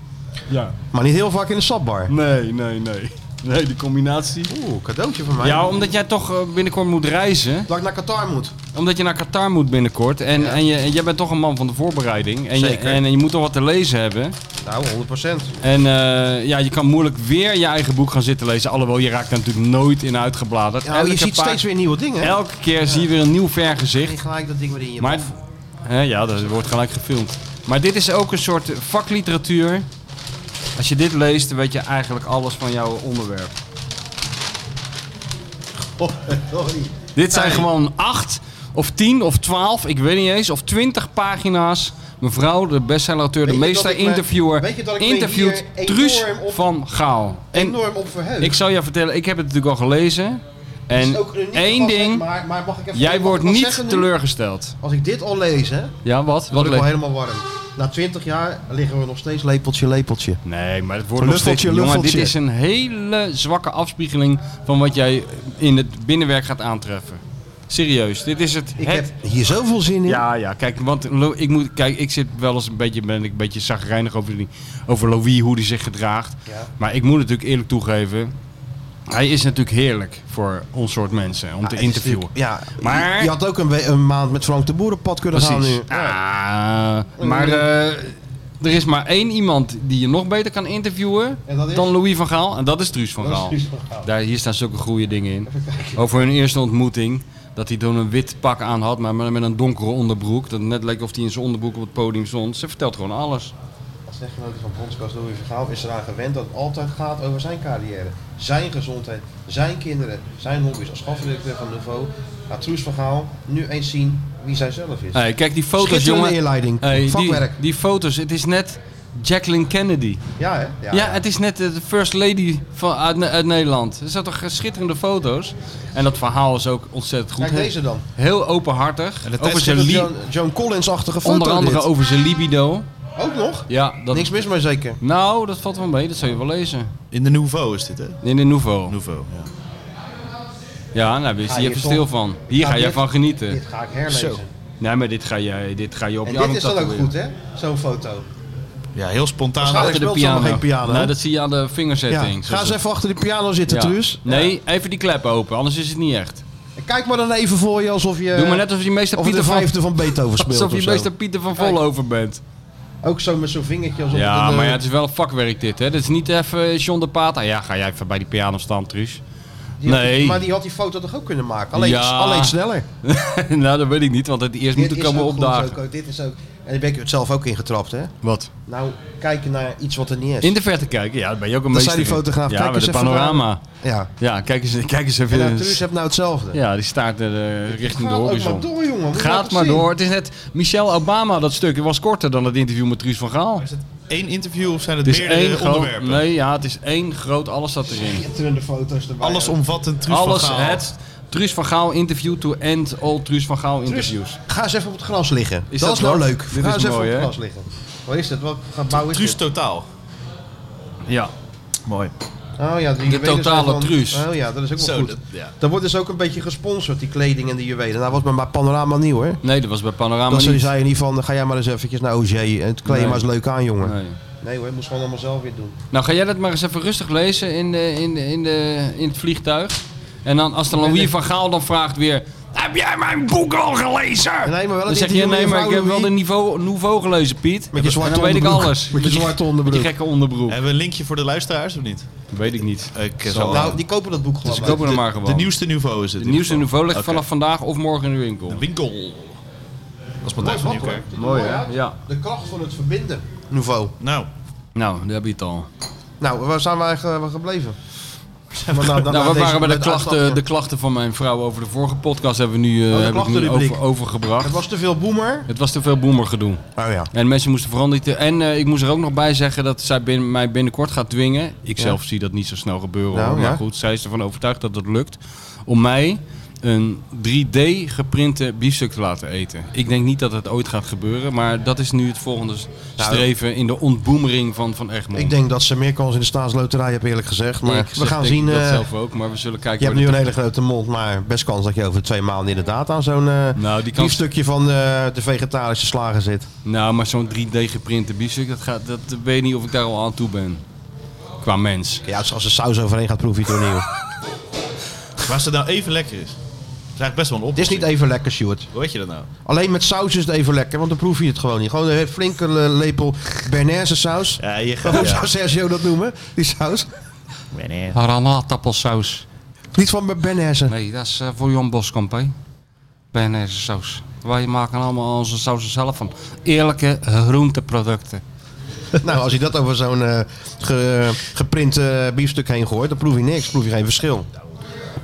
[SPEAKER 3] Ja.
[SPEAKER 2] maar niet heel vaak in de sapbar.
[SPEAKER 3] Nee,
[SPEAKER 2] [laughs]
[SPEAKER 3] nee, nee. Nee, die combinatie.
[SPEAKER 2] Oeh, cadeautje van mij.
[SPEAKER 3] Ja, omdat jij toch eh, binnenkort moet reizen.
[SPEAKER 2] Dat ik naar Qatar moet.
[SPEAKER 3] Omdat je naar Qatar moet binnenkort. En, en, je, en jij bent toch een man van de voorbereiding. En, Je,
[SPEAKER 2] Zeker.
[SPEAKER 3] en, en je moet toch wat te lezen hebben.
[SPEAKER 2] Nou, 100%.
[SPEAKER 3] En eh, ja, je kan moeilijk weer je eigen boek gaan zitten lezen. Alhoewel, je raakt er natuurlijk nooit in uitgebladerd.
[SPEAKER 2] Nou, je
[SPEAKER 3] Elke
[SPEAKER 2] ziet
[SPEAKER 3] paar-
[SPEAKER 2] steeds weer nieuwe dingen. hè?
[SPEAKER 3] Elke keer zie je weer een nieuw vergezicht.
[SPEAKER 2] Geen gelijk dat ding weer in je
[SPEAKER 3] Maar,
[SPEAKER 2] mond.
[SPEAKER 3] hè, ja, dat wordt gelijk gefilmd. Maar dit is ook een soort vakliteratuur. Als je dit leest, dan weet je eigenlijk alles van jouw
[SPEAKER 2] [laughs]
[SPEAKER 3] onderwerp.
[SPEAKER 2] Oh, Sorry.
[SPEAKER 3] Dit zijn
[SPEAKER 2] Nee.
[SPEAKER 3] gewoon acht of tien of twaalf, ik weet niet eens, of twintig pagina's. Mevrouw, de bestsellerauteur, de
[SPEAKER 2] Weet je dat
[SPEAKER 3] meester
[SPEAKER 2] ik me-
[SPEAKER 3] interviewer,
[SPEAKER 2] weet je dat ik me
[SPEAKER 3] interviewt
[SPEAKER 2] hier
[SPEAKER 3] Truus
[SPEAKER 2] enorm op-
[SPEAKER 3] van Gaal. En
[SPEAKER 2] Enorm op verheugd.
[SPEAKER 3] ik zal je vertellen, ik heb het natuurlijk al gelezen.
[SPEAKER 2] Het is
[SPEAKER 3] En
[SPEAKER 2] ook een unieke
[SPEAKER 3] één
[SPEAKER 2] gast, hè,
[SPEAKER 3] ding,
[SPEAKER 2] Maar, maar mag ik even, mag
[SPEAKER 3] jij
[SPEAKER 2] ik
[SPEAKER 3] wordt
[SPEAKER 2] wat
[SPEAKER 3] niet
[SPEAKER 2] zeggen nu?
[SPEAKER 3] teleurgesteld.
[SPEAKER 2] Als ik dit al lees, hè,
[SPEAKER 3] Ja, wat?
[SPEAKER 2] word
[SPEAKER 3] Wat
[SPEAKER 2] ik wel
[SPEAKER 3] leuk.
[SPEAKER 2] helemaal warm. Na 20 jaar liggen we nog steeds lepeltje, lepeltje.
[SPEAKER 3] Nee, maar het wordt nog
[SPEAKER 2] Luffeltje,
[SPEAKER 3] steeds... Jongen, dit
[SPEAKER 2] luffeltje.
[SPEAKER 3] is een hele zwakke afspiegeling van wat jij in het binnenwerk gaat aantreffen. Serieus, dit is het...
[SPEAKER 2] Ik
[SPEAKER 3] het
[SPEAKER 2] heb hier zoveel zin in.
[SPEAKER 3] Ja, ja, kijk, want Lo- ik, moet, kijk, ik zit wel eens een beetje, ben ik een beetje zagrijnig over, die, over Louis, hoe die zich gedraagt.
[SPEAKER 2] Ja.
[SPEAKER 3] Maar ik moet natuurlijk eerlijk toegeven, hij is natuurlijk heerlijk voor ons soort mensen om te
[SPEAKER 2] Ja, het is
[SPEAKER 3] interviewen.
[SPEAKER 2] natuurlijk- Ja,
[SPEAKER 3] Maar-
[SPEAKER 2] je, je had ook een, we- een maand met Frank de Boerenpad kunnen gaan
[SPEAKER 3] Precies.
[SPEAKER 2] nu.
[SPEAKER 3] Ah, maar eh, er is maar één iemand die je nog beter kan interviewen
[SPEAKER 2] En dat is?
[SPEAKER 3] dan Louis van Gaal. En dat is Truus van
[SPEAKER 2] Dat is
[SPEAKER 3] Gaal.
[SPEAKER 2] Truus van Gaal.
[SPEAKER 3] Daar, hier staan zulke goede dingen in. Over hun eerste ontmoeting. Dat hij toen een wit pak aan had, maar met met een donkere onderbroek. Dat het net leek of hij in zijn onderbroek op het podium stond. Ze vertelt gewoon alles.
[SPEAKER 2] Als echtgenote van Bondscoach Louis Vergaal is eraan gewend dat het altijd gaat over zijn carrière, zijn gezondheid, zijn kinderen, zijn hobby's. Als gastredacteur van Nouveau laat Truus Vergaal nu eens zien wie zij zelf is.
[SPEAKER 3] Hey, kijk die foto's,
[SPEAKER 2] Schitterende
[SPEAKER 3] jongen.
[SPEAKER 2] inleiding.
[SPEAKER 3] Hey, die,
[SPEAKER 2] Vakwerk.
[SPEAKER 3] die foto's, het is net Jacqueline Kennedy.
[SPEAKER 2] Ja, hè?
[SPEAKER 3] Ja, het is net eh, de first lady van, uit, Ne- uit Nederland. Er zijn toch eh, schitterende foto's. En dat verhaal is ook ontzettend goed.
[SPEAKER 2] Kijk deze dan.
[SPEAKER 3] Heel openhartig.
[SPEAKER 4] En de
[SPEAKER 3] over
[SPEAKER 4] tekst
[SPEAKER 3] zijn
[SPEAKER 2] Een
[SPEAKER 3] li-
[SPEAKER 2] Joan, Joan Collins-achtige foto.
[SPEAKER 3] onder andere
[SPEAKER 2] dit.
[SPEAKER 3] over zijn libido.
[SPEAKER 2] ook nog.
[SPEAKER 3] Ja, dat,
[SPEAKER 2] Niks mis mee zeker.
[SPEAKER 3] nou, dat valt wel mee. Dat zou je wel lezen.
[SPEAKER 4] In de Nouveau is dit, hè?
[SPEAKER 3] In de Nouveau.
[SPEAKER 4] Nouveau, ja.
[SPEAKER 3] Ja, nou, wees
[SPEAKER 2] Ja,
[SPEAKER 3] hier
[SPEAKER 2] hier
[SPEAKER 3] even
[SPEAKER 2] stond-
[SPEAKER 3] stil van. Hier
[SPEAKER 2] Ja,
[SPEAKER 3] ga jij
[SPEAKER 2] dit-
[SPEAKER 3] van genieten.
[SPEAKER 2] Dit ga ik herlezen.
[SPEAKER 4] Zo.
[SPEAKER 3] Nee, maar dit ga je, dit ga je op
[SPEAKER 2] En
[SPEAKER 3] je
[SPEAKER 2] dit
[SPEAKER 3] arm
[SPEAKER 2] is dan ook
[SPEAKER 3] tatoeëren.
[SPEAKER 2] goed, hè? Zo'n foto.
[SPEAKER 4] Ja, heel spontaan.
[SPEAKER 2] Waarschijnlijk- speelt
[SPEAKER 3] Achter de
[SPEAKER 2] ze
[SPEAKER 3] piano.
[SPEAKER 2] allemaal geen piano.
[SPEAKER 3] Nou, dat zie je aan de
[SPEAKER 2] Ja.
[SPEAKER 3] vingerzetting.
[SPEAKER 2] Ga eens even achter de piano zitten, Truus.
[SPEAKER 3] Nee, even die klep open, anders is het niet echt.
[SPEAKER 2] En Kijk maar dan even voor je alsof je...
[SPEAKER 3] Doe maar net alsof je meester
[SPEAKER 2] Eh, of je de
[SPEAKER 3] Pieter van...
[SPEAKER 2] vijfde van Beethoven speelt
[SPEAKER 3] Alsof
[SPEAKER 2] of
[SPEAKER 3] je
[SPEAKER 2] zo.
[SPEAKER 3] meester Pieter van Vollover bent.
[SPEAKER 2] Ook zo met zo'n vingertje alsof
[SPEAKER 3] Ja,
[SPEAKER 2] het een,
[SPEAKER 3] maar ja,
[SPEAKER 2] eh,
[SPEAKER 3] het is wel een vakwerk dit, hè. Dit is niet even John de Paat. Ah, ja, ga jij even bij die piano staan, Truus. [laughs]
[SPEAKER 2] die had-
[SPEAKER 3] nee.
[SPEAKER 2] maar die had die foto toch ook kunnen maken? Alleen,
[SPEAKER 3] Ja.
[SPEAKER 2] alleen sneller.
[SPEAKER 3] nou, dat weet ik niet, want het eerst moet
[SPEAKER 2] Dit
[SPEAKER 3] er
[SPEAKER 2] is
[SPEAKER 3] komen
[SPEAKER 2] ook goed,
[SPEAKER 3] opdagen.
[SPEAKER 2] ook- dit is ook... En daar ben ik het zelf ook ingetrapt, hè?
[SPEAKER 3] Wat?
[SPEAKER 2] Nou, kijken naar iets wat er niet is.
[SPEAKER 3] In de verte kijken, ja, daar ben je ook een
[SPEAKER 2] Dat
[SPEAKER 3] meester
[SPEAKER 2] zei die
[SPEAKER 3] in.
[SPEAKER 2] fotograaf.
[SPEAKER 3] Ja,
[SPEAKER 2] Kijk
[SPEAKER 3] met
[SPEAKER 2] eens
[SPEAKER 3] het
[SPEAKER 2] even
[SPEAKER 3] panorama.
[SPEAKER 2] Ja.
[SPEAKER 3] Ja, kijk eens, kijk eens
[SPEAKER 2] En
[SPEAKER 3] even.
[SPEAKER 2] nou, Truus heeft nou hetzelfde.
[SPEAKER 3] Dus- ja, die staart er eh, richting de
[SPEAKER 2] Gaat ook
[SPEAKER 3] horizon.
[SPEAKER 2] maar door, jongen. Moet je nou
[SPEAKER 3] Gaat
[SPEAKER 2] toch
[SPEAKER 3] maar
[SPEAKER 2] zien?
[SPEAKER 3] door. Het is net Michelle Obama, dat stuk. Het was korter dan het interview met Truus van Gaal.
[SPEAKER 4] Is het één interview of zijn het,
[SPEAKER 3] Het is
[SPEAKER 4] meerdere
[SPEAKER 3] één groot.
[SPEAKER 4] onderwerpen?
[SPEAKER 3] Nee, ja, het is één groot. Alles staat erin.
[SPEAKER 2] Schitterende foto's erbij.
[SPEAKER 4] Alles omvattend Truus van
[SPEAKER 3] Alles.
[SPEAKER 4] Gaal.
[SPEAKER 3] Het Truus van Gaal interview to end all Truus van Gaal interviews.
[SPEAKER 2] Ga eens even op het gras liggen.
[SPEAKER 3] Is
[SPEAKER 2] dat,
[SPEAKER 3] dat
[SPEAKER 2] is nou
[SPEAKER 3] mooi?
[SPEAKER 2] leuk.
[SPEAKER 3] Dit
[SPEAKER 2] Ga
[SPEAKER 3] is
[SPEAKER 2] eens even
[SPEAKER 3] mooi,
[SPEAKER 2] op het
[SPEAKER 3] hè?
[SPEAKER 2] gras liggen. Wat is dat? Wat gaat bouwen is
[SPEAKER 4] Truus
[SPEAKER 2] dit?
[SPEAKER 4] totaal.
[SPEAKER 3] Ja.
[SPEAKER 4] Mooi.
[SPEAKER 2] Oh ja, die juwelen
[SPEAKER 3] totale
[SPEAKER 2] zijn van-
[SPEAKER 3] Truus.
[SPEAKER 2] Oh ja, dat is ook wel
[SPEAKER 4] Zo,
[SPEAKER 2] goed.
[SPEAKER 4] dat- ja.
[SPEAKER 2] Dan wordt dus ook een beetje gesponsord, die kleding en die juwelen. Nou was bij mijn panorama nieuw, hè?
[SPEAKER 3] Nee, dat was bij Panorama
[SPEAKER 2] Dat ze
[SPEAKER 3] niet.
[SPEAKER 2] zei niet van, ga jij maar eens eventjes naar OJ. Het kleed je
[SPEAKER 3] Nee.
[SPEAKER 2] maar eens leuk aan, jongen. Nee,
[SPEAKER 3] Nee.
[SPEAKER 2] hoor, moest gewoon allemaal zelf weer doen.
[SPEAKER 3] Nou, ga jij dat maar eens even rustig lezen in, de, in, de, in, de, in het vliegtuig. En dan als de Louis van Gaal dan vraagt weer... Heb jij mijn boek al gelezen?
[SPEAKER 2] Nee, maar wel
[SPEAKER 3] Dan
[SPEAKER 2] het
[SPEAKER 3] zeg je,
[SPEAKER 2] interview
[SPEAKER 3] nee,
[SPEAKER 2] met
[SPEAKER 3] maar ik heb wel
[SPEAKER 2] Louis.
[SPEAKER 3] de niveau, niveau gelezen, Piet.
[SPEAKER 2] Met je zwarte
[SPEAKER 3] en dan weet ik
[SPEAKER 2] onderbroek.
[SPEAKER 3] alles.
[SPEAKER 2] Met je zwarte
[SPEAKER 3] Met die
[SPEAKER 2] onderbroek.
[SPEAKER 3] gekke onderbroek.
[SPEAKER 4] Hebben we een linkje voor de luisteraars of niet?
[SPEAKER 3] Weet ik niet.
[SPEAKER 4] Ik eh,
[SPEAKER 3] zal-
[SPEAKER 2] Nou, die kopen dat boek
[SPEAKER 3] Dus
[SPEAKER 2] gewoon.
[SPEAKER 3] ik koop er
[SPEAKER 4] de,
[SPEAKER 3] maar gewoon.
[SPEAKER 4] de nieuwste niveau is het.
[SPEAKER 3] De nieuwste
[SPEAKER 4] niveau.
[SPEAKER 3] niveau ligt
[SPEAKER 4] Oké.
[SPEAKER 3] vanaf vandaag of morgen in de winkel.
[SPEAKER 4] De winkel. Dat is Matthijs van
[SPEAKER 2] Mooi, wat,
[SPEAKER 4] Nieuwkerk.
[SPEAKER 2] hoor. Mooi, hè?
[SPEAKER 3] Ja.
[SPEAKER 2] De kracht van het verbinden. Niveau.
[SPEAKER 4] Nou,
[SPEAKER 3] Nou, daar heb je het al.
[SPEAKER 2] Nou, waar zijn we eigenlijk eh, gebleven? Maar nou, dan- na
[SPEAKER 3] [laughs] nou, we
[SPEAKER 2] deze-
[SPEAKER 3] waren bij de
[SPEAKER 2] met
[SPEAKER 3] klachten,
[SPEAKER 2] uitslag-
[SPEAKER 3] de klachten van mijn vrouw over de vorige podcast hebben we nu, eh,
[SPEAKER 2] Oh, de
[SPEAKER 3] heb ik nu
[SPEAKER 2] klachtenrubriek.
[SPEAKER 3] over, overgebracht.
[SPEAKER 2] Het was te veel boomer.
[SPEAKER 3] Het was te veel boemergedoe.
[SPEAKER 2] Oh ja.
[SPEAKER 3] En mensen moesten veranderen. En eh, ik moest er ook nog bij zeggen dat zij bin- mij binnenkort gaat dwingen. Ik zelf zie dat niet zo snel gebeuren.
[SPEAKER 2] Nou,
[SPEAKER 3] hoor.
[SPEAKER 2] ja.
[SPEAKER 3] Maar goed, zij is ervan overtuigd dat het lukt. Om mij een 3D geprinte biefstuk te laten eten. Ik denk niet dat het ooit gaat gebeuren. Maar dat is nu het volgende s-
[SPEAKER 2] Nou,
[SPEAKER 3] streven in de ontboemering van, van Egmond.
[SPEAKER 2] Ik denk dat ze meer kans in de staatsloterij hebben, eerlijk gezegd. Maar
[SPEAKER 3] Ik
[SPEAKER 2] we
[SPEAKER 3] zeg-
[SPEAKER 2] gaan
[SPEAKER 3] denk
[SPEAKER 2] zien.
[SPEAKER 3] Dat
[SPEAKER 2] eh,
[SPEAKER 3] zelf ook, maar we zullen kijken.
[SPEAKER 2] je hebt
[SPEAKER 3] waar
[SPEAKER 2] nu een
[SPEAKER 3] dit-
[SPEAKER 2] hele grote mond, maar best kans dat je over twee maanden inderdaad aan zo'n eh
[SPEAKER 3] Nou, die kans-
[SPEAKER 2] biefstukje van eh, de vegetarische slager zit.
[SPEAKER 3] Nou, maar zo'n 3D geprinte biefstuk, dat, gaat, dat weet ik niet of ik daar al aan toe ben. Qua mens.
[SPEAKER 2] Ja, als als er saus overheen gaat, proef je het [laughs] opnieuw.
[SPEAKER 4] waar ze nou even lekker is. Het is eigenlijk best wel een
[SPEAKER 2] het is
[SPEAKER 4] oplossing.
[SPEAKER 2] niet even lekker, Stuart.
[SPEAKER 4] Hoe weet je dat nou?
[SPEAKER 2] Alleen met saus is het even lekker, want dan proef je het gewoon niet. Gewoon een flinke eh, lepel Bernaise saus.
[SPEAKER 4] Ja, je gaat...
[SPEAKER 2] Waarom [laughs] zou Sergio dat noemen, die saus?
[SPEAKER 3] Granaatappelsaus.
[SPEAKER 2] Niet van Bernaise.
[SPEAKER 3] Nee, dat is eh, voor Jan Boskamp, hè. Bernaise saus. Wij maken allemaal onze sausen zelf van. Eerlijke groenteproducten.
[SPEAKER 2] [laughs] Nou, als je dat over zo'n eh, ge- geprint eh, biefstuk heen gooit, dan proef je niks, proef je geen verschil.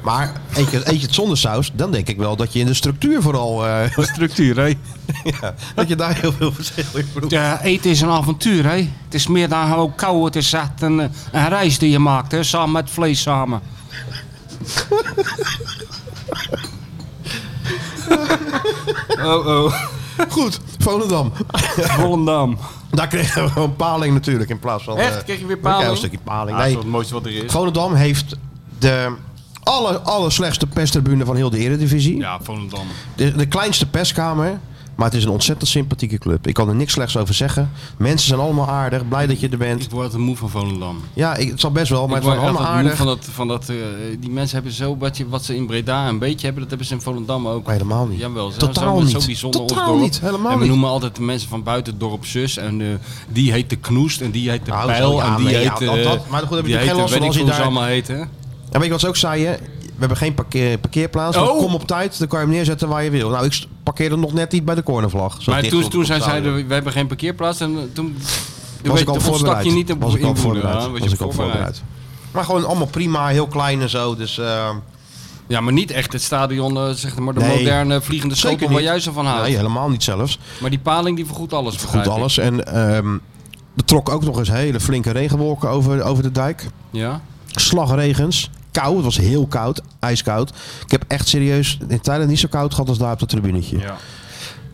[SPEAKER 2] Maar eet je, eet je het zonder saus, dan denk ik wel dat je in de structuur vooral,
[SPEAKER 3] [laughs]
[SPEAKER 2] eh,
[SPEAKER 3] Structuur, hè.
[SPEAKER 2] [laughs] ja, dat je daar heel veel verschil in proeft.
[SPEAKER 3] Ja, eten is een avontuur, hè. Het is meer dan gewoon kou. Het is echt een, eh, een reis die je maakt, hè. Samen met vlees samen. oh, oh.
[SPEAKER 2] Goed, Volendam.
[SPEAKER 3] Volendam.
[SPEAKER 2] Daar kregen we gewoon paling natuurlijk in plaats van...
[SPEAKER 3] Echt?
[SPEAKER 2] eh,
[SPEAKER 3] Kreeg je weer
[SPEAKER 2] we kregen
[SPEAKER 3] paling? Nou,
[SPEAKER 2] een stukje paling.
[SPEAKER 3] dat is
[SPEAKER 2] Nee,
[SPEAKER 3] wel het mooiste wat er is.
[SPEAKER 2] Volendam heeft de aller, aller slechtste pestribune van heel de eredivisie.
[SPEAKER 3] Ja, Volendam.
[SPEAKER 2] De, de kleinste perskamer. Maar het is een ontzettend sympathieke club. Ik kan er niks slechts over zeggen. Mensen zijn allemaal aardig. Blij dat je er bent.
[SPEAKER 3] Ik word er moe van Volendam.
[SPEAKER 2] Ja, ik, het zal best wel, maar het
[SPEAKER 3] ik word
[SPEAKER 2] was allemaal
[SPEAKER 3] altijd moe
[SPEAKER 2] aardig.
[SPEAKER 3] van dat, van dat eh, die mensen hebben zo wat, je, wat ze in Breda een beetje hebben, dat hebben ze in Volendam ook.
[SPEAKER 2] Maar helemaal niet.
[SPEAKER 3] Jawel, ze
[SPEAKER 2] Totaal
[SPEAKER 3] zijn zo
[SPEAKER 2] niet.
[SPEAKER 3] bijzonder ons
[SPEAKER 2] Totaal
[SPEAKER 3] dorp.
[SPEAKER 2] niet, helemaal
[SPEAKER 3] en we
[SPEAKER 2] niet.
[SPEAKER 3] noemen altijd de mensen van buiten het dorp zus en eh, die heet de knoest en die heet de
[SPEAKER 2] Nou, zo,
[SPEAKER 3] pijl
[SPEAKER 2] ja,
[SPEAKER 3] en die
[SPEAKER 2] nee, ja,
[SPEAKER 3] heet...
[SPEAKER 2] dat-
[SPEAKER 3] eh,
[SPEAKER 2] dat- maar goed, heb je natuurlijk
[SPEAKER 3] die heet,
[SPEAKER 2] geen
[SPEAKER 3] eh,
[SPEAKER 2] last
[SPEAKER 3] weet
[SPEAKER 2] van
[SPEAKER 3] ik
[SPEAKER 2] als je
[SPEAKER 3] hoe ze
[SPEAKER 2] daar-
[SPEAKER 3] allemaal heten.
[SPEAKER 2] En weet je wat ze ook zeiden? We hebben geen parkeer, parkeerplaats. want
[SPEAKER 3] Oh!
[SPEAKER 2] Kom op tijd, dan kan je hem neerzetten waar je wil. Nou, ik s- parkeerde nog net niet bij de cornervlag. Zo
[SPEAKER 3] Maar
[SPEAKER 2] dicht
[SPEAKER 3] toen,
[SPEAKER 2] op-
[SPEAKER 3] toen
[SPEAKER 2] op
[SPEAKER 3] zij
[SPEAKER 2] het stadion.
[SPEAKER 3] zeiden, we hebben geen parkeerplaats en eh, toen... toen
[SPEAKER 2] was
[SPEAKER 3] weet-
[SPEAKER 2] ik al
[SPEAKER 3] ontstak
[SPEAKER 2] voorbereid.
[SPEAKER 3] je niet op
[SPEAKER 2] was ik al
[SPEAKER 3] invoeden,
[SPEAKER 2] voorbereid.
[SPEAKER 3] ja, was
[SPEAKER 2] was
[SPEAKER 3] je
[SPEAKER 2] ik al
[SPEAKER 3] voorbereid.
[SPEAKER 2] voorbereid. Maar gewoon allemaal prima, heel klein en zo. Dus eh,
[SPEAKER 3] Ja, maar niet echt het stadion, eh, zeg maar de
[SPEAKER 2] Nee.
[SPEAKER 3] moderne vliegende
[SPEAKER 2] Zeker
[SPEAKER 3] schotel waar
[SPEAKER 2] niet.
[SPEAKER 3] jij zo van houdt.
[SPEAKER 2] nee, helemaal niet zelfs.
[SPEAKER 3] Maar die paling die vergoedt alles,
[SPEAKER 2] Goed
[SPEAKER 3] begrijp ik.
[SPEAKER 2] alles. En ehm, Er trok ook nog eens hele flinke regenwolken over, over de dijk.
[SPEAKER 3] Ja?
[SPEAKER 2] Slagregens. Koud, het was heel koud, ijskoud. Ik heb echt serieus in Thailand niet zo koud gehad als daar op dat tribunetje.
[SPEAKER 3] Ja.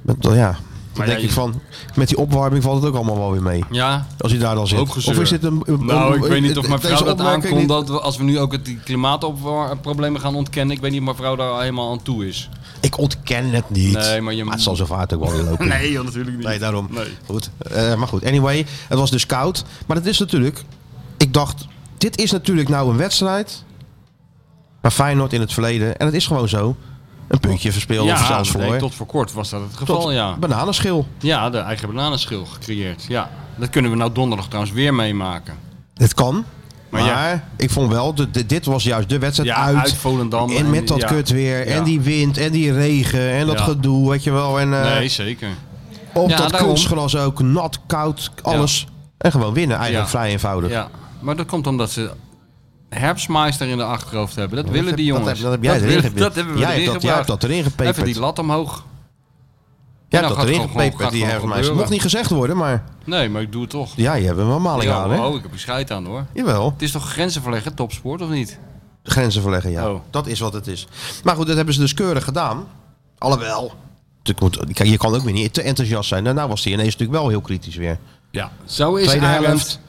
[SPEAKER 2] Met, ja, dan
[SPEAKER 3] ja,
[SPEAKER 2] denk
[SPEAKER 3] je-
[SPEAKER 2] ik van, met die opwarming valt het ook allemaal wel weer mee.
[SPEAKER 3] Ja.
[SPEAKER 2] Als hij daar dan zit.
[SPEAKER 3] Hoop gezeur.
[SPEAKER 2] Of is dit een... een-
[SPEAKER 3] Nou, ik
[SPEAKER 2] een-
[SPEAKER 3] weet niet of mijn
[SPEAKER 2] deze
[SPEAKER 3] vrouw dat
[SPEAKER 2] opmerking
[SPEAKER 3] aankomt.
[SPEAKER 2] niet-
[SPEAKER 3] Dat we- als we nu ook het, die klimaatproblemen gaan ontkennen. Ik weet niet of mijn vrouw daar al helemaal aan toe is.
[SPEAKER 2] Ik ontken het niet.
[SPEAKER 3] Nee, maar je
[SPEAKER 2] het zal zo vaart ook wel weer lopen.
[SPEAKER 3] [laughs] Nee, joh, natuurlijk niet.
[SPEAKER 2] Nee, daarom.
[SPEAKER 3] Nee.
[SPEAKER 2] Goed. Eh, maar goed, anyway, het was dus koud. Maar dat is natuurlijk. Ik dacht, dit is natuurlijk nou een wedstrijd. Maar Feyenoord in het verleden. En het is gewoon zo. Een puntje verspeeld of
[SPEAKER 3] ja,
[SPEAKER 2] zelfs
[SPEAKER 3] nee,
[SPEAKER 2] verloren.
[SPEAKER 3] tot voor kort was dat het geval,
[SPEAKER 2] Tot
[SPEAKER 3] ja.
[SPEAKER 2] bananenschil.
[SPEAKER 3] Ja, de eigen bananenschil gecreëerd, ja. Dat kunnen we nou donderdag trouwens weer meemaken.
[SPEAKER 2] Het kan. Maar,
[SPEAKER 3] Maar ja.
[SPEAKER 2] ik vond wel, de, de- dit was juist de wedstrijd
[SPEAKER 3] Ja,
[SPEAKER 2] uit.
[SPEAKER 3] uit Volendam.
[SPEAKER 2] En met dat
[SPEAKER 3] Ja.
[SPEAKER 2] kut weer.
[SPEAKER 3] Ja.
[SPEAKER 2] En die wind. En die regen. En dat
[SPEAKER 3] Ja.
[SPEAKER 2] gedoe, weet je wel. En eh,
[SPEAKER 3] Nee, zeker.
[SPEAKER 2] op
[SPEAKER 3] Ja,
[SPEAKER 2] dat
[SPEAKER 3] daarom.
[SPEAKER 2] kunstgras ook. Nat, koud, alles. En gewoon winnen. Eigenlijk
[SPEAKER 3] Ja.
[SPEAKER 2] vrij eenvoudig.
[SPEAKER 3] Ja. Maar dat komt omdat ze Herbstmeister in de achterhoofd hebben. Dat willen die
[SPEAKER 2] Dat
[SPEAKER 3] jongens.
[SPEAKER 2] heb, dat heb jij
[SPEAKER 3] dat,
[SPEAKER 2] erin
[SPEAKER 3] wil-
[SPEAKER 2] gepikt.
[SPEAKER 3] dat hebben we
[SPEAKER 2] jij
[SPEAKER 3] erin
[SPEAKER 2] hebt dat, jij hebt
[SPEAKER 3] gebracht.
[SPEAKER 2] dat erin gepeperd.
[SPEAKER 3] Even die lat omhoog.
[SPEAKER 2] Jij
[SPEAKER 3] En
[SPEAKER 2] hebt
[SPEAKER 3] dan
[SPEAKER 2] dat
[SPEAKER 3] gaat
[SPEAKER 2] erin
[SPEAKER 3] het gewoon-
[SPEAKER 2] gepeperd,
[SPEAKER 3] gaat
[SPEAKER 2] die
[SPEAKER 3] gewoon
[SPEAKER 2] herfstmeisje.
[SPEAKER 3] gebeuren.
[SPEAKER 2] Mocht niet gezegd worden, maar
[SPEAKER 3] Nee, maar ik doe het toch.
[SPEAKER 2] ja, je hebt hem wel maling
[SPEAKER 3] Ja,
[SPEAKER 2] aan, hè?
[SPEAKER 3] oh, ik heb er scheid aan hoor.
[SPEAKER 2] Jawel.
[SPEAKER 3] Het is toch grenzen verleggen, topsport of niet?
[SPEAKER 2] De Grenzen verleggen, ja.
[SPEAKER 3] Oh.
[SPEAKER 2] Dat is wat het is. Maar goed, dat hebben ze dus keurig gedaan. Alhoewel. natuurlijk moet- Kijk, je kan ook weer niet te enthousiast zijn. Daarna was hij ineens natuurlijk wel heel kritisch weer.
[SPEAKER 3] Ja. Zo is
[SPEAKER 2] Tweede
[SPEAKER 3] Arendt.
[SPEAKER 2] helft.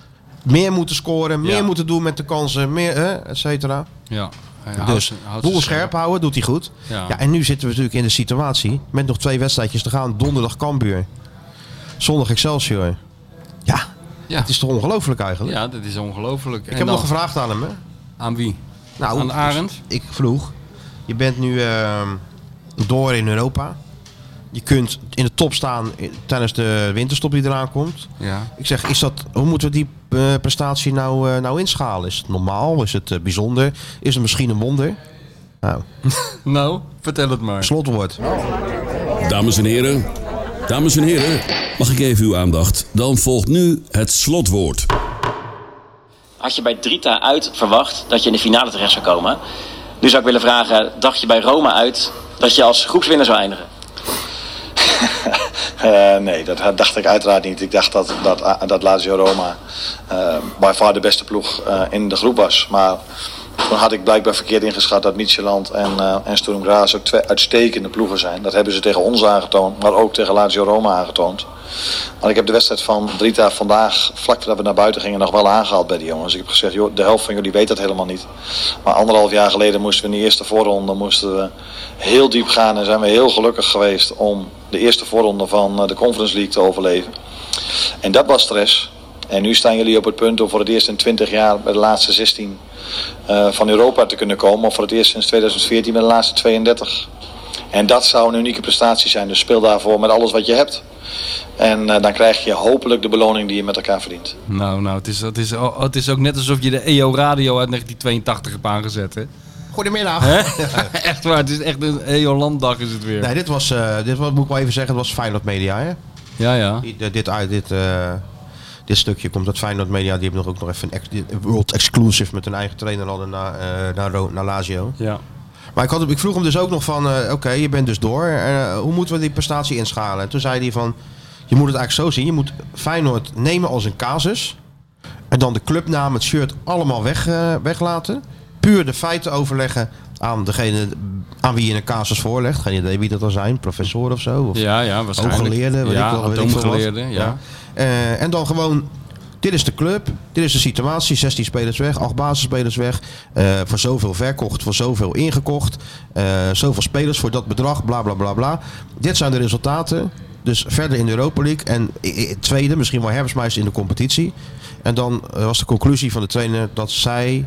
[SPEAKER 2] Meer moeten scoren, meer
[SPEAKER 3] Ja.
[SPEAKER 2] moeten doen met de kansen, meer, hè, et cetera.
[SPEAKER 3] Ja. Hij houdt
[SPEAKER 2] Dus
[SPEAKER 3] zijn- houdt
[SPEAKER 2] boel
[SPEAKER 3] zijn
[SPEAKER 2] scherp houden, doet hij goed. Ja.
[SPEAKER 3] Ja.
[SPEAKER 2] en nu zitten we natuurlijk in de situatie met nog twee wedstrijdjes te gaan. Donderdag Cambuur, zondag Excelsior. Ja,
[SPEAKER 3] Ja.
[SPEAKER 2] het is toch ongelooflijk eigenlijk?
[SPEAKER 3] Ja, dat is ongelooflijk.
[SPEAKER 2] Ik heb nog gevraagd aan hem. Hè?
[SPEAKER 3] Aan wie?
[SPEAKER 2] Nou,
[SPEAKER 3] Aan Arend?
[SPEAKER 2] ik vroeg, je bent nu ehm, door in Europa. Je kunt in de top staan in- tijdens de winterstop die eraan komt.
[SPEAKER 3] Ja.
[SPEAKER 2] Ik zeg, is dat, hoe moeten we die eh, prestatie nou, eh, nou inschalen? Is het normaal? Is het eh, bijzonder? Is het misschien een wonder? Nou,
[SPEAKER 3] Nou, vertel het maar.
[SPEAKER 2] slotwoord.
[SPEAKER 5] Dames en heren, dames en heren, mag ik even uw aandacht? Dan volgt nu het slotwoord.
[SPEAKER 6] Had je bij Drita uit verwacht dat je in de finale terecht zou komen? Nu zou ik willen vragen, dacht je bij Roma uit dat je als groepswinnaar zou eindigen?
[SPEAKER 7] Eh, nee, dat dacht ik uiteraard niet. Ik dacht dat, dat, eh, dat Lazio Roma eh by far de beste ploeg eh, in de groep was. Maar toen had ik blijkbaar verkeerd ingeschat dat Midtjylland en, eh en Sturm Graz ook twee uitstekende ploegen zijn. Dat hebben ze tegen ons aangetoond, maar ook tegen Lazio Roma aangetoond. Maar ik heb de wedstrijd van Drita vandaag, vlak voordat we naar buiten gingen, nog wel aangehaald bij die jongens. Ik heb gezegd, joh, de helft van jullie weet dat helemaal niet. Maar anderhalf jaar geleden moesten we in de eerste voorronde moesten we heel diep gaan. En zijn we heel gelukkig geweest om de eerste voorronde van eh, de Conference League te overleven. En dat was stress. En nu staan jullie op het punt om voor het eerst in 20 jaar bij de laatste 16 eh, van Europa te kunnen komen. Of voor het eerst sinds 2014 bij de laatste 32. En dat zou een unieke prestatie zijn. Dus speel daarvoor met alles wat je hebt. En eh, dan krijg je hopelijk de beloning die je met elkaar verdient.
[SPEAKER 3] Nou, nou, het is, het, is, oh, het is ook net alsof je de EO Radio uit 1982 hebt aangezet, hè?
[SPEAKER 2] Goedemiddag.
[SPEAKER 3] [laughs] echt waar, het is echt een EO Landdag is het weer.
[SPEAKER 2] Nee, dit was, eh, dit was, moet ik wel even zeggen, het was Feyenoord Media. Hè?
[SPEAKER 3] Ja, ja.
[SPEAKER 2] Die- de- dit, uit- dit, eh, dit stukje komt uit Feyenoord Media. Die hebben nog ook nog even een ex- die- een world exclusive met hun eigen trainer hadden naar, eh, naar, Ro- naar Lazio.
[SPEAKER 3] Ja.
[SPEAKER 2] Maar ik, had, hem- ik vroeg hem dus ook nog van, eh, oké, je bent dus door. Eh, hoe moeten we die prestatie inschalen? En toen zei hij van, je moet het eigenlijk zo zien. Je moet Feyenoord nemen als een casus. En dan de clubnaam, het shirt allemaal weg, eh, weglaten. Puur de feiten overleggen aan degene aan wie je een casus voorlegt. Geen idee wie dat dan zijn, professor of zo. Of
[SPEAKER 3] Ja, ja, waarschijnlijk.
[SPEAKER 2] Hooggeleerde, weet
[SPEAKER 3] ja,
[SPEAKER 2] ik wel, weet ik veel wat.
[SPEAKER 3] atoomgeleerde, ja.
[SPEAKER 2] Ja. Eh, en dan gewoon, dit is de club, dit is de situatie. 16 spelers weg, 8 basisspelers weg. eh, voor zoveel verkocht, voor zoveel ingekocht. eh, zoveel spelers voor dat bedrag, bla bla bla bla. Dit zijn de resultaten. Dus verder in de Europa League en i- i- tweede, misschien wel herfstmeister in de competitie. En dan eh, was de conclusie van de trainer dat zij,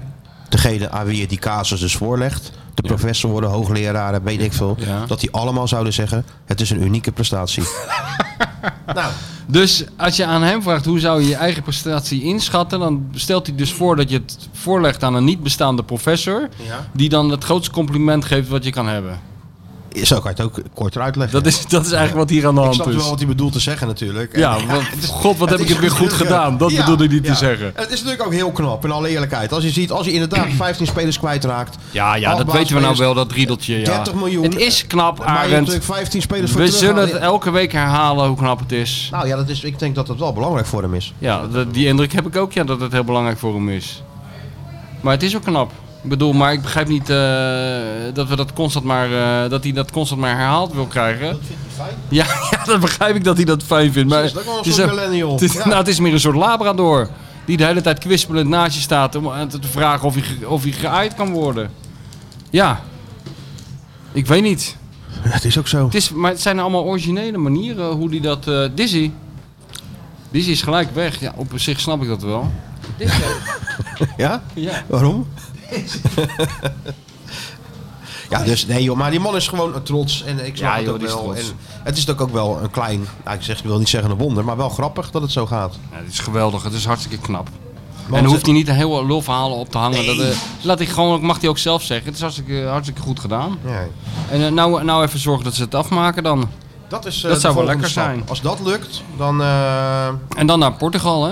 [SPEAKER 2] degene aan wie je die casus dus voorlegt, de professor worden, hoogleraren, weet ik veel,
[SPEAKER 3] Ja.
[SPEAKER 2] dat die allemaal zouden zeggen, het is een unieke
[SPEAKER 3] [laughs]
[SPEAKER 2] prestatie. nou,
[SPEAKER 3] Dus als je aan hem vraagt hoe zou je je eigen prestatie inschatten, dan stelt hij dus voor dat je het voorlegt aan een niet bestaande professor,
[SPEAKER 2] Ja.
[SPEAKER 3] die dan het grootste compliment geeft wat je kan hebben.
[SPEAKER 2] Zo kan je het ook korter uitleggen.
[SPEAKER 3] Dat is, dat is eigenlijk wat hier aan de
[SPEAKER 2] ik
[SPEAKER 3] hand
[SPEAKER 2] snap wel
[SPEAKER 3] is.
[SPEAKER 2] wat hij bedoelt te zeggen natuurlijk. [laughs]
[SPEAKER 3] Ja,
[SPEAKER 2] En-
[SPEAKER 3] want-
[SPEAKER 2] het is-
[SPEAKER 3] god, wat heb ik
[SPEAKER 2] is
[SPEAKER 3] het weer goed
[SPEAKER 2] natuurlijk,
[SPEAKER 3] gedaan. Dat bedoelde hij niet te zeggen.
[SPEAKER 2] Het is natuurlijk ook heel knap, in alle eerlijkheid. Als je ziet, als je
[SPEAKER 3] [clears throat]
[SPEAKER 2] inderdaad 15 spelers kwijtraakt.
[SPEAKER 3] Ja, ja, dat
[SPEAKER 2] achtbaan
[SPEAKER 3] weten we nou
[SPEAKER 2] spelers,
[SPEAKER 3] wel, dat riedeltje. Ja.
[SPEAKER 2] 30 miljoen.
[SPEAKER 3] Het is knap,
[SPEAKER 2] Maar je hebt
[SPEAKER 3] Arend.
[SPEAKER 2] natuurlijk 15 spelers voor
[SPEAKER 3] We
[SPEAKER 2] terug.
[SPEAKER 3] zullen het elke week herhalen hoe knap het is.
[SPEAKER 2] Nou ja, dat is, ik denk dat dat wel belangrijk voor hem [laughs] is.
[SPEAKER 3] Ja, dat- die indruk heb ik ook, ja, dat het heel belangrijk voor hem is. Maar het is ook knap. Ik bedoel, maar ik begrijp niet eh, dat, we dat, constant maar, eh, dat hij dat constant maar herhaald wil krijgen. Ja, [laughs] ja, dat begrijp ik dat hij dat fijn vindt. Maar
[SPEAKER 2] Precies, dat is wel een
[SPEAKER 3] het
[SPEAKER 2] soort
[SPEAKER 3] ook-
[SPEAKER 2] millennial.
[SPEAKER 3] het is-
[SPEAKER 2] Ja.
[SPEAKER 3] nou, het is meer een soort labrador. Die de hele tijd kwispelend naast je staat om aan te te vragen of hij, ge- of hij geaaid kan worden. Ja. Ik weet niet.
[SPEAKER 2] Het is ook zo.
[SPEAKER 3] Het, is, maar het zijn allemaal originele manieren hoe die dat... eh, Dizzy. Dizzy is gelijk weg. Ja, op zich snap ik dat wel.
[SPEAKER 2] Ja?
[SPEAKER 3] [laughs] Ja.
[SPEAKER 2] [laughs] Waarom? ja, dus nee joh, maar die man is gewoon trots en ik snap
[SPEAKER 3] Ja,
[SPEAKER 2] het
[SPEAKER 3] joh,
[SPEAKER 2] ook
[SPEAKER 3] die is
[SPEAKER 2] wel.
[SPEAKER 3] trots.
[SPEAKER 2] En het is natuurlijk ook wel een klein, nou, ik, zeg, ik wil niet zeggen een wonder, maar wel grappig dat het zo gaat.
[SPEAKER 3] Ja, het is geweldig. Het is hartstikke knap.
[SPEAKER 2] Want
[SPEAKER 3] en dan
[SPEAKER 2] het-
[SPEAKER 3] hoeft hij niet een heel lulverhalen op te hangen. Dat, eh, laat ik gewoon, mag hij ook zelf zeggen. Het is hartstikke, hartstikke goed gedaan.
[SPEAKER 2] Ja.
[SPEAKER 3] En eh, nou, nou even zorgen dat ze het afmaken dan.
[SPEAKER 2] Dat, is, eh,
[SPEAKER 3] Dat
[SPEAKER 2] de
[SPEAKER 3] zou wel
[SPEAKER 2] volgende
[SPEAKER 3] lekker
[SPEAKER 2] stap.
[SPEAKER 3] zijn.
[SPEAKER 2] Als dat lukt, dan... eh,
[SPEAKER 3] En dan naar Portugal, hè?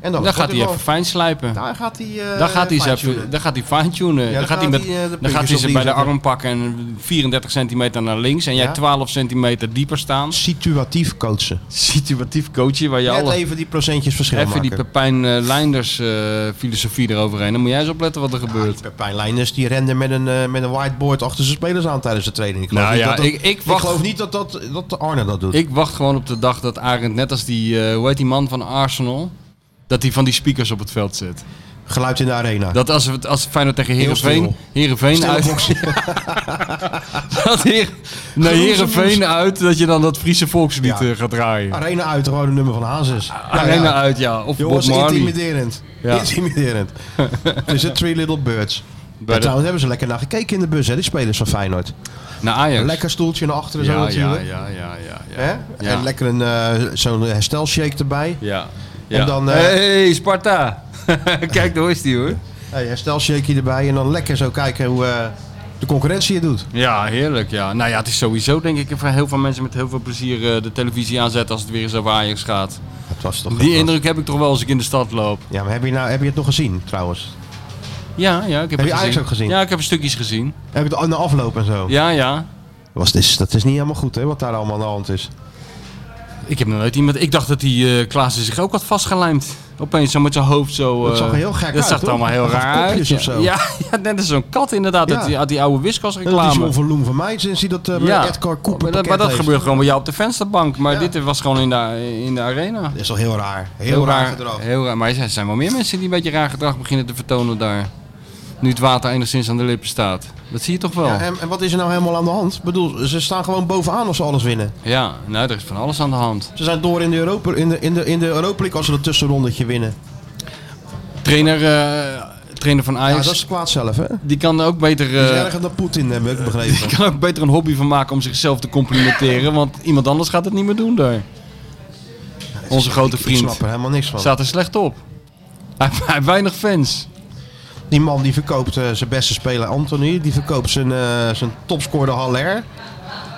[SPEAKER 2] en dan
[SPEAKER 3] Dan gaat hij
[SPEAKER 2] Portugal.
[SPEAKER 3] even fijn slijpen.
[SPEAKER 2] Daar gaat hij... eh,
[SPEAKER 3] Dan gaat hij ze
[SPEAKER 2] fine-tunen.
[SPEAKER 3] even, dan gaat hij fine-tunen.
[SPEAKER 2] dan
[SPEAKER 3] dan gaat
[SPEAKER 2] gaat
[SPEAKER 3] hij, met,
[SPEAKER 2] hij, eh, de
[SPEAKER 3] dan gaat
[SPEAKER 2] puntjes
[SPEAKER 3] hij
[SPEAKER 2] op
[SPEAKER 3] ze
[SPEAKER 2] die
[SPEAKER 3] bij de
[SPEAKER 2] zetten.
[SPEAKER 3] arm pakken en 34 centimeter naar links. En jij
[SPEAKER 2] Ja.
[SPEAKER 3] 12 centimeter dieper staan.
[SPEAKER 2] Situatief coachen.
[SPEAKER 3] Situatief coachen waar je
[SPEAKER 2] Net
[SPEAKER 3] alle...
[SPEAKER 2] even die procentjes verschil
[SPEAKER 3] Even
[SPEAKER 2] maken.
[SPEAKER 3] die Pepijn eh, Leinders eh, filosofie eroverheen. Dan moet jij eens opletten wat er gebeurt.
[SPEAKER 2] Pepijn Leijners Ah, die rende met een, eh, met een whiteboard achter zijn spelers aan tijdens de training. Ik geloof,
[SPEAKER 3] Nou
[SPEAKER 2] niet, dat,
[SPEAKER 3] ja,
[SPEAKER 2] dat-
[SPEAKER 3] ik- ik wacht-
[SPEAKER 2] geloof niet dat, dat, dat Arne dat doet.
[SPEAKER 3] Ik wacht gewoon op de dag dat Arend, net als die, eh, hoe heet die man van Arsenal, dat hij van die speakers op het veld zet.
[SPEAKER 2] Geluid in de arena.
[SPEAKER 3] Dat als, het, als Feyenoord tegen
[SPEAKER 2] Heel
[SPEAKER 3] Heerenveen, Heerenveen
[SPEAKER 2] Stille
[SPEAKER 3] uit,
[SPEAKER 2] boxen.
[SPEAKER 3] [laughs] dat Heer, naar
[SPEAKER 2] Groense
[SPEAKER 3] Heerenveen uit, dat je dan dat Friese
[SPEAKER 2] Ja.
[SPEAKER 3] volkslied eh, gaat draaien.
[SPEAKER 2] Arena uit, gewoon een nummer van Hazes. Ja,
[SPEAKER 3] Arena
[SPEAKER 2] ja.
[SPEAKER 3] uit, ja. Of
[SPEAKER 2] Jongens,
[SPEAKER 3] Bob Marley.
[SPEAKER 2] intimiderend.
[SPEAKER 3] Ja. [laughs]
[SPEAKER 2] Intimiderend. Het is een Three Little Birds.
[SPEAKER 3] de-
[SPEAKER 2] En trouwens hebben ze lekker naar gekeken in de bus, hè, die spelers van Feyenoord.
[SPEAKER 3] Naar Ajax.
[SPEAKER 2] Een lekker stoeltje naar achteren zo
[SPEAKER 3] ja, ja,
[SPEAKER 2] natuurlijk.
[SPEAKER 3] ja, ja, ja. ja.
[SPEAKER 2] Hè?
[SPEAKER 3] Ja.
[SPEAKER 2] En lekker een, eh, zo'n herstelshake erbij.
[SPEAKER 3] Ja.
[SPEAKER 2] En dan, eh,
[SPEAKER 3] hey, Sparta. [laughs] Kijk, daar is die hoor.
[SPEAKER 2] Hey, herstelshakeje erbij. En dan lekker zo kijken hoe eh, de concurrentie het doet.
[SPEAKER 3] Ja, heerlijk. Ja. Nou ja, het is sowieso denk ik voor heel veel mensen met heel veel plezier eh, de televisie aanzetten als het weer eens over Ajax gaat.
[SPEAKER 2] Dat was toch
[SPEAKER 3] Die indruk heb ik toch wel als ik in de stad loop.
[SPEAKER 2] Ja, maar heb je, nou, heb je het nog gezien trouwens?
[SPEAKER 3] Ja, ja, ik heb, het
[SPEAKER 2] je Ajax ook gezien?
[SPEAKER 3] Ja, ik heb stukjes gezien.
[SPEAKER 2] Heb je het na afloop en zo?
[SPEAKER 3] Ja, ja.
[SPEAKER 2] Was dit, dat is niet helemaal goed hè, wat daar allemaal aan de hand is.
[SPEAKER 3] Ik heb nog nooit iemand... Ik dacht dat die eh Klaassen zich ook had vastgelijmd. Opeens zo met zijn hoofd zo...
[SPEAKER 2] Dat
[SPEAKER 3] eh,
[SPEAKER 2] zag er heel gek
[SPEAKER 3] Dat
[SPEAKER 2] uit,
[SPEAKER 3] zag er
[SPEAKER 2] hoor.
[SPEAKER 3] allemaal heel
[SPEAKER 2] Hij had
[SPEAKER 3] raar uit.
[SPEAKER 2] kopjes
[SPEAKER 3] Ja.
[SPEAKER 2] of zo.
[SPEAKER 3] Ja, [laughs] ja, net als zo'n kat inderdaad.
[SPEAKER 2] Ja.
[SPEAKER 3] uit die, uit die oude Whiskas
[SPEAKER 2] Dat is John
[SPEAKER 3] reclame.
[SPEAKER 2] van Loen van mij sinds hij dat eh
[SPEAKER 3] Ja.
[SPEAKER 2] Edgar Cooper
[SPEAKER 3] Maar dat, maar
[SPEAKER 2] pakket
[SPEAKER 3] dat
[SPEAKER 2] heeft.
[SPEAKER 3] gebeurt gewoon bij jou op de vensterbank. Maar
[SPEAKER 2] Ja.
[SPEAKER 3] dit was gewoon in de, in de arena.
[SPEAKER 2] Dat is toch heel raar. Heel, raar gedrag.
[SPEAKER 3] Heel raar. Maar er zijn wel meer mensen die een beetje raar gedrag beginnen te vertonen daar. Nu het water enigszins aan de lippen staat. Dat zie je toch wel.
[SPEAKER 2] Ja, en, en wat is er nou helemaal aan de hand? Ik bedoel, ze staan gewoon bovenaan als ze alles winnen.
[SPEAKER 3] ja nou, er is van alles aan de hand.
[SPEAKER 2] Ze zijn door in de Europa, in de, in de, in de Europa League als ze dat tussenrondetje winnen.
[SPEAKER 3] Trainer, eh, trainer van
[SPEAKER 2] Ja,
[SPEAKER 3] Ajax,
[SPEAKER 2] dat is kwaad zelf hè?
[SPEAKER 3] die kan er ook beter, eh,
[SPEAKER 2] Dat is erger dan Poetin, heb ik begrepen.
[SPEAKER 3] kan er ook beter een hobby van maken om zichzelf te complimenteren. Want iemand anders gaat het niet meer doen daar. [laughs] Onze grote
[SPEAKER 2] Ik
[SPEAKER 3] vriend
[SPEAKER 2] snap er helemaal niks van.
[SPEAKER 3] staat er slecht op. Hij heeft- hij heeft weinig fans.
[SPEAKER 2] Die man die verkoopt eh, zijn beste speler Anthony. Die verkoopt zijn, eh, zijn topscorer Haller.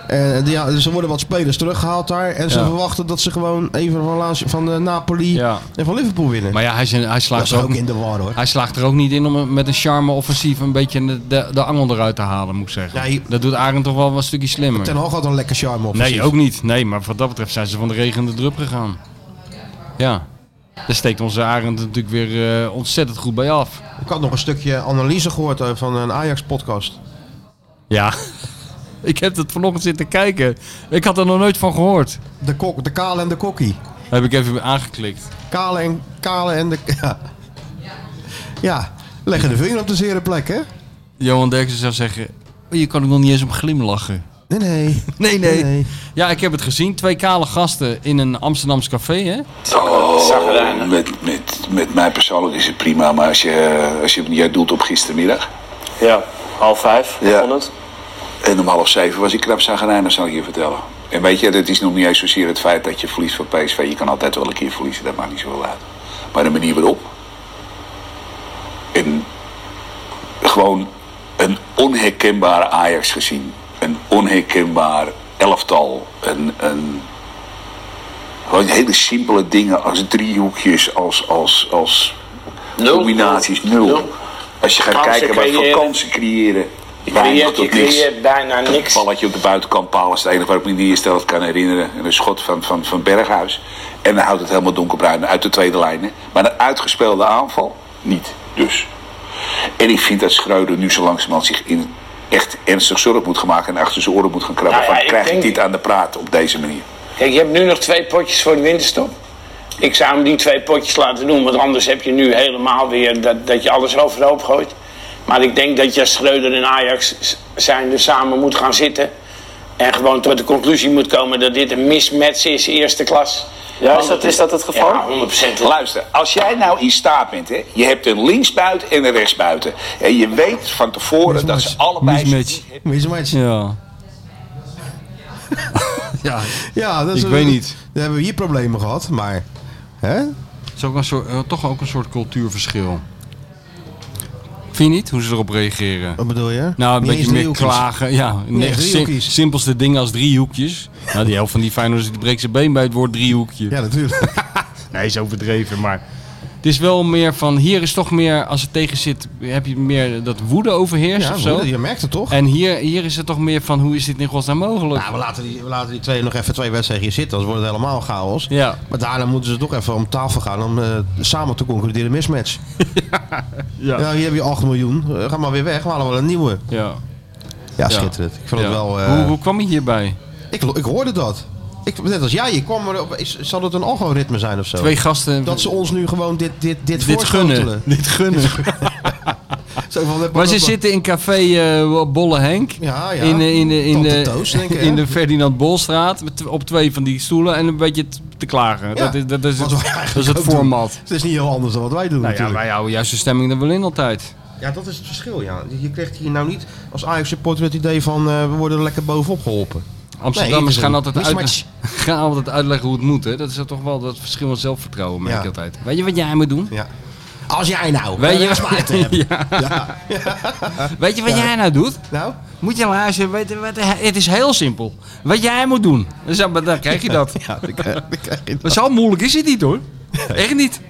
[SPEAKER 2] En die, ja, ze worden wat spelers teruggehaald daar. En ze
[SPEAKER 3] Ja.
[SPEAKER 2] verwachten dat ze gewoon even van, Lazio- van eh, Napoli
[SPEAKER 3] Ja.
[SPEAKER 2] en van Liverpool winnen.
[SPEAKER 3] Maar ja, hij, is een- hij,
[SPEAKER 2] dat
[SPEAKER 3] slaagt,
[SPEAKER 2] is
[SPEAKER 3] er ook,
[SPEAKER 2] ook in de war hoor.
[SPEAKER 3] hij slaagt er ook niet in om een- met een charme offensief een beetje de, de, de angel eruit te halen, moet ik zeggen.
[SPEAKER 2] Ja, je-
[SPEAKER 3] Dat doet Arend toch wel een stukje
[SPEAKER 2] Ten
[SPEAKER 3] slimmer.
[SPEAKER 2] Hag had een lekker charme op.
[SPEAKER 3] Nee, ook niet. Nee, maar wat dat betreft zijn ze van de regen in de drup gegaan. Ja. Daar steekt onze Arend natuurlijk weer eh, ontzettend goed bij af.
[SPEAKER 2] Ik had nog een stukje analyse gehoord eh, van een Ajax-podcast.
[SPEAKER 3] Ja. [laughs] Ik heb het vanochtend zitten kijken. Ik had er nog nooit van gehoord.
[SPEAKER 2] De, kok, de Kale en de Kokkie.
[SPEAKER 3] Heb ik even aangeklikt.
[SPEAKER 2] Kale en, kale en de... [laughs] Ja. ja, leggen de vinger op de zere plek hè?
[SPEAKER 3] Johan Derksen zou zeggen... "Oh, Je kan er nog niet eens om glimlachen.
[SPEAKER 2] Nee, nee.
[SPEAKER 3] [laughs] Nee, Ja, ik heb het gezien. Twee kale gasten in een Amsterdams café, hè?
[SPEAKER 8] Oh, met, met, met mij persoonlijk is het prima, maar als je, als je, jij doelt op gistermiddag.
[SPEAKER 6] Ja, half vijf
[SPEAKER 8] Ja.
[SPEAKER 6] begon het.
[SPEAKER 8] En om half zeven was ik knap zagrijnig, zal ik je vertellen. En weet je, dat is nog niet eens zozeer het feit dat je verliest van PSV. Je kan altijd wel een keer verliezen, dat maakt niet zoveel uit. Maar de manier waarop. En gewoon een onherkenbare Ajax gezien. een onherkenbaar elftal. Een, een, gewoon hele simpele dingen als driehoekjes, als, als, als
[SPEAKER 9] Nul.
[SPEAKER 8] combinaties nul.
[SPEAKER 9] Nul.
[SPEAKER 8] Als je gaat
[SPEAKER 9] Kansen
[SPEAKER 8] kijken bij
[SPEAKER 9] creëren.
[SPEAKER 8] vakantie creëren,
[SPEAKER 9] Je
[SPEAKER 8] weinig
[SPEAKER 9] creëert, je
[SPEAKER 8] tot niks.
[SPEAKER 9] creëert bijna niks.
[SPEAKER 8] Balletje op de buitenkant, paal is het enige waar ik me die eerste helft kan herinneren. En een schot van, van, van Berghuis. En dan houdt het helemaal donkerbruin uit de tweede lijn. Hè. Maar een uitgespeelde aanval, niet dus. En ik vind dat Schreuder nu zo langzamerhand zich in echt ernstig zorg moet gaan maken. En achter zijn oren moet gaan krabben
[SPEAKER 9] Nou ja,
[SPEAKER 8] van
[SPEAKER 9] ik
[SPEAKER 8] krijg ik
[SPEAKER 9] denk-
[SPEAKER 8] dit aan de praat op deze manier.
[SPEAKER 9] Kijk, je hebt nu nog twee potjes voor de winterstop. Ik zou hem die twee potjes laten doen, want anders heb je nu helemaal weer dat, dat je alles overhoop gooit. Maar ik denk dat je als Schreuder en Ajax s- zijn er samen moet gaan zitten. En gewoon tot de conclusie moet komen dat dit een mismatch is, eerste klas.
[SPEAKER 10] Ja, is dat- is dat het geval?
[SPEAKER 9] Ja, 100%.
[SPEAKER 8] Luister, als jij nou in staat bent, hè, je hebt een linksbuiten en een rechtsbuiten. En je weet van tevoren dat ze allebei...
[SPEAKER 3] Mismatch.
[SPEAKER 2] Mismatch.
[SPEAKER 3] Ja. [laughs] ja.
[SPEAKER 2] Ja, dat is
[SPEAKER 3] Ik weet niet.
[SPEAKER 2] Dan hebben we hier problemen gehad, maar... Hè?
[SPEAKER 3] Het is ook een soort, eh, toch ook een soort cultuurverschil. Vind je niet? Hoe ze erop reageren?
[SPEAKER 2] Wat bedoel je?
[SPEAKER 3] Nou, een
[SPEAKER 2] Niet eens
[SPEAKER 3] beetje meer
[SPEAKER 2] driehoekjes.
[SPEAKER 3] klagen. Ja, nee,
[SPEAKER 2] eens
[SPEAKER 3] sim-
[SPEAKER 2] driehoekjes.
[SPEAKER 3] simpelste dingen als driehoekjes. Nou, die helft van die Feyenoorders die breekt zijn been bij het woord driehoekje.
[SPEAKER 2] Ja,
[SPEAKER 3] [laughs]
[SPEAKER 2] natuurlijk.
[SPEAKER 3] Nee, is overdreven, maar... Het is wel meer van, hier is toch meer, als het tegen zit, heb je meer dat woede overheerst
[SPEAKER 2] ja,
[SPEAKER 3] of zo.
[SPEAKER 2] broeder, je merkt het toch?
[SPEAKER 3] En hier, hier is het toch meer van, hoe is dit in godsnaam mogelijk?
[SPEAKER 2] Nou, we laten, die, we laten die twee nog even twee wedstrijden hier zitten. anders wordt het helemaal chaos.
[SPEAKER 3] Ja.
[SPEAKER 2] Maar daarna moeten ze toch even om tafel gaan om eh, samen te concluderen mismatch.
[SPEAKER 3] [laughs] Ja.
[SPEAKER 2] Nou, hier heb je 8 miljoen. Eh, ga maar weer weg. We halen wel een nieuwe.
[SPEAKER 3] Ja.
[SPEAKER 2] Ja,
[SPEAKER 3] Ja.
[SPEAKER 2] schitterend. Ik vond
[SPEAKER 3] Ja.
[SPEAKER 2] het wel... eh,
[SPEAKER 3] hoe, hoe kwam je hierbij?
[SPEAKER 2] ik, ik hoorde dat. Ik, net als jij. Ik kwam erop. Is, zal het een algoritme zijn of zo?
[SPEAKER 3] Twee gasten...
[SPEAKER 2] Dat ze ons nu gewoon dit, dit, dit,
[SPEAKER 3] dit gunnen.
[SPEAKER 2] voorschotelen.
[SPEAKER 3] [laughs] Dit gunnen.
[SPEAKER 2] Zo van, we hebben
[SPEAKER 3] Maar ze
[SPEAKER 2] nog-
[SPEAKER 3] zitten in café eh, Bolle Henk.
[SPEAKER 2] Ja, ja.
[SPEAKER 3] In, eh, in, de- in,
[SPEAKER 2] Tante
[SPEAKER 3] de-
[SPEAKER 2] Toos, denk ik, hè?
[SPEAKER 3] [laughs] in de Ferdinand Bolstraat. met- Op twee van die stoelen en een beetje t- te klagen.
[SPEAKER 2] Ja,
[SPEAKER 3] Dat, is, dat, is
[SPEAKER 2] wat
[SPEAKER 3] het,
[SPEAKER 2] we
[SPEAKER 3] dat
[SPEAKER 2] eigenlijk
[SPEAKER 3] is het
[SPEAKER 2] ook doen.
[SPEAKER 3] format.
[SPEAKER 2] Het is niet heel anders dan wat wij doen
[SPEAKER 3] Nou ja,
[SPEAKER 2] natuurlijk.
[SPEAKER 3] wij houden juist de stemming er wel in altijd.
[SPEAKER 2] Ja, dat is het verschil, ja. Je krijgt hier nou niet als Ajax-supporter het idee van eh, we worden er lekker bovenop geholpen.
[SPEAKER 3] Amsterdammers
[SPEAKER 2] Nee,
[SPEAKER 3] gaan,
[SPEAKER 2] het is
[SPEAKER 3] altijd
[SPEAKER 2] een
[SPEAKER 3] uit,
[SPEAKER 2] mismatch.
[SPEAKER 3] [laughs] gaan altijd uitleggen hoe het moet. Hè. Dat is toch wel dat verschil van zelfvertrouwen, merk
[SPEAKER 2] Ja.
[SPEAKER 3] ik altijd. Weet je wat jij moet doen?
[SPEAKER 2] Ja. Als jij nou
[SPEAKER 3] Weet je-
[SPEAKER 2] eh,
[SPEAKER 3] [laughs]
[SPEAKER 2] smaakte hebt.
[SPEAKER 3] Ja.
[SPEAKER 2] Ja.
[SPEAKER 3] Weet je wat jij nou doet?
[SPEAKER 2] Nou,
[SPEAKER 3] Moet je luisteren. Weet, je wat- het is heel simpel. Wat jij moet doen. Dus Dan zou- Dan krijg je dat.
[SPEAKER 2] [laughs] ja, dan krijg- dan krijg je
[SPEAKER 3] Maar
[SPEAKER 2] dat.
[SPEAKER 3] zo moeilijk is het niet hoor. Echt niet.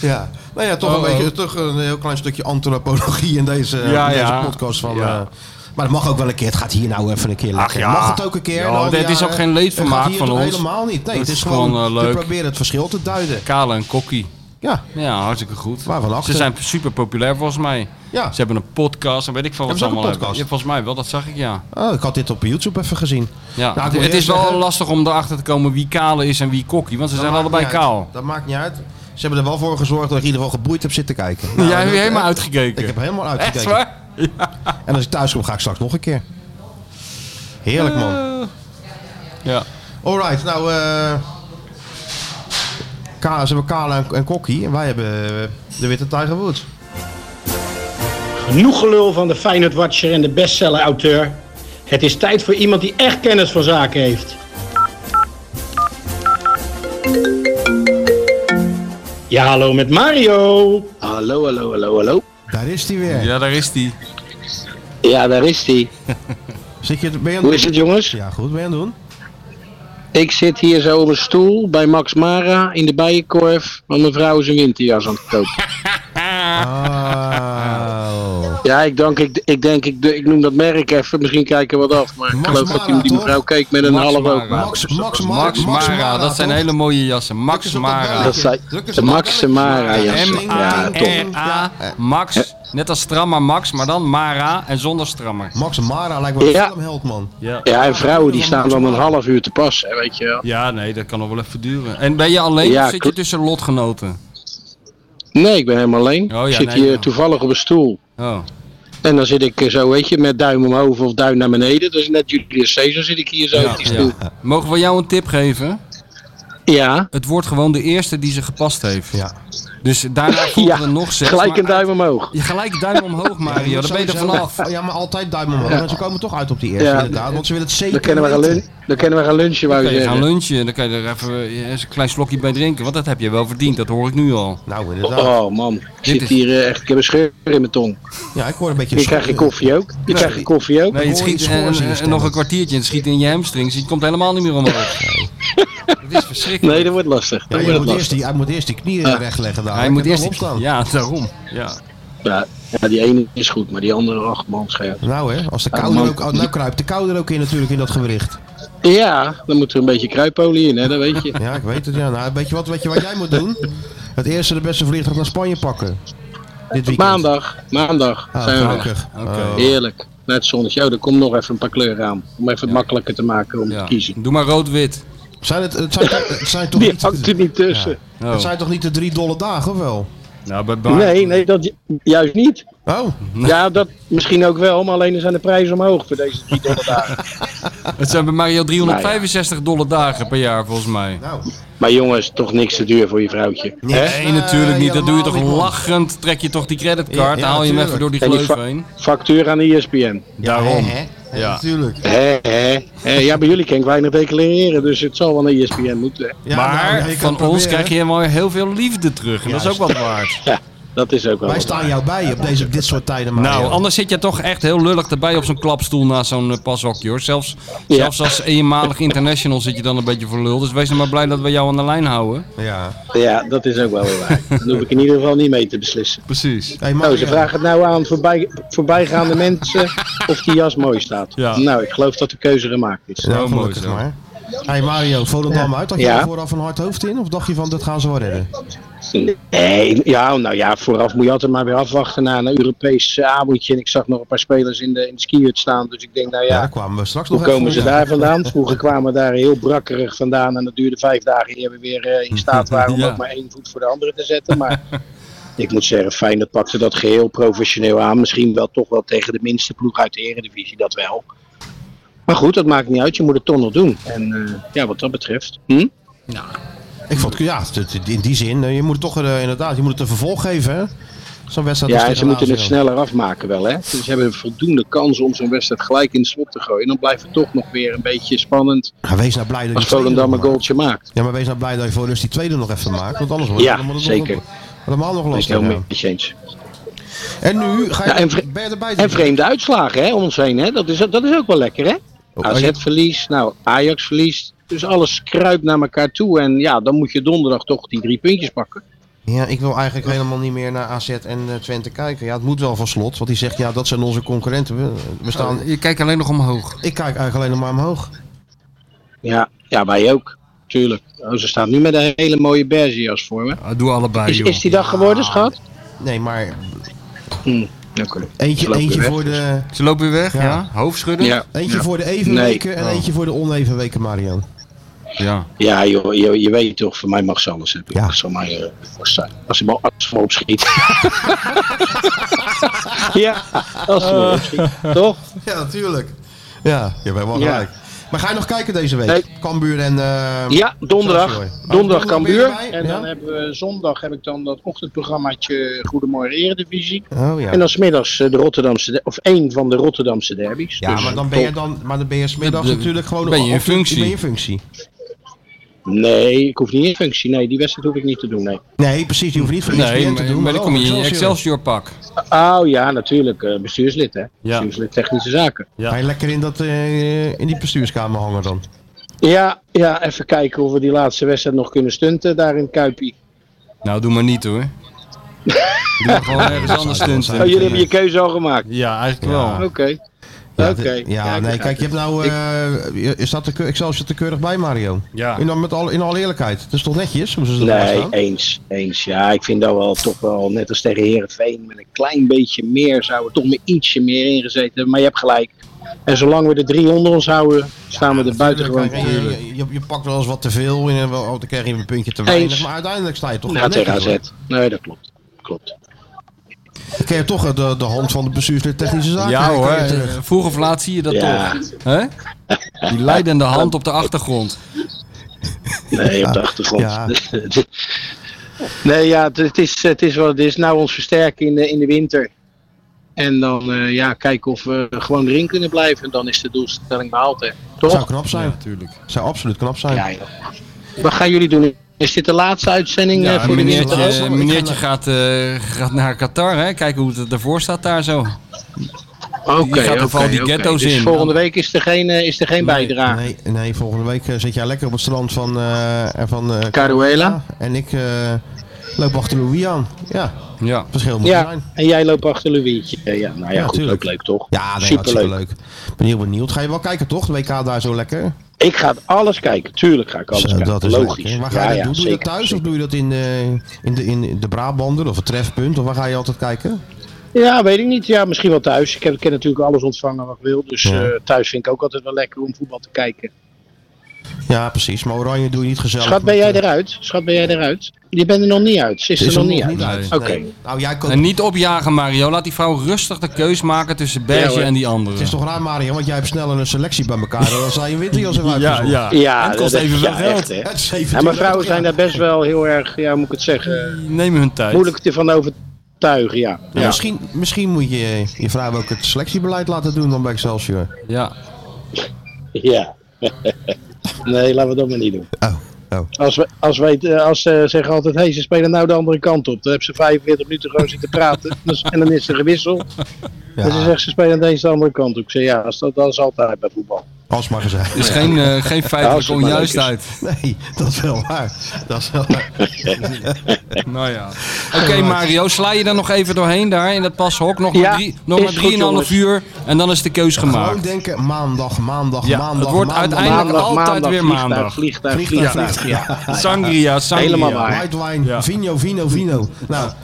[SPEAKER 2] Ja. Nou ja, toch
[SPEAKER 3] Oh,
[SPEAKER 2] een
[SPEAKER 3] oh.
[SPEAKER 2] beetje toch een heel klein stukje antropologie in deze,
[SPEAKER 3] Ja,
[SPEAKER 2] in deze
[SPEAKER 3] ja.
[SPEAKER 2] podcast van.
[SPEAKER 3] Ja.
[SPEAKER 2] eh, maar dat mag ook wel een keer. Het gaat hier nou even een keer lekker.
[SPEAKER 3] ja.
[SPEAKER 2] Mag het ook een keer?
[SPEAKER 3] Ja,
[SPEAKER 2] na al die
[SPEAKER 3] dit is
[SPEAKER 2] jaren?
[SPEAKER 3] ook geen leedvermaak
[SPEAKER 2] Het gaat hier
[SPEAKER 3] van
[SPEAKER 2] toch
[SPEAKER 3] ons.
[SPEAKER 2] Helemaal niet. Nee,
[SPEAKER 3] Dat
[SPEAKER 2] het is
[SPEAKER 3] is
[SPEAKER 2] gewoon,
[SPEAKER 3] gewoon, eh,
[SPEAKER 2] We
[SPEAKER 3] leuk.
[SPEAKER 2] proberen het verschil te duiden.
[SPEAKER 3] Kale en Kokkie.
[SPEAKER 2] Ja.
[SPEAKER 3] Ja, hartstikke goed.
[SPEAKER 2] Waarvan achter?
[SPEAKER 3] Ze zijn super populair volgens mij.
[SPEAKER 2] Ja.
[SPEAKER 3] Ze hebben een podcast en weet ik veel wat
[SPEAKER 2] Hebben ze
[SPEAKER 3] ze
[SPEAKER 2] ook een
[SPEAKER 3] allemaal hebben.
[SPEAKER 2] podcast?
[SPEAKER 3] Ja, volgens mij wel, dat zag ik ja.
[SPEAKER 2] Oh, ik had dit op YouTube even gezien.
[SPEAKER 3] ja.
[SPEAKER 2] Nou, ik moet
[SPEAKER 3] het is
[SPEAKER 2] eerst
[SPEAKER 3] wel
[SPEAKER 2] zeggen-
[SPEAKER 3] lastig om erachter te komen wie Kale is en wie Kokkie, want ze
[SPEAKER 2] Dat
[SPEAKER 3] zijn
[SPEAKER 2] maakt
[SPEAKER 3] allebei
[SPEAKER 2] niet uit.
[SPEAKER 3] kaal.
[SPEAKER 2] Dat maakt niet uit. Ze hebben er wel voor gezorgd dat ik in ieder geval geboeid heb zitten kijken. Nou,
[SPEAKER 3] Jij
[SPEAKER 2] dat-
[SPEAKER 3] hebt helemaal
[SPEAKER 2] eh,
[SPEAKER 3] uitgekeken.
[SPEAKER 2] Ik heb helemaal uitgekeken.
[SPEAKER 3] Echt waar?
[SPEAKER 2] En als ik thuis kom, ga ik straks nog een keer. Heerlijk, man.
[SPEAKER 3] Ja.
[SPEAKER 2] Alright, nou... eh Ka- ze hebben Kala en, en Kokkie. En wij hebben eh, de Witte Tiger Woods.
[SPEAKER 11] Genoeg gelul van de Feyenoord Watcher en de bestseller auteur. Het is tijd voor iemand die echt kennis van zaken heeft. Ja, hallo met Mario.
[SPEAKER 10] Hallo, hallo, hallo, hallo.
[SPEAKER 2] Daar is hij weer.
[SPEAKER 3] ja, daar is die.
[SPEAKER 10] Ja, daar is die.
[SPEAKER 2] Zit je, ben je aan
[SPEAKER 10] Hoe is het, jongens?
[SPEAKER 2] Ja, goed. Ben je aan het doen?
[SPEAKER 10] Ik zit hier zo op een stoel bij Max Mara in de bijenkorf, want mijn vrouw is een winterjas aan het
[SPEAKER 2] [laughs]
[SPEAKER 10] kopen.
[SPEAKER 2] Oh.
[SPEAKER 10] Ja, ik, dank, ik, ik denk, ik, ik noem dat merk even, misschien kijken we wat af, maar ik
[SPEAKER 2] Max
[SPEAKER 10] geloof dat die,
[SPEAKER 2] Mara,
[SPEAKER 10] die mevrouw
[SPEAKER 2] toch?
[SPEAKER 10] keek met een
[SPEAKER 3] Max
[SPEAKER 10] half
[SPEAKER 3] Mara.
[SPEAKER 10] oog. maar.
[SPEAKER 2] Max, Max, Ma-
[SPEAKER 3] Max, Mara, dat
[SPEAKER 2] toch?
[SPEAKER 3] zijn hele mooie jassen. Max
[SPEAKER 2] Drukken ze op dat
[SPEAKER 3] Mara.
[SPEAKER 2] belletje.
[SPEAKER 10] Dat zei-
[SPEAKER 2] Drukken ze
[SPEAKER 10] de
[SPEAKER 2] op dat
[SPEAKER 10] Max
[SPEAKER 2] belletje.
[SPEAKER 10] Mara, ja.
[SPEAKER 2] Ding,
[SPEAKER 10] Ja,
[SPEAKER 2] ding, ding.
[SPEAKER 3] M-A-R-A,
[SPEAKER 2] Ja, eh,
[SPEAKER 3] Max, net als stramma Max, maar dan Mara en zonder strammer.
[SPEAKER 2] Max Mara lijkt wel een
[SPEAKER 10] Ja.
[SPEAKER 2] filmheld, man.
[SPEAKER 3] Ja.
[SPEAKER 10] Ja, en vrouwen die staan dan een half uur te passen, hè, weet je wel.
[SPEAKER 3] ja, nee, dat kan nog wel even duren. En ben je alleen
[SPEAKER 10] Ja,
[SPEAKER 3] of zit je
[SPEAKER 10] klopt.
[SPEAKER 3] tussen lotgenoten?
[SPEAKER 10] Nee, ik ben helemaal alleen.
[SPEAKER 3] Oh, ja,
[SPEAKER 10] ik zit
[SPEAKER 3] nee,
[SPEAKER 10] hier
[SPEAKER 3] ja.
[SPEAKER 10] toevallig op een stoel.
[SPEAKER 3] Oh.
[SPEAKER 10] En dan zit ik eh, zo, weet je, met duim omhoog of duim naar beneden. Dat is net Julius Caesar zit ik hier zo op die stoel.
[SPEAKER 3] Mogen we jou een tip geven?
[SPEAKER 10] Ja, Ja.
[SPEAKER 3] Het wordt gewoon de eerste die ze gepast heeft. Ja. Dus daarna volgen er nog zes.
[SPEAKER 10] Gelijk een
[SPEAKER 3] maar
[SPEAKER 10] duim Oh, omhoog.
[SPEAKER 3] Ja, gelijk duim omhoog, Mario. Daar ben je er
[SPEAKER 2] Sowieso.
[SPEAKER 3] vanaf.
[SPEAKER 2] Ja, maar altijd duim omhoog.
[SPEAKER 10] Ja.
[SPEAKER 2] Maar Ze komen toch uit op die eerste,
[SPEAKER 10] Ja.
[SPEAKER 2] inderdaad. Want ze willen het zeker
[SPEAKER 10] Dan kunnen we gaan,
[SPEAKER 2] weten.
[SPEAKER 10] lun- dan kunnen we gaan lunchen, wou
[SPEAKER 3] Dan
[SPEAKER 10] je
[SPEAKER 3] kan je gaan
[SPEAKER 10] zeggen.
[SPEAKER 3] lunchen. Dan kan je er even eh, eens een klein slokje bij drinken. Want dat heb je wel verdiend. Dat hoor ik nu al.
[SPEAKER 2] Nou, inderdaad.
[SPEAKER 10] Oh man, ik
[SPEAKER 3] Dit
[SPEAKER 10] zit
[SPEAKER 3] is-
[SPEAKER 10] hier eh, echt, ik heb een scheur in mijn tong.
[SPEAKER 2] Ja, ik hoor een beetje...
[SPEAKER 10] Je krijgt je koffie ook. Je
[SPEAKER 3] Nee.
[SPEAKER 10] krijgt je dus koffie ook.
[SPEAKER 3] Nee, het
[SPEAKER 2] hoor je
[SPEAKER 3] schiet
[SPEAKER 2] de
[SPEAKER 3] en,
[SPEAKER 2] schors in je
[SPEAKER 3] en- en
[SPEAKER 2] stem.
[SPEAKER 3] nog een kwartiertje. Het schiet in je hamstrings. Je komt helemaal niet meer omhoog. [laughs] Het is verschrikkelijk.
[SPEAKER 10] Nee, dat wordt lastig.
[SPEAKER 2] Ja,
[SPEAKER 10] Dat
[SPEAKER 2] je
[SPEAKER 10] wordt
[SPEAKER 2] moet
[SPEAKER 10] het
[SPEAKER 2] eerst
[SPEAKER 10] lastig.
[SPEAKER 2] die, hij moet eerst die knieën
[SPEAKER 10] Ah.
[SPEAKER 2] rechtleggen daar.
[SPEAKER 3] Hij moet eerst
[SPEAKER 2] opstaan.
[SPEAKER 3] Ja, [laughs] daarom. Ja.
[SPEAKER 10] Ja, ja, die ene is goed, maar die andere, ach man, scherp.
[SPEAKER 2] Nou hè, als de
[SPEAKER 10] Ah,
[SPEAKER 2] kou er
[SPEAKER 10] man.
[SPEAKER 2] ook... oh, nou kruipt de kou er ook in natuurlijk in dat gewricht.
[SPEAKER 10] Ja, dan moet er een beetje kruipolie in, hè, dat weet je.
[SPEAKER 2] Ja, ik weet het. Ja. Nou, weet, je wat, weet je wat jij moet doen? Het eerste de beste vliegtuig naar Spanje pakken. Dit weekend.
[SPEAKER 10] Maandag, maandag
[SPEAKER 2] Ah,
[SPEAKER 10] zijn we weg.
[SPEAKER 2] gelukkig.
[SPEAKER 3] Oké.
[SPEAKER 2] Oh.
[SPEAKER 10] Heerlijk. Naar het zonnetje. Oh, er komt nog even een paar kleuren aan. Om even het makkelijker te maken om
[SPEAKER 3] Ja.
[SPEAKER 10] te kiezen.
[SPEAKER 3] Doe maar rood-wit.
[SPEAKER 2] Zijn het, het, zijn, het zijn toch
[SPEAKER 10] Die
[SPEAKER 2] niet...
[SPEAKER 10] hangt er niet tussen.
[SPEAKER 3] Oh.
[SPEAKER 2] Het zijn toch niet de drie dolle dagen, of wel?
[SPEAKER 3] Nou, bij- bij-
[SPEAKER 10] Nee, nee, [laughs] dat ju- juist niet.
[SPEAKER 2] Oh,
[SPEAKER 10] Ja, dat misschien ook wel, maar alleen zijn de prijzen omhoog voor deze drie dolle dagen.
[SPEAKER 3] Het zijn bij
[SPEAKER 10] Nou
[SPEAKER 3] Mario 365 dollar dagen per jaar volgens mij.
[SPEAKER 2] nou.
[SPEAKER 10] Maar jongens, toch niks te duur voor je vrouwtje. Hè?
[SPEAKER 3] Nee, natuurlijk niet. Dat doe je toch
[SPEAKER 2] helemaal niet, man.
[SPEAKER 3] lachend. Trek je toch die
[SPEAKER 2] Ja,
[SPEAKER 3] creditcard.
[SPEAKER 2] ja,
[SPEAKER 3] Dan haal je hem even door die
[SPEAKER 10] En die
[SPEAKER 3] gleuf
[SPEAKER 10] fa-
[SPEAKER 3] heen.
[SPEAKER 10] factuur aan de ESPN.
[SPEAKER 3] Daarom.
[SPEAKER 2] Hè, hè? hè?
[SPEAKER 3] Ja.
[SPEAKER 2] Natuurlijk.
[SPEAKER 10] Hè, hè, hè. Ja, bij jullie kan ik weinig declareren, dus het zal wel naar ESPN moeten.
[SPEAKER 2] Ja, nou,
[SPEAKER 3] maar
[SPEAKER 2] ik kan
[SPEAKER 3] van
[SPEAKER 2] proberen.
[SPEAKER 3] ons krijg je helemaal heel veel liefde terug. En dat is ook
[SPEAKER 2] Juist.
[SPEAKER 3] wat waard.
[SPEAKER 10] [laughs] Ja, dat is ook wel.
[SPEAKER 2] Wij
[SPEAKER 10] wat.
[SPEAKER 2] staan jou bij op deze, op dit soort tijden, Mario.
[SPEAKER 3] Nou, anders zit je toch echt heel lullig erbij op zo'n klapstoel naast zo'n eh, pashokje hoor. Zelfs,
[SPEAKER 10] Ja.
[SPEAKER 3] zelfs als eenmalig international zit je dan een beetje voor lul. Dus wees nou maar blij dat we jou aan de lijn houden.
[SPEAKER 2] Ja.
[SPEAKER 10] Ja, dat is ook wel weer waar. Dan hoef ik in ieder geval niet mee te beslissen.
[SPEAKER 3] Precies.
[SPEAKER 2] Hey, Mario.
[SPEAKER 10] Nou, ze vragen het nou aan voorbij, voorbijgaande mensen of die jas mooi staat.
[SPEAKER 3] Ja.
[SPEAKER 10] Nou, ik geloof dat de keuze gemaakt is.
[SPEAKER 2] Ja,
[SPEAKER 3] Zo mooi
[SPEAKER 2] gelukkig
[SPEAKER 3] zo.
[SPEAKER 2] maar. Hey Mario, Volendam uit. Had je
[SPEAKER 10] Ja.
[SPEAKER 2] daar vooraf een hard hoofd in? Of dacht je van, dat gaan ze wel redden?
[SPEAKER 10] Nee, ja, nou ja, vooraf moet je altijd maar weer afwachten na een Europees eh, avondje. En ik zag nog een paar spelers in de, in de skihut staan, dus ik denk, nou
[SPEAKER 2] Ja,
[SPEAKER 10] ja,
[SPEAKER 2] daar kwamen we straks
[SPEAKER 10] hoe
[SPEAKER 2] nog even
[SPEAKER 10] komen ze
[SPEAKER 2] op.
[SPEAKER 10] daar vandaan? Vroeger kwamen daar heel brakkerig vandaan en dat duurde vijf dagen eer we weer eh, in staat waren om
[SPEAKER 3] Ja.
[SPEAKER 10] ook maar één voet voor de andere te zetten. Maar [laughs] ik moet zeggen, Feyenoord pakte dat geheel professioneel aan. Misschien wel toch wel tegen de minste ploeg uit de Eredivisie, dat wel. Maar goed, dat maakt niet uit, je moet het toch nog doen. En eh, ja, wat dat betreft. Hm?
[SPEAKER 2] Ik vond, ja, het- het- in die zin, eh, je moet het toch eh, inderdaad, je moet het een vervolg geven, hè? Zo'n wedstrijd als
[SPEAKER 10] Ja, en
[SPEAKER 2] tegen
[SPEAKER 10] ze moeten het
[SPEAKER 2] Lazio.
[SPEAKER 10] sneller afmaken wel, hè. Dus ze hebben voldoende kans om zo'n wedstrijd gelijk in het slot te gooien. En dan blijft het toch nog weer een beetje spannend
[SPEAKER 2] Ja, wees nou blij dat je
[SPEAKER 10] als
[SPEAKER 2] die tweede
[SPEAKER 10] Volendam
[SPEAKER 2] nog
[SPEAKER 10] een
[SPEAKER 2] maakt.
[SPEAKER 10] goaltje maakt.
[SPEAKER 2] Ja, maar wees nou blij dat je voor rust die tweede nog even maakt, want anders wordt
[SPEAKER 10] Ja,
[SPEAKER 2] het allemaal-
[SPEAKER 10] zeker.
[SPEAKER 2] nog- Allemaal nog
[SPEAKER 10] Dat is
[SPEAKER 2] lastig.
[SPEAKER 10] heel
[SPEAKER 2] ja.
[SPEAKER 10] met je eens.
[SPEAKER 2] En nu ga je,
[SPEAKER 10] Ja, en vre-
[SPEAKER 2] ben je erbij.
[SPEAKER 10] En vreemde uitslagen, hè, om ons heen, hè. Dat is, dat is ook wel lekker, hè. AZ verliest, nou, Ajax verliest. Dus alles kruipt naar elkaar toe. En ja, dan moet je donderdag toch die drie puntjes pakken.
[SPEAKER 2] Ja, ik wil eigenlijk helemaal niet meer naar AZ en eh, Twente kijken. Ja, het moet wel van slot, want die zegt, ja, dat zijn onze concurrenten. We, we staan,
[SPEAKER 10] Oh.
[SPEAKER 3] Je kijkt alleen nog omhoog.
[SPEAKER 2] ik kijk eigenlijk alleen nog maar omhoog.
[SPEAKER 10] Ja, ja wij ook. Tuurlijk. Oh, ze staat nu met een hele mooie beige jas voor me.
[SPEAKER 3] Ah, Doe allebei,
[SPEAKER 10] Is,
[SPEAKER 3] joh.
[SPEAKER 10] is die dag geworden, schat?
[SPEAKER 2] Nee, maar
[SPEAKER 10] Oké.
[SPEAKER 2] eentje,
[SPEAKER 10] Lopen
[SPEAKER 2] eentje
[SPEAKER 10] weg,
[SPEAKER 2] voor de...
[SPEAKER 3] Ze loopt weer weg, ja?
[SPEAKER 2] Ja.
[SPEAKER 3] Hoofdschudden?
[SPEAKER 10] Ja.
[SPEAKER 2] Eentje
[SPEAKER 10] ja.
[SPEAKER 2] voor de even
[SPEAKER 10] Nee.
[SPEAKER 2] weken en
[SPEAKER 3] Oh.
[SPEAKER 2] eentje voor de oneven weken, Marian.
[SPEAKER 3] Ja.
[SPEAKER 10] Ja, joh, je, je weet toch, voor mij mag ze alles hebben.
[SPEAKER 2] Ja.
[SPEAKER 10] Dat zal mij eh, vast zijn. Als ze maar als ze maar opschiet. ja, als ze maar opschiet. Toch?
[SPEAKER 2] Ja, natuurlijk. Ja, je bent wel
[SPEAKER 10] Ja.
[SPEAKER 2] gelijk. Maar ga je nog kijken deze week?
[SPEAKER 10] Nee.
[SPEAKER 2] Kambuur en... eh,
[SPEAKER 10] Ja, donderdag.
[SPEAKER 2] Sorry.
[SPEAKER 10] Donderdag Cambuur.
[SPEAKER 2] ben je erbij?
[SPEAKER 10] En dan
[SPEAKER 2] Ja.
[SPEAKER 10] hebben we zondag heb ik dan dat ochtendprogrammaatje Goedemorgen Eredivisie.
[SPEAKER 2] Oh ja.
[SPEAKER 10] En dan smiddags eh, de Rotterdamse, de- of één van de Rotterdamse derbies.
[SPEAKER 2] Ja,
[SPEAKER 10] Dus
[SPEAKER 2] maar dan ben je
[SPEAKER 10] top.
[SPEAKER 2] dan, maar dan ben je smiddags
[SPEAKER 3] Dan-
[SPEAKER 2] natuurlijk gewoon...
[SPEAKER 3] ben je in
[SPEAKER 2] of-
[SPEAKER 3] functie.
[SPEAKER 2] Ben je in functie.
[SPEAKER 10] Nee, ik hoef niet in functie. Nee, die wedstrijd hoef ik niet te doen, nee.
[SPEAKER 2] Nee, precies, je hoeft niet voor E
[SPEAKER 3] Nee,
[SPEAKER 2] ESPN te
[SPEAKER 3] maar,
[SPEAKER 2] doen.
[SPEAKER 3] maar dan
[SPEAKER 2] wel
[SPEAKER 3] kom je in je
[SPEAKER 2] Excelsior.
[SPEAKER 3] Excelsior pak.
[SPEAKER 10] Oh ja, natuurlijk. eh, bestuurslid, hè.
[SPEAKER 3] Ja.
[SPEAKER 10] Bestuurslid Technische Zaken.
[SPEAKER 2] Ga je lekker in, dat, eh, in die bestuurskamer hangen dan?
[SPEAKER 10] Ja, ja, even kijken of we die laatste wedstrijd nog kunnen stunten daar in Kuipie.
[SPEAKER 3] Nou, doe maar niet
[SPEAKER 10] [laughs]
[SPEAKER 3] hoor. doe maar gewoon ergens anders stunten.
[SPEAKER 10] Oh, jullie hebben je keuze al gemaakt.
[SPEAKER 3] Ja, eigenlijk
[SPEAKER 2] Ja.
[SPEAKER 3] wel.
[SPEAKER 10] Oké.
[SPEAKER 2] Ja,
[SPEAKER 10] Oké.
[SPEAKER 2] de- Ja,
[SPEAKER 10] ik
[SPEAKER 2] nee,
[SPEAKER 10] begrijp
[SPEAKER 2] kijk, je hebt
[SPEAKER 10] het.
[SPEAKER 2] nou...
[SPEAKER 10] Ik-
[SPEAKER 2] eh, je- je staat er, keur- Excelsior te keurig bij, Mario.
[SPEAKER 3] Ja.
[SPEAKER 2] In, al- met al, in alle eerlijkheid. Het is toch netjes hoe ze erbij
[SPEAKER 10] Nee,
[SPEAKER 2] staan?
[SPEAKER 10] eens, eens. Ja, ik vind dat wel toch wel, net als tegen Herenveen, met een klein beetje meer zou er toch met ietsje meer ingezeten hebben. Maar je hebt gelijk. En zolang we de drie onder ons houden, staan we er buitengewoon
[SPEAKER 2] Kijk,
[SPEAKER 10] voor.
[SPEAKER 2] je, je, je- je pakt wel eens wat te veel en eh, wel- oh, dan krijg je een puntje te weinig.
[SPEAKER 10] Eens.
[SPEAKER 2] Maar uiteindelijk sta je toch
[SPEAKER 10] Ja,
[SPEAKER 2] gewoon
[SPEAKER 10] tegen
[SPEAKER 2] netjes,
[SPEAKER 10] AZ. Nee, dat klopt. Klopt.
[SPEAKER 2] hoor. Dan krijg je toch eh, de, de hand van de bestuurslid technische zaken.
[SPEAKER 3] Ja
[SPEAKER 2] Dan
[SPEAKER 3] hoor,
[SPEAKER 2] kan je terug.
[SPEAKER 3] eh, vroeg of laat zie je dat
[SPEAKER 10] Ja.
[SPEAKER 3] toch. hè? Die leidende hand op de achtergrond.
[SPEAKER 10] Nee, op de achtergrond. [laughs] nee, ja, het- het is, het is wat het is. Nou, ons versterken in de, in de winter. En dan eh, ja, kijken of we gewoon erin kunnen blijven. En dan is de doelstelling behaald, hè. Toch?
[SPEAKER 2] Zou knap zijn. natuurlijk. Zou absoluut knap zijn.
[SPEAKER 10] Ja, Wat gaan jullie doen? Is dit de laatste uitzending eh,
[SPEAKER 3] Ja,
[SPEAKER 10] voor de winter?
[SPEAKER 3] meneertje, meneertje gaat, eh, gaat naar Qatar, hè? kijken hoe het ervoor staat daar zo.
[SPEAKER 10] Oké,
[SPEAKER 3] die gaat
[SPEAKER 10] oké,
[SPEAKER 3] over al die
[SPEAKER 10] oké.
[SPEAKER 3] ghetto's
[SPEAKER 10] Dus
[SPEAKER 3] in.
[SPEAKER 10] volgende week is er geen, eh, is er geen bijdrage.
[SPEAKER 2] Nee, nee, volgende week eh, zit jij lekker op het strand van... eh, en van eh,
[SPEAKER 10] Caruela.
[SPEAKER 2] En ik eh, loop achter Louis aan. Ja,
[SPEAKER 3] ja.
[SPEAKER 2] verschil moet
[SPEAKER 10] Ja,
[SPEAKER 2] zijn.
[SPEAKER 10] en jij loopt achter Louietje. Ja, nou ja,
[SPEAKER 2] Ja,
[SPEAKER 10] goed,
[SPEAKER 2] tuurlijk.
[SPEAKER 10] ook leuk toch?
[SPEAKER 2] Ja, nee,
[SPEAKER 10] superleuk.
[SPEAKER 2] hartstikke leuk. Ben heel benieuwd. Ga je wel kijken toch, de WK daar zo lekker?
[SPEAKER 10] Ik ga alles kijken, tuurlijk ga ik alles
[SPEAKER 2] Zo,
[SPEAKER 10] kijken.
[SPEAKER 2] dat is
[SPEAKER 10] Logisch.
[SPEAKER 2] lekker. Waar ga je
[SPEAKER 10] Ja,
[SPEAKER 2] dat
[SPEAKER 10] ja,
[SPEAKER 2] doen? doe je
[SPEAKER 10] zeker,
[SPEAKER 2] dat thuis of doe je dat in, eh, in, de, in de Brabander of het trefpunt? Of waar ga je altijd kijken?
[SPEAKER 10] Ja, weet ik niet. Ja, misschien wel thuis. Ik heb, ik heb natuurlijk alles ontvangen wat ik wil. Dus
[SPEAKER 2] Ja.
[SPEAKER 10] eh, thuis vind ik ook altijd wel lekker om voetbal te kijken.
[SPEAKER 2] Ja, precies. Maar Oranje doe je niet gezellig. eh,
[SPEAKER 10] Schat, ben jij eruit? Schat, ben jij eruit? Je bent er nog niet uit. Ze is, er nog niet uit. Oké.
[SPEAKER 2] Nou, jij
[SPEAKER 3] En niet opjagen, Mario. Laat die vrouw rustig de keus maken tussen
[SPEAKER 2] Ja,
[SPEAKER 3] Berge
[SPEAKER 2] hoor.
[SPEAKER 3] en die andere.
[SPEAKER 2] Het is toch raar, Mario, want jij hebt sneller een selectie bij elkaar dan als zij een winterjas heeft
[SPEAKER 3] Ja,
[SPEAKER 2] uitgezocht. [laughs]
[SPEAKER 3] ja.
[SPEAKER 10] Ja,
[SPEAKER 2] En het kost
[SPEAKER 10] dat-
[SPEAKER 2] evenveel
[SPEAKER 10] ja,
[SPEAKER 2] geld.
[SPEAKER 10] echt, hè.
[SPEAKER 2] Het is
[SPEAKER 10] Ja, maar
[SPEAKER 2] 17,80,
[SPEAKER 10] vrouwen zijn
[SPEAKER 2] ja.
[SPEAKER 10] daar best wel heel erg, ja, hoe moet ik het zeggen, eh,
[SPEAKER 3] Neem hun tijd.
[SPEAKER 10] moeilijk van overtuigen. Ja.
[SPEAKER 2] Ja, Misschien, misschien moet je je vrouw ook het selectiebeleid laten doen dan bij Excelsior.
[SPEAKER 3] Ja.
[SPEAKER 10] Ja. [laughs] nee, laten we dat maar niet doen.
[SPEAKER 2] Oh. Oh.
[SPEAKER 10] Als, we, als, wij, het, eh, als ze zeggen altijd, hé, hey, ze spelen nou de andere kant op. Dan hebben ze 45 minuten gewoon zitten praten. [laughs] Dus- en dan is er gewisseld. En ze zegt, ze spelen deze de andere kant op. Ik zeg, ja, als dat, dat is altijd bij voetbal.
[SPEAKER 2] Als maar gezegd.
[SPEAKER 3] Dus geen, eh, geen
[SPEAKER 10] Als
[SPEAKER 3] feitelijke
[SPEAKER 10] het maar leuk is.
[SPEAKER 3] onjuistheid.
[SPEAKER 2] [laughs] Nee, dat is wel waar. Dat is wel waar.
[SPEAKER 3] Nou ja. Oké Mario, sla je dan nog even doorheen daar in dat pashok. Nog
[SPEAKER 10] Ja,
[SPEAKER 3] maar drie- nog
[SPEAKER 10] is
[SPEAKER 3] maar
[SPEAKER 10] goed,
[SPEAKER 3] 3,5 uur en dan is de keus
[SPEAKER 2] Gewoon
[SPEAKER 3] gemaakt.
[SPEAKER 2] denken, maandag, maandag,
[SPEAKER 3] Ja,
[SPEAKER 2] maandag,
[SPEAKER 3] het wordt
[SPEAKER 2] maandag,
[SPEAKER 3] uiteindelijk
[SPEAKER 2] maandag.
[SPEAKER 3] altijd weer
[SPEAKER 10] vliegtuig,
[SPEAKER 3] maandag.
[SPEAKER 10] Vliegtuig,
[SPEAKER 2] Vliegtuig,
[SPEAKER 10] vliegtuig,
[SPEAKER 2] vliegtuig.
[SPEAKER 10] ja.
[SPEAKER 3] Sangria, sangria.
[SPEAKER 10] Helemaal waar.
[SPEAKER 2] White wine,
[SPEAKER 3] Ja.
[SPEAKER 2] vino, vino, vino. Nou,
[SPEAKER 10] [laughs]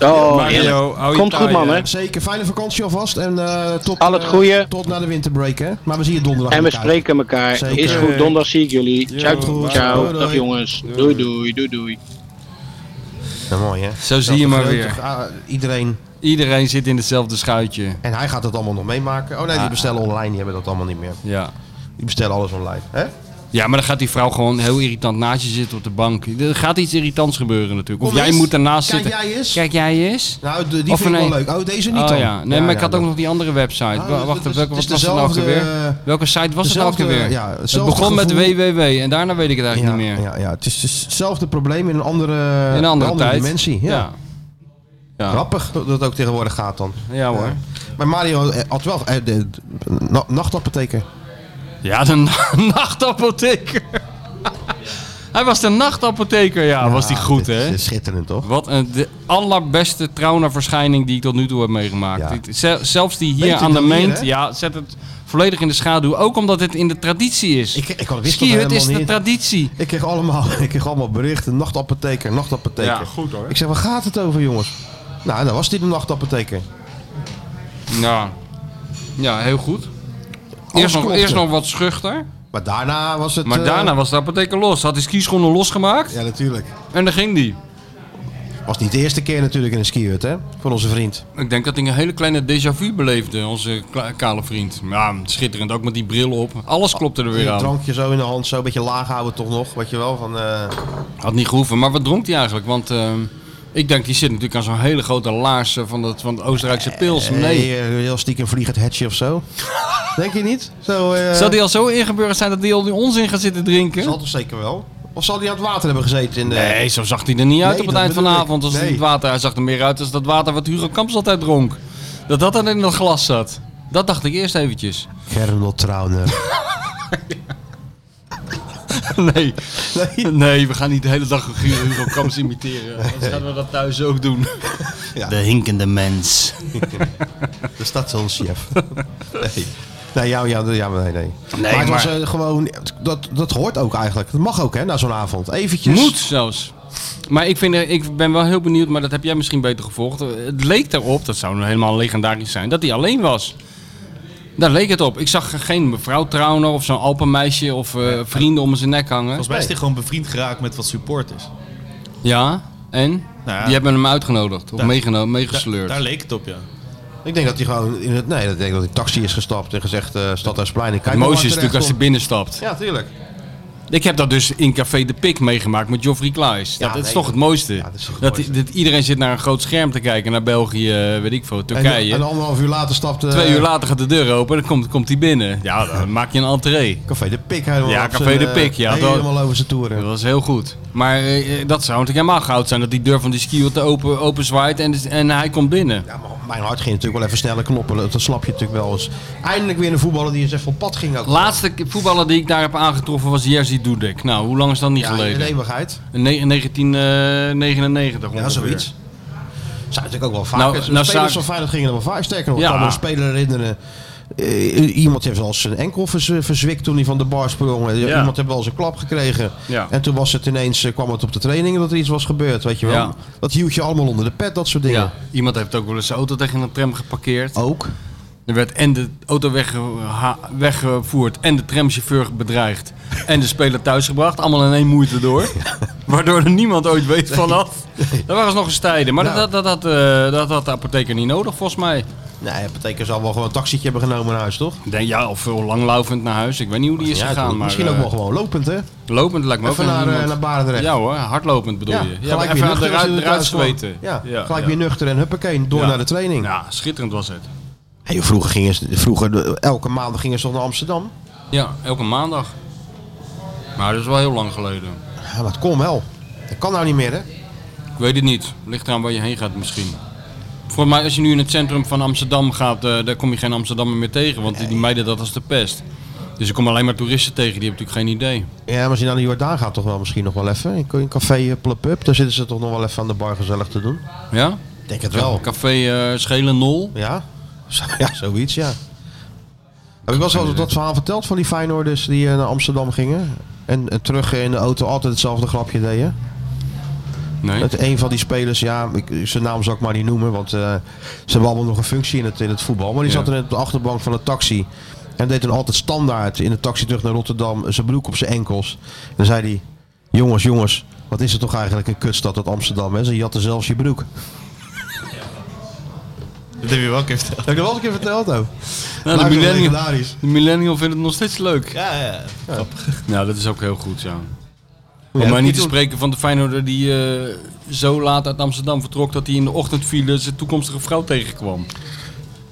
[SPEAKER 10] Oh, heerlijk.
[SPEAKER 3] Mario, hou je
[SPEAKER 10] Komt goed,
[SPEAKER 3] taai,
[SPEAKER 10] man, hè?
[SPEAKER 2] zeker. Fijne vakantie alvast. En eh, tot,
[SPEAKER 10] Al het
[SPEAKER 2] eh,
[SPEAKER 10] goede.
[SPEAKER 2] tot na de winterbreak, hè. Maar we zien je donderdag.
[SPEAKER 10] En we
[SPEAKER 2] weer.
[SPEAKER 10] spreken elkaar.
[SPEAKER 2] Zeker.
[SPEAKER 10] Is goed, donderdag zie ik jullie.
[SPEAKER 2] goed.
[SPEAKER 10] ciao, ciao.
[SPEAKER 2] Doei, doei.
[SPEAKER 10] Dag jongens. Doei, doei, doei, doei.
[SPEAKER 2] Ja, mooi, hè.
[SPEAKER 3] Zo zie je maar
[SPEAKER 2] Gelukkig,
[SPEAKER 3] weer.
[SPEAKER 2] ah, iedereen.
[SPEAKER 3] Iedereen zit in hetzelfde schuitje.
[SPEAKER 2] En hij gaat het allemaal nog meemaken. Oh nee, die
[SPEAKER 3] Ah.
[SPEAKER 2] bestellen online. Die hebben dat allemaal niet meer.
[SPEAKER 3] Ja.
[SPEAKER 2] Die bestellen alles online. Hè?
[SPEAKER 3] Ja, maar dan gaat die vrouw gewoon heel irritant naast je zitten op de bank. Er gaat iets irritants gebeuren natuurlijk. Of
[SPEAKER 2] Kom
[SPEAKER 3] jij
[SPEAKER 2] eens.
[SPEAKER 3] moet daarnaast
[SPEAKER 2] Kijk
[SPEAKER 3] zitten.
[SPEAKER 2] jij eens.
[SPEAKER 3] Kijk jij eens.
[SPEAKER 2] Nou, de- die
[SPEAKER 3] Of
[SPEAKER 2] vind ik wel
[SPEAKER 3] nee.
[SPEAKER 2] leuk. Oh, deze niet
[SPEAKER 3] Oh
[SPEAKER 2] dan.
[SPEAKER 3] ja, nee,
[SPEAKER 2] Ja,
[SPEAKER 3] maar
[SPEAKER 2] ja,
[SPEAKER 3] ik had ook
[SPEAKER 2] dat-
[SPEAKER 3] nog die andere website.
[SPEAKER 2] Ah,
[SPEAKER 3] Wa-
[SPEAKER 2] dat
[SPEAKER 3] Wacht,
[SPEAKER 2] is-
[SPEAKER 3] welke
[SPEAKER 2] het
[SPEAKER 3] was
[SPEAKER 2] is
[SPEAKER 3] dat nou ook
[SPEAKER 2] dezelfde,
[SPEAKER 3] alweer?
[SPEAKER 2] eh,
[SPEAKER 3] Welke site was
[SPEAKER 2] dezelfde,
[SPEAKER 3] het nou ook alweer?
[SPEAKER 2] ja,
[SPEAKER 3] het
[SPEAKER 2] hetzelfde
[SPEAKER 3] begon
[SPEAKER 2] gevoel.
[SPEAKER 3] met www en daarna weet ik het eigenlijk niet meer.
[SPEAKER 2] Ja, ja, het is dus hetzelfde probleem in een andere,
[SPEAKER 3] In een andere, tijd.
[SPEAKER 2] dimensie. Ja.
[SPEAKER 3] ja. Ja.
[SPEAKER 2] Grappig dat het ook tegenwoordig gaat dan.
[SPEAKER 3] Ja, hoor.
[SPEAKER 2] Maar Mario eh, had wel eh, de, de- na- nachtapotheker.
[SPEAKER 3] Ja, de na- [laughs] nachtapotheker. [laughs] Hij was de nachtapotheker, ja, was die
[SPEAKER 2] Ah,
[SPEAKER 3] goed,
[SPEAKER 2] dit is-
[SPEAKER 3] hè?
[SPEAKER 2] dit is Schitterend, toch?
[SPEAKER 3] Wat een, de allerbeste traumaverschijning die ik tot nu toe heb meegemaakt.
[SPEAKER 2] Ja.
[SPEAKER 3] Dit- ze- zelfs die hier
[SPEAKER 2] Beter
[SPEAKER 3] aan de
[SPEAKER 2] dan hier,
[SPEAKER 3] meent,
[SPEAKER 2] hè?
[SPEAKER 3] ja, zet het volledig in de schaduw. Ook omdat het in de traditie is.
[SPEAKER 2] Ik, ik wist dat
[SPEAKER 3] Skihut
[SPEAKER 2] helemaal
[SPEAKER 3] is de
[SPEAKER 2] niet.
[SPEAKER 3] traditie.
[SPEAKER 2] Ik kreeg allemaal, [laughs] ik kreeg allemaal berichten. Nachtapotheker, nachtapotheker.
[SPEAKER 3] Ja, goed, hoor.
[SPEAKER 2] Ik zeg, waar gaat het over, jongens? Nou, dan was dit een nachtapotheker.
[SPEAKER 3] Ja, ja heel goed.
[SPEAKER 2] Alles
[SPEAKER 3] Eerst nog,
[SPEAKER 2] klopte.
[SPEAKER 3] eerst nog wat schuchter.
[SPEAKER 2] Maar daarna was het...
[SPEAKER 3] Maar
[SPEAKER 2] eh,
[SPEAKER 3] daarna was de apotheker los. Had hij skischoenen losgemaakt
[SPEAKER 2] Ja, natuurlijk.
[SPEAKER 3] en dan ging die.
[SPEAKER 2] Was niet de eerste keer natuurlijk in een skihut, hè? Van onze vriend.
[SPEAKER 3] Ik denk dat hij een hele kleine déjà vu beleefde, onze kla- kale vriend. Ja, schitterend, ook met die bril op. Alles klopte er weer
[SPEAKER 2] Een
[SPEAKER 3] aan.
[SPEAKER 2] drankje zo in de hand, zo een beetje laag houden toch nog. Weet je wel, van... eh,
[SPEAKER 3] Had niet gehoeven, maar wat dronk hij eigenlijk? Want ehm, ik denk, die zit natuurlijk aan zo'n hele grote laars eh, van, dat, van de Oostenrijkse pils. Nee.
[SPEAKER 2] eh, heel stiekem vliegend hetje of
[SPEAKER 3] [laughs]
[SPEAKER 2] zo. Denk je niet? Zo, eh,
[SPEAKER 3] Zou die al zo ingeburgerd zijn dat hij al die onzin gaat zitten drinken?
[SPEAKER 2] Zal toch zeker wel? Of zal die aan het water hebben gezeten in de...
[SPEAKER 3] Nee, zo zag hij er niet uit
[SPEAKER 2] Nee,
[SPEAKER 3] op het
[SPEAKER 2] dat
[SPEAKER 3] eind van de
[SPEAKER 2] bedoel ik.
[SPEAKER 3] avond. Als
[SPEAKER 2] Nee.
[SPEAKER 3] het water, hij zag er meer uit als dat water wat Hugo Kamps altijd dronk. Dat dat dan in dat glas zat. Dat dacht ik eerst eventjes.
[SPEAKER 2] Gernot Trauner.
[SPEAKER 3] [laughs] Nee. nee. we gaan niet de hele dag Hugo Kamps imiteren. Anders gaan we dat thuis ook doen.
[SPEAKER 2] Ja.
[SPEAKER 3] De hinkende mens.
[SPEAKER 2] [laughs] de stadshondchef. nee. Nee, ja, ja, ja, nee, nee. maar het was
[SPEAKER 3] maar-
[SPEAKER 2] eh, gewoon... Dat, dat hoort ook eigenlijk. Dat mag ook, hè, na zo'n avond. Eventjes.
[SPEAKER 3] Moet zelfs. Maar ik, vind, er- ik ben wel heel benieuwd, maar dat heb jij misschien beter gevolgd. Eh, Het leek erop, dat zou nou helemaal legendarisch zijn, dat hij alleen was. Daar leek het op. Ik zag geen mevrouw Trauner of zo'n Alpenmeisje of eh, vrienden om zijn nek hangen.
[SPEAKER 4] Volgens mij is hij gewoon bevriend geraakt met wat supporters.
[SPEAKER 3] Ja, en?
[SPEAKER 4] Nou ja.
[SPEAKER 3] Die hebben hem uitgenodigd of
[SPEAKER 4] Daar-
[SPEAKER 3] meegeno-
[SPEAKER 4] Daar,
[SPEAKER 3] meegesleurd.
[SPEAKER 4] daar leek het op, ja.
[SPEAKER 2] Ik denk dat hij gewoon in het... Nee, dat denk ik dat hij taxi is gestapt en gezegd... eh Stadhuisplein, ik kijk
[SPEAKER 3] het
[SPEAKER 2] maar
[SPEAKER 3] mooiste
[SPEAKER 2] waar
[SPEAKER 3] is natuurlijk als
[SPEAKER 2] terecht
[SPEAKER 3] hij binnenstapt.
[SPEAKER 2] kom. Ja, tuurlijk.
[SPEAKER 3] Ik heb dat dus in Café de Pik meegemaakt met Geoffrey Klaes.
[SPEAKER 2] Ja,
[SPEAKER 3] dat is
[SPEAKER 2] nee,
[SPEAKER 3] toch het mooiste.
[SPEAKER 2] dat is toch het
[SPEAKER 3] dat, dat iedereen zit naar een groot scherm te kijken, naar België, eh, weet ik veel, Turkije.
[SPEAKER 2] En, en anderhalf uur later stapt... eh,
[SPEAKER 3] Twee uur later gaat de deur open, dan komt, komt hij binnen. Ja, dan [laughs] maak je een entree.
[SPEAKER 2] Café de Pik helemaal
[SPEAKER 3] Ja,
[SPEAKER 2] op
[SPEAKER 3] Café
[SPEAKER 2] zijn,
[SPEAKER 3] de
[SPEAKER 2] eh,
[SPEAKER 3] Pik, ja, dat-
[SPEAKER 2] Helemaal over zijn toeren.
[SPEAKER 3] Dat was heel goed. Maar eh, dat zou natuurlijk helemaal goud zijn, dat die deur van die skier open, open zwaait en, en hij komt binnen.
[SPEAKER 2] Ja, maar mijn hart ging natuurlijk wel even sneller kloppen. Dat dat slap je natuurlijk wel eens. Eindelijk weer een voetballer die eens even op pad ging. Ook.
[SPEAKER 3] Laatste k- voetballer die ik daar heb aangetroffen was Jerzy Dudek. Nou, hoe lang is dat niet
[SPEAKER 2] Ja, in
[SPEAKER 3] geleden?
[SPEAKER 2] de eeuwigheid.
[SPEAKER 3] In ne- in 1999
[SPEAKER 2] Ja,
[SPEAKER 3] ongeveer.
[SPEAKER 2] zoiets. Zijn natuurlijk ook wel vaak.
[SPEAKER 3] Nou,
[SPEAKER 2] Nou,
[SPEAKER 3] nou,
[SPEAKER 2] spelers
[SPEAKER 3] zaak-
[SPEAKER 2] van Feyenoord gingen er wel vaak. Sterker nog,
[SPEAKER 3] Ja.
[SPEAKER 2] ik kan me een speler herinneren. Eh, iemand heeft wel eens zijn enkel vers- verzwikt toen hij van de bar sprong. Eh,
[SPEAKER 3] Ja.
[SPEAKER 2] Iemand heeft wel eens een klap gekregen.
[SPEAKER 3] Ja.
[SPEAKER 2] En toen was het ineens, eh, kwam het op de trainingen dat er iets was gebeurd. Weet je wel.
[SPEAKER 3] Ja.
[SPEAKER 2] Dat hield je allemaal onder de pet, dat soort dingen.
[SPEAKER 3] Ja, iemand heeft ook wel eens zijn auto tegen een tram geparkeerd.
[SPEAKER 2] Ook.
[SPEAKER 3] Er werd en de auto weggeha- weggevoerd en de tramchauffeur
[SPEAKER 2] [laughs]
[SPEAKER 3] bedreigd. En de speler thuisgebracht. Allemaal in één moeite door. [laughs] Waardoor er niemand ooit weet vanaf. Dat waren ze nog eens tijden. Maar
[SPEAKER 2] Nou.
[SPEAKER 3] dat, dat, dat, eh, dat had de apotheker niet nodig volgens mij.
[SPEAKER 2] Nee, dat betekent ze al wel gewoon een taxietje hebben genomen naar huis, toch?
[SPEAKER 3] Ik Denk, ja, of heel langlaufend naar huis. Ik weet niet hoe die is
[SPEAKER 2] Ja,
[SPEAKER 3] gegaan.
[SPEAKER 2] het-
[SPEAKER 3] maar,
[SPEAKER 2] misschien ook
[SPEAKER 3] eh,
[SPEAKER 2] wel gewoon lopend, hè?
[SPEAKER 3] Lopend lijkt me
[SPEAKER 2] Even
[SPEAKER 3] ook
[SPEAKER 2] naar,
[SPEAKER 3] een-
[SPEAKER 2] eh, naar Barendrecht.
[SPEAKER 3] Ja hoor, hardlopend bedoel je. Ja,
[SPEAKER 2] gelijk
[SPEAKER 3] even
[SPEAKER 2] weer
[SPEAKER 3] aan de
[SPEAKER 2] nuchter als
[SPEAKER 3] ruit,
[SPEAKER 2] je er
[SPEAKER 3] eruit
[SPEAKER 2] thuis kwam.
[SPEAKER 3] zweten.
[SPEAKER 2] Ja, gelijk weer nuchter en huppakee, door
[SPEAKER 3] Ja.
[SPEAKER 2] naar de training.
[SPEAKER 3] Ja, schitterend was het.
[SPEAKER 2] Hey, joh, vroeger gingen ze, vroeger, de- elke maandag gingen ze toch naar Amsterdam?
[SPEAKER 3] Ja, elke maandag. Maar dat is wel heel lang geleden.
[SPEAKER 2] Ja, maar het kon wel. Dat kan nou niet meer, hè?
[SPEAKER 3] Ik weet het niet. Ligt eraan waar je heen gaat misschien. Voor mij, als je nu in het centrum van Amsterdam gaat, eh, daar kom je geen Amsterdammer meer tegen. Want die meiden dat als de pest. Dus ik kom alleen maar toeristen tegen, die hebben natuurlijk geen idee.
[SPEAKER 2] Ja, maar als je naar de Jordaan gaat toch wel misschien nog wel even. In een café eh, Plop Up, daar zitten ze toch nog wel even aan de bar gezellig te doen.
[SPEAKER 3] Ja?
[SPEAKER 2] Ik denk het wel.
[SPEAKER 3] Café eh Schelenol.
[SPEAKER 2] Ja? Zo- Ja, zoiets, ja. Heb ik wel eens dat verhaal verteld van die Feyenoorders die eh, naar Amsterdam gingen? En, en terug in de auto altijd hetzelfde grapje deden?
[SPEAKER 3] Nee.
[SPEAKER 2] Dat een van die spelers, ja, ik, zijn naam zal ik maar niet noemen, want eh, ze hebben allemaal nog een functie in het, in het voetbal. Maar die
[SPEAKER 3] Ja.
[SPEAKER 2] zat er op de achterbank van een taxi. En deed dan altijd standaard in de taxi terug naar Rotterdam zijn broek op zijn enkels. En dan zei hij, jongens, jongens, wat is het toch eigenlijk een kutstad dat Amsterdam is? En jatten zelfs je broek.
[SPEAKER 4] Dat heb je wel een keer verteld.
[SPEAKER 2] Heb ik dat wel eens een keer verteld ook?
[SPEAKER 3] Nou, de,
[SPEAKER 2] Lijkt me
[SPEAKER 3] millennial,
[SPEAKER 2] legendarisch.
[SPEAKER 3] de millennial vindt het nog steeds leuk.
[SPEAKER 4] Ja, ja.
[SPEAKER 3] Ja, dat is ook heel goed, ja.
[SPEAKER 2] Ja,
[SPEAKER 3] Om maar
[SPEAKER 2] dat
[SPEAKER 3] niet te
[SPEAKER 2] doen.
[SPEAKER 3] spreken van de Feyenoorder die eh, zo laat uit Amsterdam vertrok dat hij in de ochtendfile zijn toekomstige vrouw tegenkwam.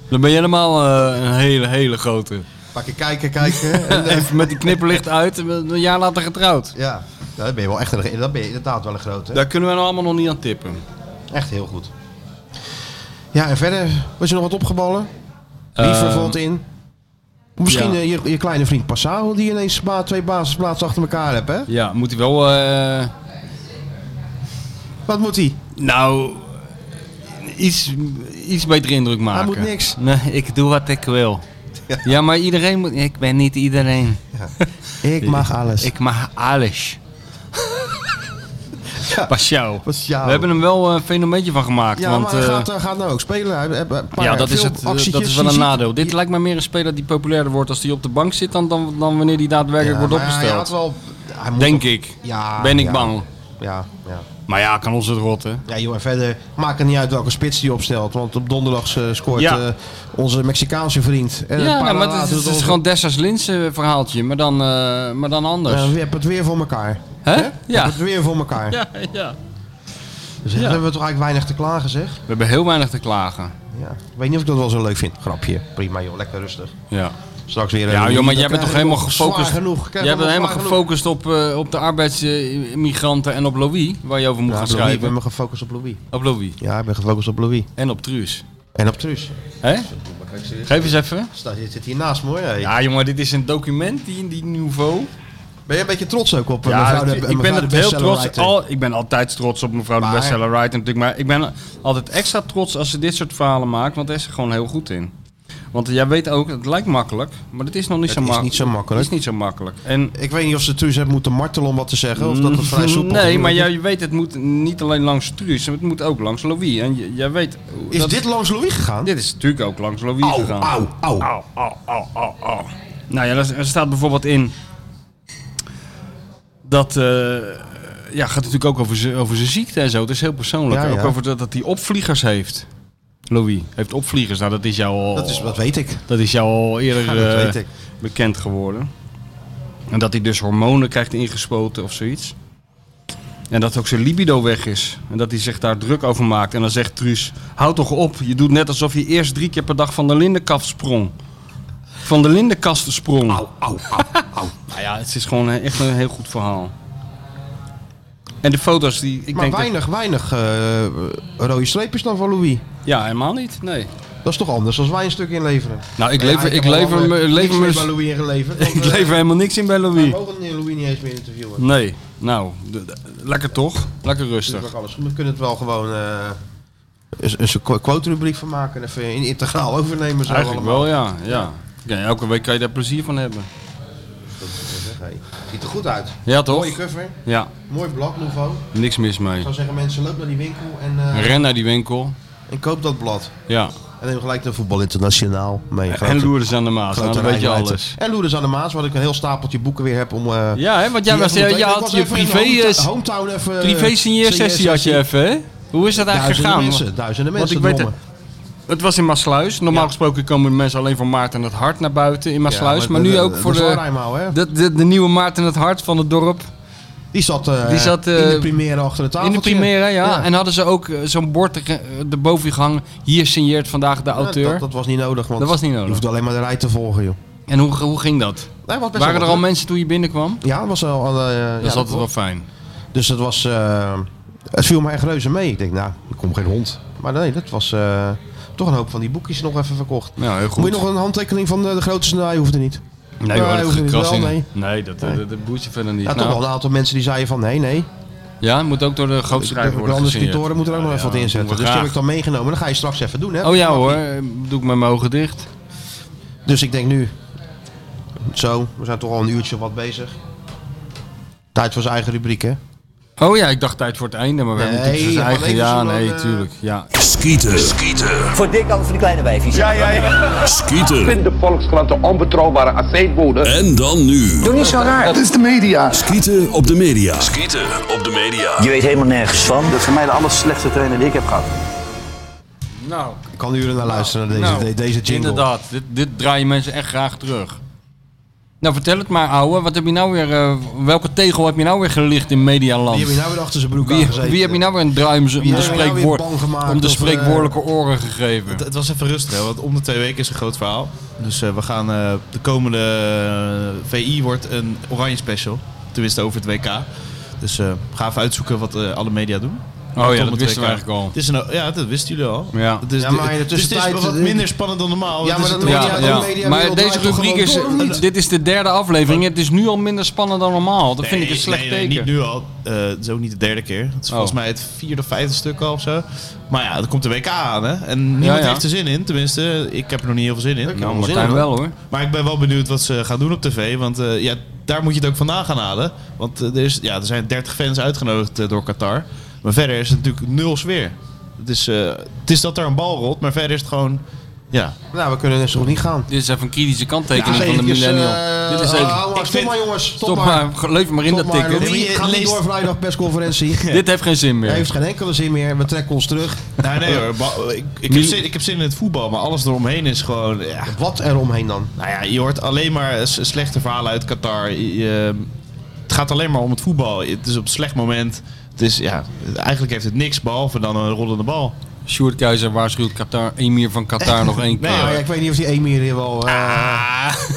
[SPEAKER 3] Dan ben je helemaal eh, een hele, hele grote.
[SPEAKER 2] Pakken, kijken, kijken. [laughs] En, eh,
[SPEAKER 3] [laughs] Even met die knipperlicht uit, en een jaar later getrouwd.
[SPEAKER 2] ja, nou, dat ben je wel echt een, dat ben je inderdaad wel een grote. hè?
[SPEAKER 3] Daar kunnen we nou allemaal nog niet aan tippen.
[SPEAKER 2] Echt heel goed. Ja, en verder, was je nog wat opgeballen? Liever
[SPEAKER 3] Ehm,
[SPEAKER 2] valt in. Misschien
[SPEAKER 3] ja.
[SPEAKER 2] eh, je, je kleine vriend Passau, die ineens ba twee basisplaatsen achter elkaar hebt, hè?
[SPEAKER 3] Ja, moet hij wel... eh,
[SPEAKER 2] Wat moet hij?
[SPEAKER 3] nou, iets, iets beter indruk maken.
[SPEAKER 2] moet niks.
[SPEAKER 3] Nee, ik doe wat ik wil. Ja, maar iedereen moet... Ik ben niet iedereen.
[SPEAKER 2] Ik mag alles.
[SPEAKER 3] Ik mag alles.
[SPEAKER 2] Ja.
[SPEAKER 3] Pas jou.
[SPEAKER 2] Passau.
[SPEAKER 3] We hebben hem wel eh, een fenomeentje van gemaakt.
[SPEAKER 2] ja,
[SPEAKER 3] want,
[SPEAKER 2] maar hij
[SPEAKER 3] eh,
[SPEAKER 2] gaat, hij gaat nou ook spelen. Hij, heeft een paar
[SPEAKER 3] ja, dat is,
[SPEAKER 2] veel
[SPEAKER 3] het, eh,
[SPEAKER 2] actietjes.
[SPEAKER 3] dat is
[SPEAKER 2] Je
[SPEAKER 3] wel een
[SPEAKER 2] ziet-
[SPEAKER 3] nadeel. Dit lijkt mij meer een speler die populairder wordt als hij op de bank zit dan, dan, dan wanneer hij daadwerkelijk
[SPEAKER 2] Ja,
[SPEAKER 3] wordt
[SPEAKER 2] maar hij had
[SPEAKER 3] opgesteld.
[SPEAKER 2] wel, hij moet
[SPEAKER 3] Denk
[SPEAKER 2] wel-
[SPEAKER 3] ik.
[SPEAKER 2] Ja,
[SPEAKER 3] ben ik
[SPEAKER 2] ja.
[SPEAKER 3] bang.
[SPEAKER 2] Ja, ja.
[SPEAKER 3] Maar ja, kan ons het rotten.
[SPEAKER 2] Ja, joh, en verder maakt het niet uit welke spits die opstelt. Want op donderdag eh, scoort
[SPEAKER 3] Ja.
[SPEAKER 2] eh, onze Mexicaanse vriend. En een
[SPEAKER 3] Ja,
[SPEAKER 2] paar
[SPEAKER 3] nou,
[SPEAKER 2] dagen
[SPEAKER 3] maar het is,
[SPEAKER 2] later
[SPEAKER 3] het is
[SPEAKER 2] onze-
[SPEAKER 3] gewoon Dessers Linsen verhaaltje, maar dan, eh, maar dan anders.
[SPEAKER 2] Eh, we hebben het weer voor elkaar.
[SPEAKER 3] Hè?
[SPEAKER 2] Hè?
[SPEAKER 3] Ja.
[SPEAKER 2] We hebben het weer voor elkaar.
[SPEAKER 3] ja, ja.
[SPEAKER 2] Dus daar
[SPEAKER 3] Ja.
[SPEAKER 2] hebben we toch eigenlijk weinig te klagen, zeg.
[SPEAKER 3] We hebben heel weinig te klagen.
[SPEAKER 2] Ja. Ik weet niet of ik dat wel zo leuk vind. Grapje. Prima joh, lekker rustig.
[SPEAKER 3] Ja,
[SPEAKER 2] Straks weer. een
[SPEAKER 3] ja
[SPEAKER 2] reunie,
[SPEAKER 3] joh, maar
[SPEAKER 2] dan
[SPEAKER 3] jij bent
[SPEAKER 2] krijg
[SPEAKER 3] toch
[SPEAKER 2] je
[SPEAKER 3] helemaal
[SPEAKER 2] nog zwaar
[SPEAKER 3] gefocust.
[SPEAKER 2] Genoeg. Krijg je
[SPEAKER 3] jij bent
[SPEAKER 2] nog
[SPEAKER 3] helemaal
[SPEAKER 2] zwaar
[SPEAKER 3] gefocust op, eh, op de arbeidsmigranten en op Louis, waar je over moet
[SPEAKER 2] genoeg.
[SPEAKER 3] gaan
[SPEAKER 2] Ja, Louis, ik
[SPEAKER 3] schrijven.
[SPEAKER 2] ben me gefocust op Louis.
[SPEAKER 3] Op Louis.
[SPEAKER 2] Ja, ik ben gefocust op Louis.
[SPEAKER 3] En op Truus.
[SPEAKER 2] En op Truus.
[SPEAKER 3] Hè? Geef eens even.
[SPEAKER 2] Sta- Je zit hier naast me hoor. Hey.
[SPEAKER 3] Ja, jongen, dit is een document die in die niveau.
[SPEAKER 2] Ben je een beetje trots ook op eh,
[SPEAKER 3] Ja,
[SPEAKER 2] mevrouw de
[SPEAKER 3] ik, ik
[SPEAKER 2] mevrouw
[SPEAKER 3] ben
[SPEAKER 2] de
[SPEAKER 3] het heel
[SPEAKER 2] bestseller
[SPEAKER 3] trots.
[SPEAKER 2] writer?
[SPEAKER 3] Al, ik ben altijd trots op mevrouw
[SPEAKER 2] Maar-
[SPEAKER 3] de bestseller writer natuurlijk. Maar ik ben altijd extra trots als ze dit soort verhalen maakt. Want daar is ze gewoon heel goed in. Want jij weet ook, het lijkt makkelijk. Maar het is nog niet,
[SPEAKER 2] Het
[SPEAKER 3] zo,
[SPEAKER 2] is
[SPEAKER 3] mak-
[SPEAKER 2] niet zo makkelijk.
[SPEAKER 3] Het is niet zo makkelijk. En,
[SPEAKER 2] Ik weet niet of ze Truus hebben moeten martelen om wat te zeggen. Of dat het vrij soepel
[SPEAKER 3] Mm, Nee,
[SPEAKER 2] gebeurt.
[SPEAKER 3] maar jij weet, het moet niet alleen langs Truus. Het moet ook langs Louis. En j- jij weet...
[SPEAKER 2] Is
[SPEAKER 3] dat-
[SPEAKER 2] dit langs Louis gegaan?
[SPEAKER 3] Dit is natuurlijk ook langs Louis
[SPEAKER 2] Au,
[SPEAKER 3] gegaan.
[SPEAKER 2] au, au.
[SPEAKER 3] Au, au, au, au, au. Nou ja, er er staat bijvoorbeeld in dat. eh, ja, gaat natuurlijk ook over zijn over zijn ziekte en zo. Het is heel persoonlijk.
[SPEAKER 2] Ja, ja.
[SPEAKER 3] Ook over dat, dat hij opvliegers heeft. Louis heeft opvliegers. Nou, dat is jou al.
[SPEAKER 2] Dat, is, dat weet ik.
[SPEAKER 3] dat is jou al eerder
[SPEAKER 2] Ja, dat
[SPEAKER 3] eh,
[SPEAKER 2] weet ik.
[SPEAKER 3] bekend geworden. En dat hij dus hormonen krijgt ingespoten of zoiets. En dat ook zijn libido weg is. En dat hij zich daar druk over maakt. En dan zegt Truus, houd toch op. Je doet net alsof je eerst drie keer per dag van de lindenkast sprong. Van de lindenkast sprong. Au, au, au, au. [laughs] nou ja, het is gewoon eh, echt een heel goed verhaal. En de foto's die... Ik
[SPEAKER 2] maar
[SPEAKER 3] denk dat-
[SPEAKER 2] weinig, weinig eh, rode streepjes dan van Louis.
[SPEAKER 3] Ja, helemaal niet. Nee.
[SPEAKER 2] Dat is toch anders als wij een stuk inleveren.
[SPEAKER 3] Nou, ik
[SPEAKER 2] Ja,
[SPEAKER 3] lever,
[SPEAKER 2] heb
[SPEAKER 3] ik
[SPEAKER 2] al,
[SPEAKER 3] lever,
[SPEAKER 2] eh,
[SPEAKER 3] me-
[SPEAKER 2] niks
[SPEAKER 3] lever
[SPEAKER 2] meer
[SPEAKER 3] me-
[SPEAKER 2] bij Louis ingeleverd. want,
[SPEAKER 3] [laughs] Ik
[SPEAKER 2] eh,
[SPEAKER 3] lever helemaal niks in bij Louis.
[SPEAKER 2] We mogen Louis niet eens meer interviewen.
[SPEAKER 3] Nee. Nou, d- d- lekker toch? Lekker
[SPEAKER 2] Natuurlijk
[SPEAKER 3] rustig.
[SPEAKER 2] ook alles goed. We kunnen het wel gewoon eh, eens eens een quote-rubriek van maken. en Even in integraal overnemen. Zo
[SPEAKER 3] Eigenlijk
[SPEAKER 2] allemaal.
[SPEAKER 3] wel, ja. ja. Ja, elke week kan je daar plezier van hebben.
[SPEAKER 2] Hey, Ziet er goed uit.
[SPEAKER 3] Ja, toch?
[SPEAKER 2] Mooie cover.
[SPEAKER 3] Ja,
[SPEAKER 2] Mooi blad, Nouveau.
[SPEAKER 3] niks mis
[SPEAKER 2] Ik
[SPEAKER 3] mee.
[SPEAKER 2] zou zeggen, mensen, loop naar die winkel en, eh,
[SPEAKER 3] Ren naar die winkel.
[SPEAKER 2] en koop dat blad.
[SPEAKER 3] Ja.
[SPEAKER 2] En neem gelijk de Voetbal Internationaal mee.
[SPEAKER 3] En Loerders aan de Maas. Nou, dan weet je
[SPEAKER 2] rijwijdte.
[SPEAKER 3] alles.
[SPEAKER 2] En Loerders aan de Maas, waar ik een heel stapeltje boeken weer heb om... eh,
[SPEAKER 3] Ja, hè, want jij
[SPEAKER 2] die
[SPEAKER 3] was,
[SPEAKER 2] even
[SPEAKER 3] jij
[SPEAKER 2] moet-
[SPEAKER 3] jij
[SPEAKER 2] Ik
[SPEAKER 3] had
[SPEAKER 2] was
[SPEAKER 3] je
[SPEAKER 2] even in de
[SPEAKER 3] privé,
[SPEAKER 2] hometa-
[SPEAKER 3] eh,
[SPEAKER 2] hometown even...
[SPEAKER 3] privé signeersessie had je even, hè? Hoe is dat eigenlijk
[SPEAKER 2] Duizenden
[SPEAKER 3] gegaan?
[SPEAKER 2] mensen, duizenden
[SPEAKER 3] Want
[SPEAKER 2] mensen,
[SPEAKER 3] ik weet het. Het was in Maasluis. Normaal gesproken komen mensen alleen voor Maarten en het Hart naar buiten in Maasluis.
[SPEAKER 2] Ja,
[SPEAKER 3] maar
[SPEAKER 2] de-
[SPEAKER 3] nu
[SPEAKER 2] de-
[SPEAKER 3] ook
[SPEAKER 2] de
[SPEAKER 3] voor de,
[SPEAKER 2] Zwaarrijmouw, hè?
[SPEAKER 3] de, de, de nieuwe Maarten en het Hart van het dorp.
[SPEAKER 2] Die zat, eh,
[SPEAKER 3] Die zat,
[SPEAKER 2] in de
[SPEAKER 3] eh,
[SPEAKER 2] primaire achter de tafel.
[SPEAKER 3] In de primaire, ja. En hadden ze ook eh, zo'n bord er- eh, erboven gehangen. Hier signeert vandaag de auteur.
[SPEAKER 2] Dat, dat was niet nodig, want
[SPEAKER 3] Dat was niet nodig.
[SPEAKER 2] je hoeft alleen maar de rij te volgen, joh.
[SPEAKER 3] En hoe, hoe ging dat?
[SPEAKER 2] Nee, was best wel
[SPEAKER 3] Waren er
[SPEAKER 2] wat,
[SPEAKER 3] al
[SPEAKER 2] hè?
[SPEAKER 3] mensen toen je binnenkwam?
[SPEAKER 2] Ja, dat was al... al, eh, ja,
[SPEAKER 3] dat is altijd wel
[SPEAKER 2] klopt.
[SPEAKER 3] fijn.
[SPEAKER 2] Dus dat was... eh, het viel me echt reuze mee. Ik denk, nou, er komt geen hond. Maar nee, dat was eh, toch een hoop van die boekjes nog even verkocht.
[SPEAKER 3] Ja, heel
[SPEAKER 2] Moet je nog een handtekening van eh, de, de grote scenario? Hoeft er niet.
[SPEAKER 3] Nee,
[SPEAKER 2] Ja,
[SPEAKER 3] hoor,
[SPEAKER 2] hoeft
[SPEAKER 3] dat
[SPEAKER 2] er niet.
[SPEAKER 3] gekras
[SPEAKER 2] Wel,
[SPEAKER 3] in.
[SPEAKER 2] nee.
[SPEAKER 3] Nee, dat, dat, dat boeit je verder niet.
[SPEAKER 2] Ja, toch
[SPEAKER 3] Nou,
[SPEAKER 2] wel een aantal mensen die zeiden van nee, nee.
[SPEAKER 3] ja, moet ook door de grootschrijver
[SPEAKER 2] De
[SPEAKER 3] worden
[SPEAKER 2] anders moet er ook nog even wat in
[SPEAKER 3] inzetten.
[SPEAKER 2] zetten. Dus die heb ik dan meegenomen. Dan ga je straks even doen, hè?
[SPEAKER 3] Oh ja hoor, eh, doe ik met mijn ogen dicht.
[SPEAKER 2] Dus ik denk nu, zo, we zijn toch al een uurtje of wat bezig. Tijd voor zijn eigen rubriek, hè?
[SPEAKER 3] Oh ja, ik dacht tijd voor het einde, maar we hebben
[SPEAKER 2] Nee,
[SPEAKER 3] natuurlijk zijn
[SPEAKER 2] gewoon
[SPEAKER 3] eigen...
[SPEAKER 2] even
[SPEAKER 3] Ja,
[SPEAKER 2] zo dan,
[SPEAKER 3] nee,
[SPEAKER 2] eh,
[SPEAKER 3] tuurlijk. Ja.
[SPEAKER 5] Skieten. Skieten.
[SPEAKER 12] Voor dik altijd voor die kleine wijfjes. Ja, ja, ja.
[SPEAKER 5] Skieten.
[SPEAKER 13] de Volkskrant de onbetrouwbare aceetbode.
[SPEAKER 5] En dan nu.
[SPEAKER 12] Doe niet zo raar.
[SPEAKER 13] Dat is de media.
[SPEAKER 5] Skieten op de media. Skieten op de media.
[SPEAKER 12] Je weet helemaal nergens van.
[SPEAKER 13] Dat is voor mij de aller slechtste trainer die ik heb gehad.
[SPEAKER 3] Nou,
[SPEAKER 2] Ik kan uren naar luisteren naar deze,
[SPEAKER 3] nou,
[SPEAKER 2] de- deze jingle.
[SPEAKER 3] Inderdaad, dit, dit draaien mensen echt graag terug. Nou, vertel het maar, ouwe. Wat heb je nou weer, eh, welke tegel heb je nou weer gelicht in Medialand?
[SPEAKER 2] Wie heb je nou weer achter zijn broek
[SPEAKER 3] Wie,
[SPEAKER 2] aangezeten?
[SPEAKER 3] wie heb je nou weer een druim z- om de,
[SPEAKER 2] heb je nou weer
[SPEAKER 3] spreekwoord,
[SPEAKER 2] bang gemaakt
[SPEAKER 3] om de
[SPEAKER 2] of, eh,
[SPEAKER 3] spreekwoordelijke oren gegeven?
[SPEAKER 4] Het, het was even rustig, hè, want om de twee weken is een groot verhaal. Dus eh, we gaan eh, de komende eh, VI wordt een oranje special. Tenminste over het WK. Dus eh, ga even uitzoeken wat eh, alle media doen.
[SPEAKER 3] Oh ja,
[SPEAKER 4] Rondom
[SPEAKER 3] dat
[SPEAKER 4] het
[SPEAKER 3] wisten we
[SPEAKER 4] WK.
[SPEAKER 3] eigenlijk al.
[SPEAKER 4] Het is een, ja, dat wisten jullie al.
[SPEAKER 3] Ja.
[SPEAKER 4] Het is,
[SPEAKER 2] Ja, maar in de
[SPEAKER 4] het is- het is
[SPEAKER 2] tussentijd-
[SPEAKER 4] wat minder spannend dan normaal.
[SPEAKER 2] Ja,
[SPEAKER 4] Het
[SPEAKER 2] maar
[SPEAKER 4] is
[SPEAKER 2] dat
[SPEAKER 4] het
[SPEAKER 2] media-
[SPEAKER 4] WK.
[SPEAKER 2] dat
[SPEAKER 3] ja.
[SPEAKER 2] media
[SPEAKER 3] Maar
[SPEAKER 2] wereld
[SPEAKER 3] deze
[SPEAKER 2] draait toch
[SPEAKER 3] rubriek
[SPEAKER 2] gewoon
[SPEAKER 3] is.
[SPEAKER 2] door, of niet?
[SPEAKER 3] Dit is de derde aflevering. Het is nu al minder spannend dan normaal. Dat vind ik
[SPEAKER 4] Nee,
[SPEAKER 3] een slecht
[SPEAKER 4] nee, nee,
[SPEAKER 3] teken.
[SPEAKER 4] Niet nu al. Eh, het is ook niet de derde keer. Het is
[SPEAKER 3] Oh.
[SPEAKER 4] volgens mij het vierde of vijfde stuk al of zo. Maar ja, er komt de WK aan, hè. En niemand
[SPEAKER 3] Ja, ja.
[SPEAKER 4] heeft er zin in. Tenminste, ik heb er nog niet heel veel zin in.
[SPEAKER 3] Nou, Martijn wel hoor.
[SPEAKER 4] Maar ik ben wel benieuwd wat ze gaan doen op tv. Want eh, ja, daar moet je het ook vandaan gaan halen. Want eh, er, is, ja, er zijn 30 fans uitgenodigd eh, door Qatar. Maar verder is het natuurlijk nul sfeer. Het is, eh, het is dat er een bal rolt, maar verder is het gewoon. Ja,
[SPEAKER 2] Nou, we kunnen dus nog niet gaan.
[SPEAKER 3] Dit is even een kritische kanttekening
[SPEAKER 2] Ja,
[SPEAKER 3] van de
[SPEAKER 2] eventjes,
[SPEAKER 3] millennial.
[SPEAKER 2] eh,
[SPEAKER 3] Dit is
[SPEAKER 2] oh,
[SPEAKER 3] even.
[SPEAKER 2] hou maar, Stop maar jongens, stop
[SPEAKER 3] Stop
[SPEAKER 2] maar.
[SPEAKER 3] maar, leef maar in
[SPEAKER 2] Stop
[SPEAKER 3] dat
[SPEAKER 2] maar,
[SPEAKER 3] tikken.
[SPEAKER 2] Louis,
[SPEAKER 4] Dit-
[SPEAKER 2] Ga niet
[SPEAKER 4] leest-
[SPEAKER 2] door vrijdag persconferentie.
[SPEAKER 3] [laughs] Dit heeft geen zin
[SPEAKER 2] Hij
[SPEAKER 3] meer.
[SPEAKER 2] heeft geen enkele zin meer. We trekken ons terug. [laughs]
[SPEAKER 4] nou, nee hoor. ba- Ik, ik, heb
[SPEAKER 3] Mil-
[SPEAKER 4] zin, ik heb zin in het voetbal, maar alles eromheen is gewoon. Ja,
[SPEAKER 2] Wat er omheen dan?
[SPEAKER 4] nou ja, je hoort alleen maar eh, s- slechte verhalen uit Qatar. Je- je- het gaat alleen maar om het voetbal. Het is op een slecht moment. Het is, ja, eigenlijk heeft het niks behalve dan een rollende bal.
[SPEAKER 3] Sjoerd Keizer waarschuwt Qatar, emir van Qatar nog
[SPEAKER 4] [laughs]
[SPEAKER 3] één keer.
[SPEAKER 2] Nou, ja, ik weet niet of die Emir hier wel... eh,
[SPEAKER 3] Ah.
[SPEAKER 2] [laughs]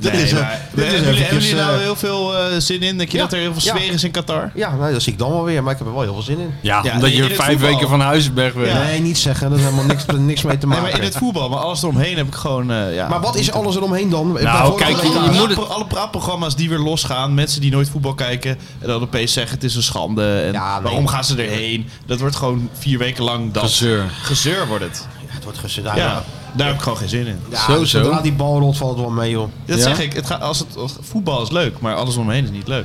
[SPEAKER 2] dit
[SPEAKER 4] Nee,
[SPEAKER 2] is, eh,
[SPEAKER 4] maar-
[SPEAKER 2] dit is
[SPEAKER 4] hebben, jullie, hebben
[SPEAKER 2] eventjes,
[SPEAKER 4] jullie nou
[SPEAKER 2] eh,
[SPEAKER 4] heel veel eh, zin in? Denk je
[SPEAKER 2] ja,
[SPEAKER 4] dat er heel veel
[SPEAKER 2] ja.
[SPEAKER 4] sfeer is in Qatar?
[SPEAKER 2] Ja, nou, dat zie ik dan wel weer. Maar ik heb er wel heel veel zin in.
[SPEAKER 3] Ja,
[SPEAKER 4] Ja,
[SPEAKER 3] omdat
[SPEAKER 4] in
[SPEAKER 3] je
[SPEAKER 4] het
[SPEAKER 3] vijf
[SPEAKER 4] voetbal.
[SPEAKER 3] weken van Huizenberg bent.
[SPEAKER 2] Nee, niet zeggen. Dat heeft helemaal niks, niks mee te
[SPEAKER 4] Nee,
[SPEAKER 2] maken.
[SPEAKER 4] maar in het voetbal, maar alles eromheen heb ik gewoon. eh, ja.
[SPEAKER 2] Maar wat is alles eromheen dan?
[SPEAKER 3] Nou, kijk, je-
[SPEAKER 4] alle,
[SPEAKER 3] je moet het-
[SPEAKER 4] pra- alle praatprogramma's die weer losgaan, mensen die nooit voetbal kijken en dan opeens zeggen het is een schande en
[SPEAKER 2] Ja, nee.
[SPEAKER 4] waarom gaan ze erheen? Dat wordt gewoon vier weken lang dat
[SPEAKER 3] Gezeur.
[SPEAKER 4] Gezeur wordt het.
[SPEAKER 2] Het wordt gezedaar.
[SPEAKER 4] Ja, daar heb ik gewoon geen zin in.
[SPEAKER 2] Ja, dus
[SPEAKER 3] Zo, zo.
[SPEAKER 2] Zodra die bal rolt, valt het wel mee, joh.
[SPEAKER 4] Dat
[SPEAKER 3] Ja?
[SPEAKER 4] zeg ik. Het gaat, als het, als- voetbal is leuk, maar alles omheen is niet leuk.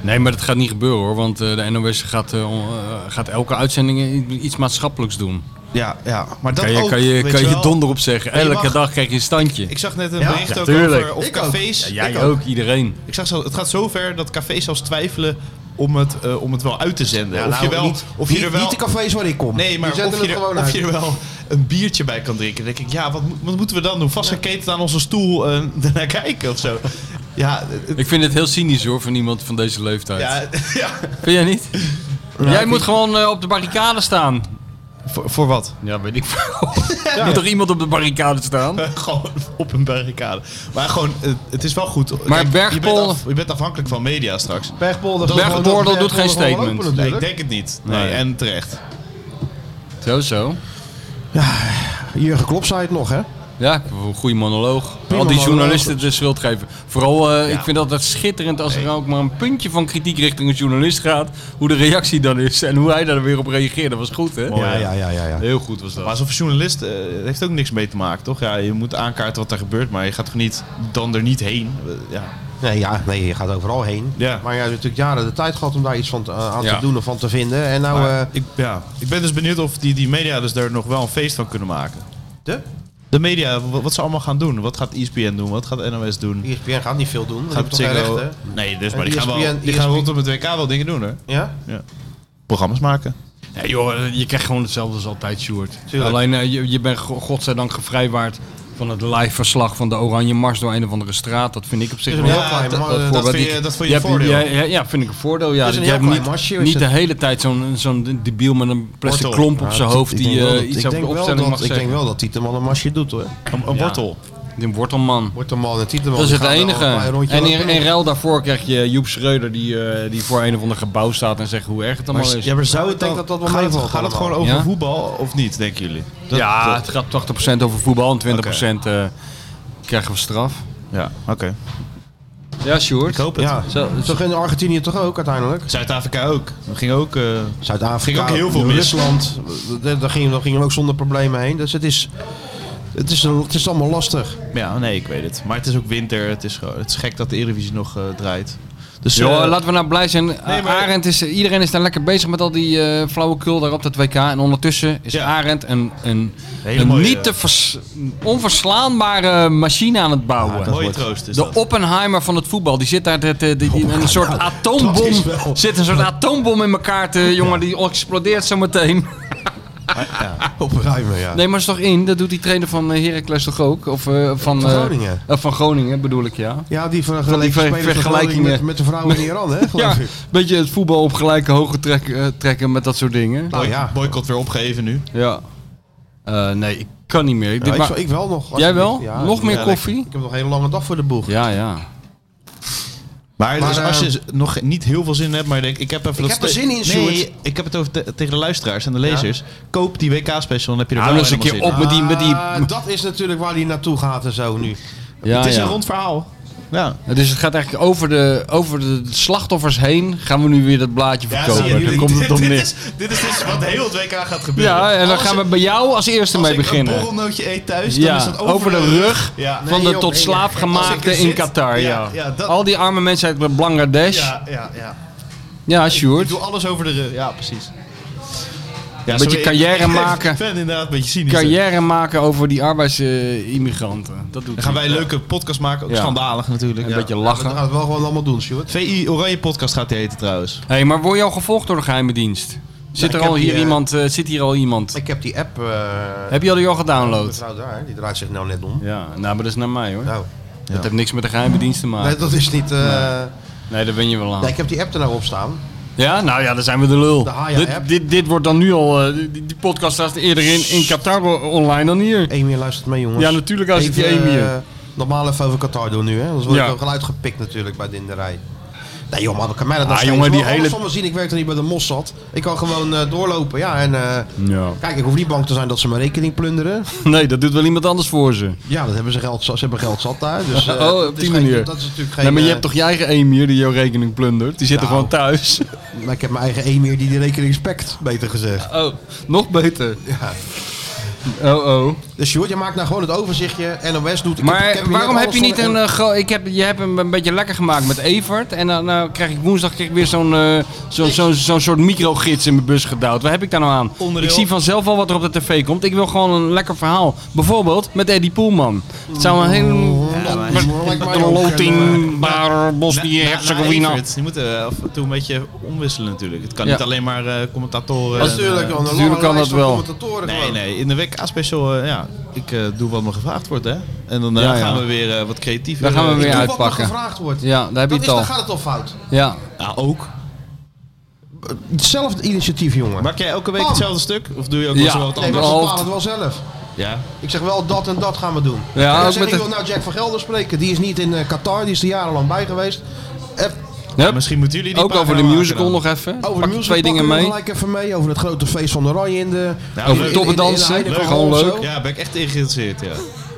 [SPEAKER 3] Nee, maar dat gaat niet gebeuren hoor. Want eh, de NOS gaat, eh, on- eh, gaat elke uitzending i- iets maatschappelijks doen.
[SPEAKER 4] Ja, ja. Maar dat
[SPEAKER 3] kan je,
[SPEAKER 4] ook,
[SPEAKER 3] kan je,
[SPEAKER 4] weet
[SPEAKER 3] kan je,
[SPEAKER 4] wel.
[SPEAKER 3] donder op zeggen.
[SPEAKER 4] Maar je
[SPEAKER 3] Elke
[SPEAKER 4] mag-
[SPEAKER 3] dag krijg je een standje.
[SPEAKER 4] Ik zag net een
[SPEAKER 2] Ja?
[SPEAKER 4] bericht
[SPEAKER 3] Ja,
[SPEAKER 4] ook
[SPEAKER 3] tuurlijk.
[SPEAKER 4] over of
[SPEAKER 2] Ik ook.
[SPEAKER 4] cafés.
[SPEAKER 3] Ja, jij ook, iedereen.
[SPEAKER 4] Ik zag zo, het gaat zover dat cafés zelfs twijfelen om het, eh, om het wel uit te zenden.
[SPEAKER 2] Ja,
[SPEAKER 4] of
[SPEAKER 2] nou,
[SPEAKER 4] je wel,
[SPEAKER 2] niet,
[SPEAKER 4] of je
[SPEAKER 2] niet-
[SPEAKER 4] er wel,
[SPEAKER 2] niet de cafés waar ik kom.
[SPEAKER 4] nee, maar
[SPEAKER 2] Die zetten
[SPEAKER 4] of je,
[SPEAKER 2] het
[SPEAKER 4] er,
[SPEAKER 2] gewoon
[SPEAKER 4] of
[SPEAKER 2] uit.
[SPEAKER 4] je er wel een biertje bij [laughs] kan drinken. Dan denk ik, ja, wat, mo- wat moeten we dan doen? Vastgeketend aan onze stoel eh daarna kijken of zo. Ja,
[SPEAKER 3] ik vind het heel cynisch hoor, van iemand van deze leeftijd.
[SPEAKER 4] [laughs] Ja,
[SPEAKER 3] Vind jij niet?
[SPEAKER 4] [laughs] Nou,
[SPEAKER 3] jij
[SPEAKER 4] ik
[SPEAKER 3] moet gewoon eh, op de barricade staan.
[SPEAKER 4] Voor, voor wat?
[SPEAKER 3] Ja, weet ik veel. [laughs] Moet toch iemand op de barricade
[SPEAKER 4] [laughs]
[SPEAKER 3] staan?
[SPEAKER 4] gewoon op een barricade. Maar gewoon, het, het is wel goed.
[SPEAKER 3] Maar
[SPEAKER 4] Je
[SPEAKER 3] Bergpol-
[SPEAKER 4] bent, af- je bent afhankelijk van media straks.
[SPEAKER 2] Bergpolder
[SPEAKER 4] Dat-
[SPEAKER 3] Bergpolder
[SPEAKER 4] dat- dat-
[SPEAKER 3] doet geen
[SPEAKER 4] Bergpolder
[SPEAKER 3] statement.
[SPEAKER 4] gewoon open, natuurlijk. Nee, ik denk het niet. Nee,
[SPEAKER 3] Nee.
[SPEAKER 4] en terecht.
[SPEAKER 3] Zo, zo.
[SPEAKER 2] Jurgen Klopp zei het nog, hè?
[SPEAKER 3] Ja, ik heb een goede monoloog.
[SPEAKER 2] Prima
[SPEAKER 3] Al die
[SPEAKER 2] monoloog.
[SPEAKER 3] journalisten de schuld geven. Vooral, eh,
[SPEAKER 2] Ja.
[SPEAKER 3] ik vind altijd schitterend als er ook maar een puntje van kritiek richting een journalist gaat. Hoe de reactie dan is en hoe hij daar weer op reageert. Dat was goed, hè?
[SPEAKER 4] Mooi, Ja, hè? ja,
[SPEAKER 2] ja, ja,
[SPEAKER 3] Heel goed was dat.
[SPEAKER 4] Maar als journalist eh, heeft ook niks mee te maken, toch? Ja, je moet aankaarten wat er gebeurt, maar je gaat toch niet dan er niet heen? Eh, Ja.
[SPEAKER 2] Nee, ja, nee, je gaat overal heen. Maar jij hebt natuurlijk jaren de tijd gehad om daar iets van te- aan
[SPEAKER 4] Ja.
[SPEAKER 2] te doen of van te vinden. En nou,
[SPEAKER 4] Maar
[SPEAKER 2] eh,
[SPEAKER 4] ik, ja. ik ben dus benieuwd of die, die media dus daar nog wel een feest van kunnen maken. De? De media, wa- wat ze allemaal gaan doen. Wat gaat E ESPN doen? Wat gaat NOS doen?
[SPEAKER 2] ESPN gaat niet veel doen. want die
[SPEAKER 4] Gaat
[SPEAKER 2] hebben toch geen
[SPEAKER 4] Ziggo-
[SPEAKER 2] rechten?
[SPEAKER 4] Nee, dus,
[SPEAKER 2] En E
[SPEAKER 4] maar die gaan, wel,
[SPEAKER 2] ESPN
[SPEAKER 4] die gaan rondom het WK wel dingen doen, hè?
[SPEAKER 2] Ja?
[SPEAKER 4] Ja. Programma's maken.
[SPEAKER 3] Nee joh, eh, je krijgt gewoon hetzelfde als altijd, Sjoerd.
[SPEAKER 4] Tuurlijk.
[SPEAKER 3] Alleen eh, je, je bent go- godzijdank gevrijwaard van het live verslag van de Oranje Mars door een of andere straat. Dat vind ik op zich
[SPEAKER 2] Is een
[SPEAKER 3] wel
[SPEAKER 2] heel klein ma- dat
[SPEAKER 3] voorbeeld.
[SPEAKER 2] vind je-
[SPEAKER 3] Ik-
[SPEAKER 2] dat vind je
[SPEAKER 3] hebt-
[SPEAKER 2] voordeel.
[SPEAKER 3] Ja, ja, ja, vind ik een voordeel. Ja.
[SPEAKER 2] Dat is een
[SPEAKER 3] Je
[SPEAKER 2] heel
[SPEAKER 3] hebt
[SPEAKER 2] klein
[SPEAKER 3] niet,
[SPEAKER 2] marsje, is
[SPEAKER 3] niet de
[SPEAKER 2] het?
[SPEAKER 3] hele tijd zo'n zo'n debiel met een plastic
[SPEAKER 2] Wortel.
[SPEAKER 3] klomp op
[SPEAKER 2] Ja,
[SPEAKER 3] zijn
[SPEAKER 2] dat-
[SPEAKER 3] hoofd
[SPEAKER 2] ik
[SPEAKER 3] die
[SPEAKER 2] denk wel
[SPEAKER 3] eh,
[SPEAKER 2] dat-
[SPEAKER 3] iets
[SPEAKER 2] ik
[SPEAKER 3] over de
[SPEAKER 2] denk wel
[SPEAKER 3] opstelling
[SPEAKER 2] dat-
[SPEAKER 3] mag zeggen.
[SPEAKER 2] Ik denk wel dat Tieteman een masje doet, hoor.
[SPEAKER 4] Een, een wortel.
[SPEAKER 3] Een wortelman.
[SPEAKER 2] Wortelman en Tieteman.
[SPEAKER 3] Dat
[SPEAKER 2] die
[SPEAKER 3] is het
[SPEAKER 2] gaan wel
[SPEAKER 3] enige.
[SPEAKER 2] een klein rondje
[SPEAKER 3] En in,
[SPEAKER 2] lopen.
[SPEAKER 3] in ruil daarvoor krijg je Joep Schreuder die, eh, die voor een of ander gebouw staat en zegt hoe erg het allemaal
[SPEAKER 4] Maar,
[SPEAKER 3] is.
[SPEAKER 4] ja, maar zou het dan,
[SPEAKER 2] denk dat dat wel
[SPEAKER 4] gaat, het,
[SPEAKER 2] meevalt
[SPEAKER 4] gaat het gewoon
[SPEAKER 3] allemaal.
[SPEAKER 4] over
[SPEAKER 3] Ja?
[SPEAKER 4] voetbal of niet, denken jullie? Dat-
[SPEAKER 3] ja,
[SPEAKER 4] dat-
[SPEAKER 3] het gaat 80% over voetbal en 20% eh, krijgen we straf.
[SPEAKER 4] Ja, oké.
[SPEAKER 3] Ja, Sjoerd.
[SPEAKER 4] Ik hoop het.
[SPEAKER 2] Ja.
[SPEAKER 3] Zo,
[SPEAKER 2] Toch in Argentinië toch ook uiteindelijk?
[SPEAKER 4] Zuid-Afrika ook. Dat ging ook, eh,
[SPEAKER 2] Zuid-Afrika,
[SPEAKER 4] ging ook heel veel mis.
[SPEAKER 2] Rusland, daar- daar gingen, daar gingen we ook zonder problemen heen. Dus het is, het is, een- het is allemaal lastig.
[SPEAKER 4] Ja, nee, ik weet het. Maar het is ook winter. Het is, gewoon- het is gek dat de Eredivisie nog eh, draait. Dus,
[SPEAKER 3] Joh,
[SPEAKER 4] eh,
[SPEAKER 3] laten we nou blij zijn. Arend is, iedereen is daar lekker bezig met al die eh flauwekul daar op dat WK. En ondertussen is Arend een, een,
[SPEAKER 4] Hele
[SPEAKER 3] een
[SPEAKER 4] mooie,
[SPEAKER 3] niet te vers- onverslaanbare machine aan het bouwen.
[SPEAKER 4] mooie wordt- Oh, troost is
[SPEAKER 3] de
[SPEAKER 4] dat.
[SPEAKER 3] Oppenheimer van het voetbal. Die zit daar te, te- die- die- een soort atoombom. Zit een soort atoombom in elkaar te, jongen, die explodeert zo meteen.
[SPEAKER 2] Opruimen, ja.
[SPEAKER 3] Nee, maar is toch in? Dat doet die trainer van eh, Heracles toch ook? Of eh, van,
[SPEAKER 2] Van
[SPEAKER 3] eh,
[SPEAKER 2] Groningen.
[SPEAKER 3] eh, van Groningen bedoel ik, ja.
[SPEAKER 2] Ja, die
[SPEAKER 3] Van die
[SPEAKER 2] vergelijking,
[SPEAKER 3] ver- vergelijkingen.
[SPEAKER 2] met, met de vrouwen in Iran, hè?
[SPEAKER 3] [laughs] Ja,
[SPEAKER 2] geloof
[SPEAKER 3] een
[SPEAKER 2] ik.
[SPEAKER 3] beetje het voetbal op gelijke hoogte trek- eh, trekken met dat soort dingen.
[SPEAKER 2] Nou ja,
[SPEAKER 4] Boycott weer opgeven nu.
[SPEAKER 3] Ja. Eh, nee, ik kan niet meer. Ik,
[SPEAKER 2] Ja,
[SPEAKER 3] dit
[SPEAKER 2] ik,
[SPEAKER 3] maar-
[SPEAKER 2] zou- ik wel nog.
[SPEAKER 3] Jij wel?
[SPEAKER 2] alsjeblieft. Ja,
[SPEAKER 3] nog meer
[SPEAKER 2] ja,
[SPEAKER 3] koffie?
[SPEAKER 2] Ik heb nog een hele lange dag voor de boeg.
[SPEAKER 3] Ja, ja.
[SPEAKER 4] Maar,
[SPEAKER 2] Maar,
[SPEAKER 4] dus
[SPEAKER 2] eh,
[SPEAKER 4] als je z- nog niet heel veel zin in hebt, maar je denkt, ik heb even dat
[SPEAKER 2] heb er
[SPEAKER 4] ste-
[SPEAKER 2] zin in, Sjoerd.
[SPEAKER 4] Nee, ik heb het over te- tegen de luisteraars en de lezers. Koop die WK-special, dan heb je er
[SPEAKER 3] Ja,
[SPEAKER 4] wel
[SPEAKER 3] dus een
[SPEAKER 4] helemaal
[SPEAKER 3] keer
[SPEAKER 4] zin
[SPEAKER 3] op met die... Met die
[SPEAKER 4] Eh,
[SPEAKER 2] Ah, dat is natuurlijk waar hij naartoe gaat en zo nu.
[SPEAKER 3] ja,
[SPEAKER 4] in. Het is
[SPEAKER 3] ja.
[SPEAKER 4] een rond verhaal. Ja.
[SPEAKER 3] Dus het gaat eigenlijk over de, over de slachtoffers heen. Gaan we nu weer dat blaadje verkopen. Daar komt het om
[SPEAKER 4] dit,
[SPEAKER 3] neer.
[SPEAKER 4] is, dit is dus wat heel het WK gaat gebeuren.
[SPEAKER 3] Ja, en dan
[SPEAKER 4] Als-
[SPEAKER 3] gaan we bij jou als eerste mee
[SPEAKER 4] Als ik
[SPEAKER 3] beginnen.
[SPEAKER 4] een borrelnootje eet thuis,
[SPEAKER 2] Dus
[SPEAKER 4] dan
[SPEAKER 3] Ja,
[SPEAKER 4] is dat
[SPEAKER 3] over, de rug
[SPEAKER 4] Ja.
[SPEAKER 3] van
[SPEAKER 2] Nee,
[SPEAKER 3] de
[SPEAKER 2] joh,
[SPEAKER 3] tot
[SPEAKER 2] nee,
[SPEAKER 3] slaaf
[SPEAKER 2] nee. Als ik
[SPEAKER 3] gemaakte
[SPEAKER 2] er
[SPEAKER 3] in
[SPEAKER 2] zit-
[SPEAKER 3] Qatar. Ja,
[SPEAKER 4] Ja, ja, dat-
[SPEAKER 3] Al die arme mensen uit Bangladesh. Ja,
[SPEAKER 4] Ja, ja, ja. Ik
[SPEAKER 3] Sjoerd.
[SPEAKER 4] doe alles over de rug. Ja, precies.
[SPEAKER 3] Een beetje carrière
[SPEAKER 2] [laughs]
[SPEAKER 3] maken.
[SPEAKER 4] [laughs] Ik ben inderdaad een beetje cynisch.
[SPEAKER 3] Carrière maken over die arbeidsimmigranten. dat doet
[SPEAKER 4] Dan gaan
[SPEAKER 3] hij.
[SPEAKER 4] wij een leuke podcast maken. Ook
[SPEAKER 3] Ja.
[SPEAKER 4] Schandalig natuurlijk.
[SPEAKER 3] Een
[SPEAKER 4] Ja.
[SPEAKER 3] beetje
[SPEAKER 2] Dat
[SPEAKER 3] lachen.
[SPEAKER 2] gaat het wel gewoon allemaal doen, Stuart.
[SPEAKER 4] VI Oranje Podcast gaat die heten trouwens.
[SPEAKER 3] Hé, hey, maar word je al gevolgd door de geheime dienst? Zit,
[SPEAKER 2] ik
[SPEAKER 3] er
[SPEAKER 2] heb
[SPEAKER 3] al
[SPEAKER 2] die,
[SPEAKER 3] hier
[SPEAKER 2] eh,
[SPEAKER 3] iemand, eh, zit hier al iemand?
[SPEAKER 2] Ik heb die app. eh
[SPEAKER 3] Heb je al die al
[SPEAKER 2] die
[SPEAKER 3] gedownload?
[SPEAKER 2] mevrouw daar, die draait zich nou net om.
[SPEAKER 3] Ja, nou, maar dat is naar mij hoor.
[SPEAKER 2] Nou,
[SPEAKER 3] Dat heeft niks met de geheime dienst te maken.
[SPEAKER 2] nee, dat is niet. eh,
[SPEAKER 3] Nee, daar ben je wel aan.
[SPEAKER 2] nee, ik heb die app er nou op staan.
[SPEAKER 3] Ja, nou ja, daar zijn we de lul.
[SPEAKER 2] De Haya
[SPEAKER 3] dit,
[SPEAKER 2] app.
[SPEAKER 3] dit, dit wordt dan nu al. eh, die, die podcast staat eerder in, in Qatar online dan hier.
[SPEAKER 2] Emir luistert mee, jongens.
[SPEAKER 3] Ja, natuurlijk luistert die
[SPEAKER 2] Even,
[SPEAKER 3] Emir.
[SPEAKER 2] eh, normaal even over Qatar doen nu, hè? Anders word
[SPEAKER 3] Ja.
[SPEAKER 2] ik ook wel uitgepikt natuurlijk bij Dinderij. Nee, joh, maar kan mij dat
[SPEAKER 3] Ah,
[SPEAKER 2] nou schelen?
[SPEAKER 3] jongen,
[SPEAKER 2] Ik wil
[SPEAKER 3] die
[SPEAKER 2] alles
[SPEAKER 3] hele-
[SPEAKER 2] van me zien, ik werk er niet bij de Mossad. Ik kan gewoon eh, doorlopen, ja. En eh,
[SPEAKER 3] Ja.
[SPEAKER 2] kijk, ik hoef niet bang te zijn dat ze mijn rekening plunderen.
[SPEAKER 3] Nee, dat doet wel iemand anders voor ze.
[SPEAKER 2] Ja, dat hebben ze geld, ze hebben geld zat daar.
[SPEAKER 3] [laughs]
[SPEAKER 2] Dus, eh,
[SPEAKER 3] oh,
[SPEAKER 2] dat
[SPEAKER 3] op
[SPEAKER 2] is
[SPEAKER 3] die
[SPEAKER 2] geen-
[SPEAKER 3] manier.
[SPEAKER 2] dat is natuurlijk geen...
[SPEAKER 3] nee, maar je
[SPEAKER 2] eh,
[SPEAKER 3] hebt toch je eigen emir die jouw rekening plundert? Die zit er
[SPEAKER 2] Nou.
[SPEAKER 3] gewoon
[SPEAKER 2] [laughs]
[SPEAKER 3] thuis.
[SPEAKER 2] Maar ik heb mijn eigen emir die de rekening spekt, beter gezegd.
[SPEAKER 3] Oh, nog beter.
[SPEAKER 2] Ja.
[SPEAKER 3] Oh, oh.
[SPEAKER 2] Dus Sjoerd, je maakt nou gewoon het overzichtje. NOS doet... ik heb- ik
[SPEAKER 3] Maar
[SPEAKER 2] heb hier net
[SPEAKER 3] waarom heb
[SPEAKER 2] alles
[SPEAKER 3] je niet
[SPEAKER 2] van-
[SPEAKER 3] een.
[SPEAKER 2] en-
[SPEAKER 3] eh, gro- ik heb, je hebt hem een beetje lekker gemaakt met Evert. En dan eh, krijg ik woensdag krijg ik weer zo'n eh, zo'n zo'n zo'n soort microgids in mijn bus gedouwd. Wat heb ik daar nou aan?
[SPEAKER 4] Onderdeel.
[SPEAKER 3] Ik zie vanzelf al wat er op de tv komt. Ik wil gewoon eh, een lekker verhaal. Bijvoorbeeld met Eddie Poelman. Het zou een hele.
[SPEAKER 2] Ja, maar-
[SPEAKER 3] loting, Bar, Bosnië,
[SPEAKER 4] Na- na- na
[SPEAKER 3] Herzegovina.
[SPEAKER 4] Everts, Die moeten eh, af en toe een beetje omwisselen natuurlijk. Het kan
[SPEAKER 3] Ja.
[SPEAKER 4] niet alleen maar eh, commentatoren.
[SPEAKER 2] Ja, natuurlijk,
[SPEAKER 4] en,
[SPEAKER 2] want
[SPEAKER 4] eh,
[SPEAKER 2] een lange Natuurlijk kan lijst dat van wel. commentatoren
[SPEAKER 4] Nee,
[SPEAKER 2] gewoon.
[SPEAKER 4] nee. In de WK-special, ja, ik eh, doe wat me gevraagd wordt, hè. En dan eh,
[SPEAKER 3] Ja, ja.
[SPEAKER 4] gaan we weer eh, wat creatiever.
[SPEAKER 3] Daar gaan we
[SPEAKER 4] eh,
[SPEAKER 3] weer
[SPEAKER 4] doen.
[SPEAKER 3] uitpakken.
[SPEAKER 2] gevraagd wordt.
[SPEAKER 3] Ja, daar heb
[SPEAKER 2] dat
[SPEAKER 3] je het
[SPEAKER 2] is,
[SPEAKER 3] al.
[SPEAKER 2] dan gaat het al fout.
[SPEAKER 3] Ja.
[SPEAKER 4] Ja, Nou, ook.
[SPEAKER 2] Hetzelfde initiatief, jongen.
[SPEAKER 4] Maak jij elke week
[SPEAKER 2] Bam.
[SPEAKER 4] hetzelfde stuk? Of doe je ook
[SPEAKER 3] Ja.
[SPEAKER 4] wel eens wat
[SPEAKER 2] Oh. Nee, maar
[SPEAKER 4] anders?
[SPEAKER 2] ze bepalen het wel zelf.
[SPEAKER 4] Ja.
[SPEAKER 2] Ik zeg wel dat en dat gaan we doen.
[SPEAKER 3] Ja,
[SPEAKER 2] En
[SPEAKER 3] ook
[SPEAKER 2] dan zeg
[SPEAKER 3] met
[SPEAKER 2] ik
[SPEAKER 3] het-
[SPEAKER 2] wil nou Jack van Gelder spreken. Die is niet in eh, Qatar, die is er jarenlang bij geweest. Eh,
[SPEAKER 3] Hup.
[SPEAKER 4] Misschien moeten jullie die
[SPEAKER 3] Ook over de
[SPEAKER 4] pagina maken
[SPEAKER 3] musical
[SPEAKER 4] dan.
[SPEAKER 3] nog even.
[SPEAKER 2] over de
[SPEAKER 3] Pak
[SPEAKER 2] music
[SPEAKER 3] twee dingen
[SPEAKER 2] pakken we
[SPEAKER 3] mee.
[SPEAKER 2] gelijk even mee. Over het grote feest van Oranje in de...
[SPEAKER 4] Ja,
[SPEAKER 3] Over
[SPEAKER 4] leuk.
[SPEAKER 3] toppendansen.
[SPEAKER 2] in- in- in Heineken
[SPEAKER 3] Gewoon
[SPEAKER 2] of zo.
[SPEAKER 3] leuk.
[SPEAKER 4] Ja, ben ik echt geïnteresseerd, ja.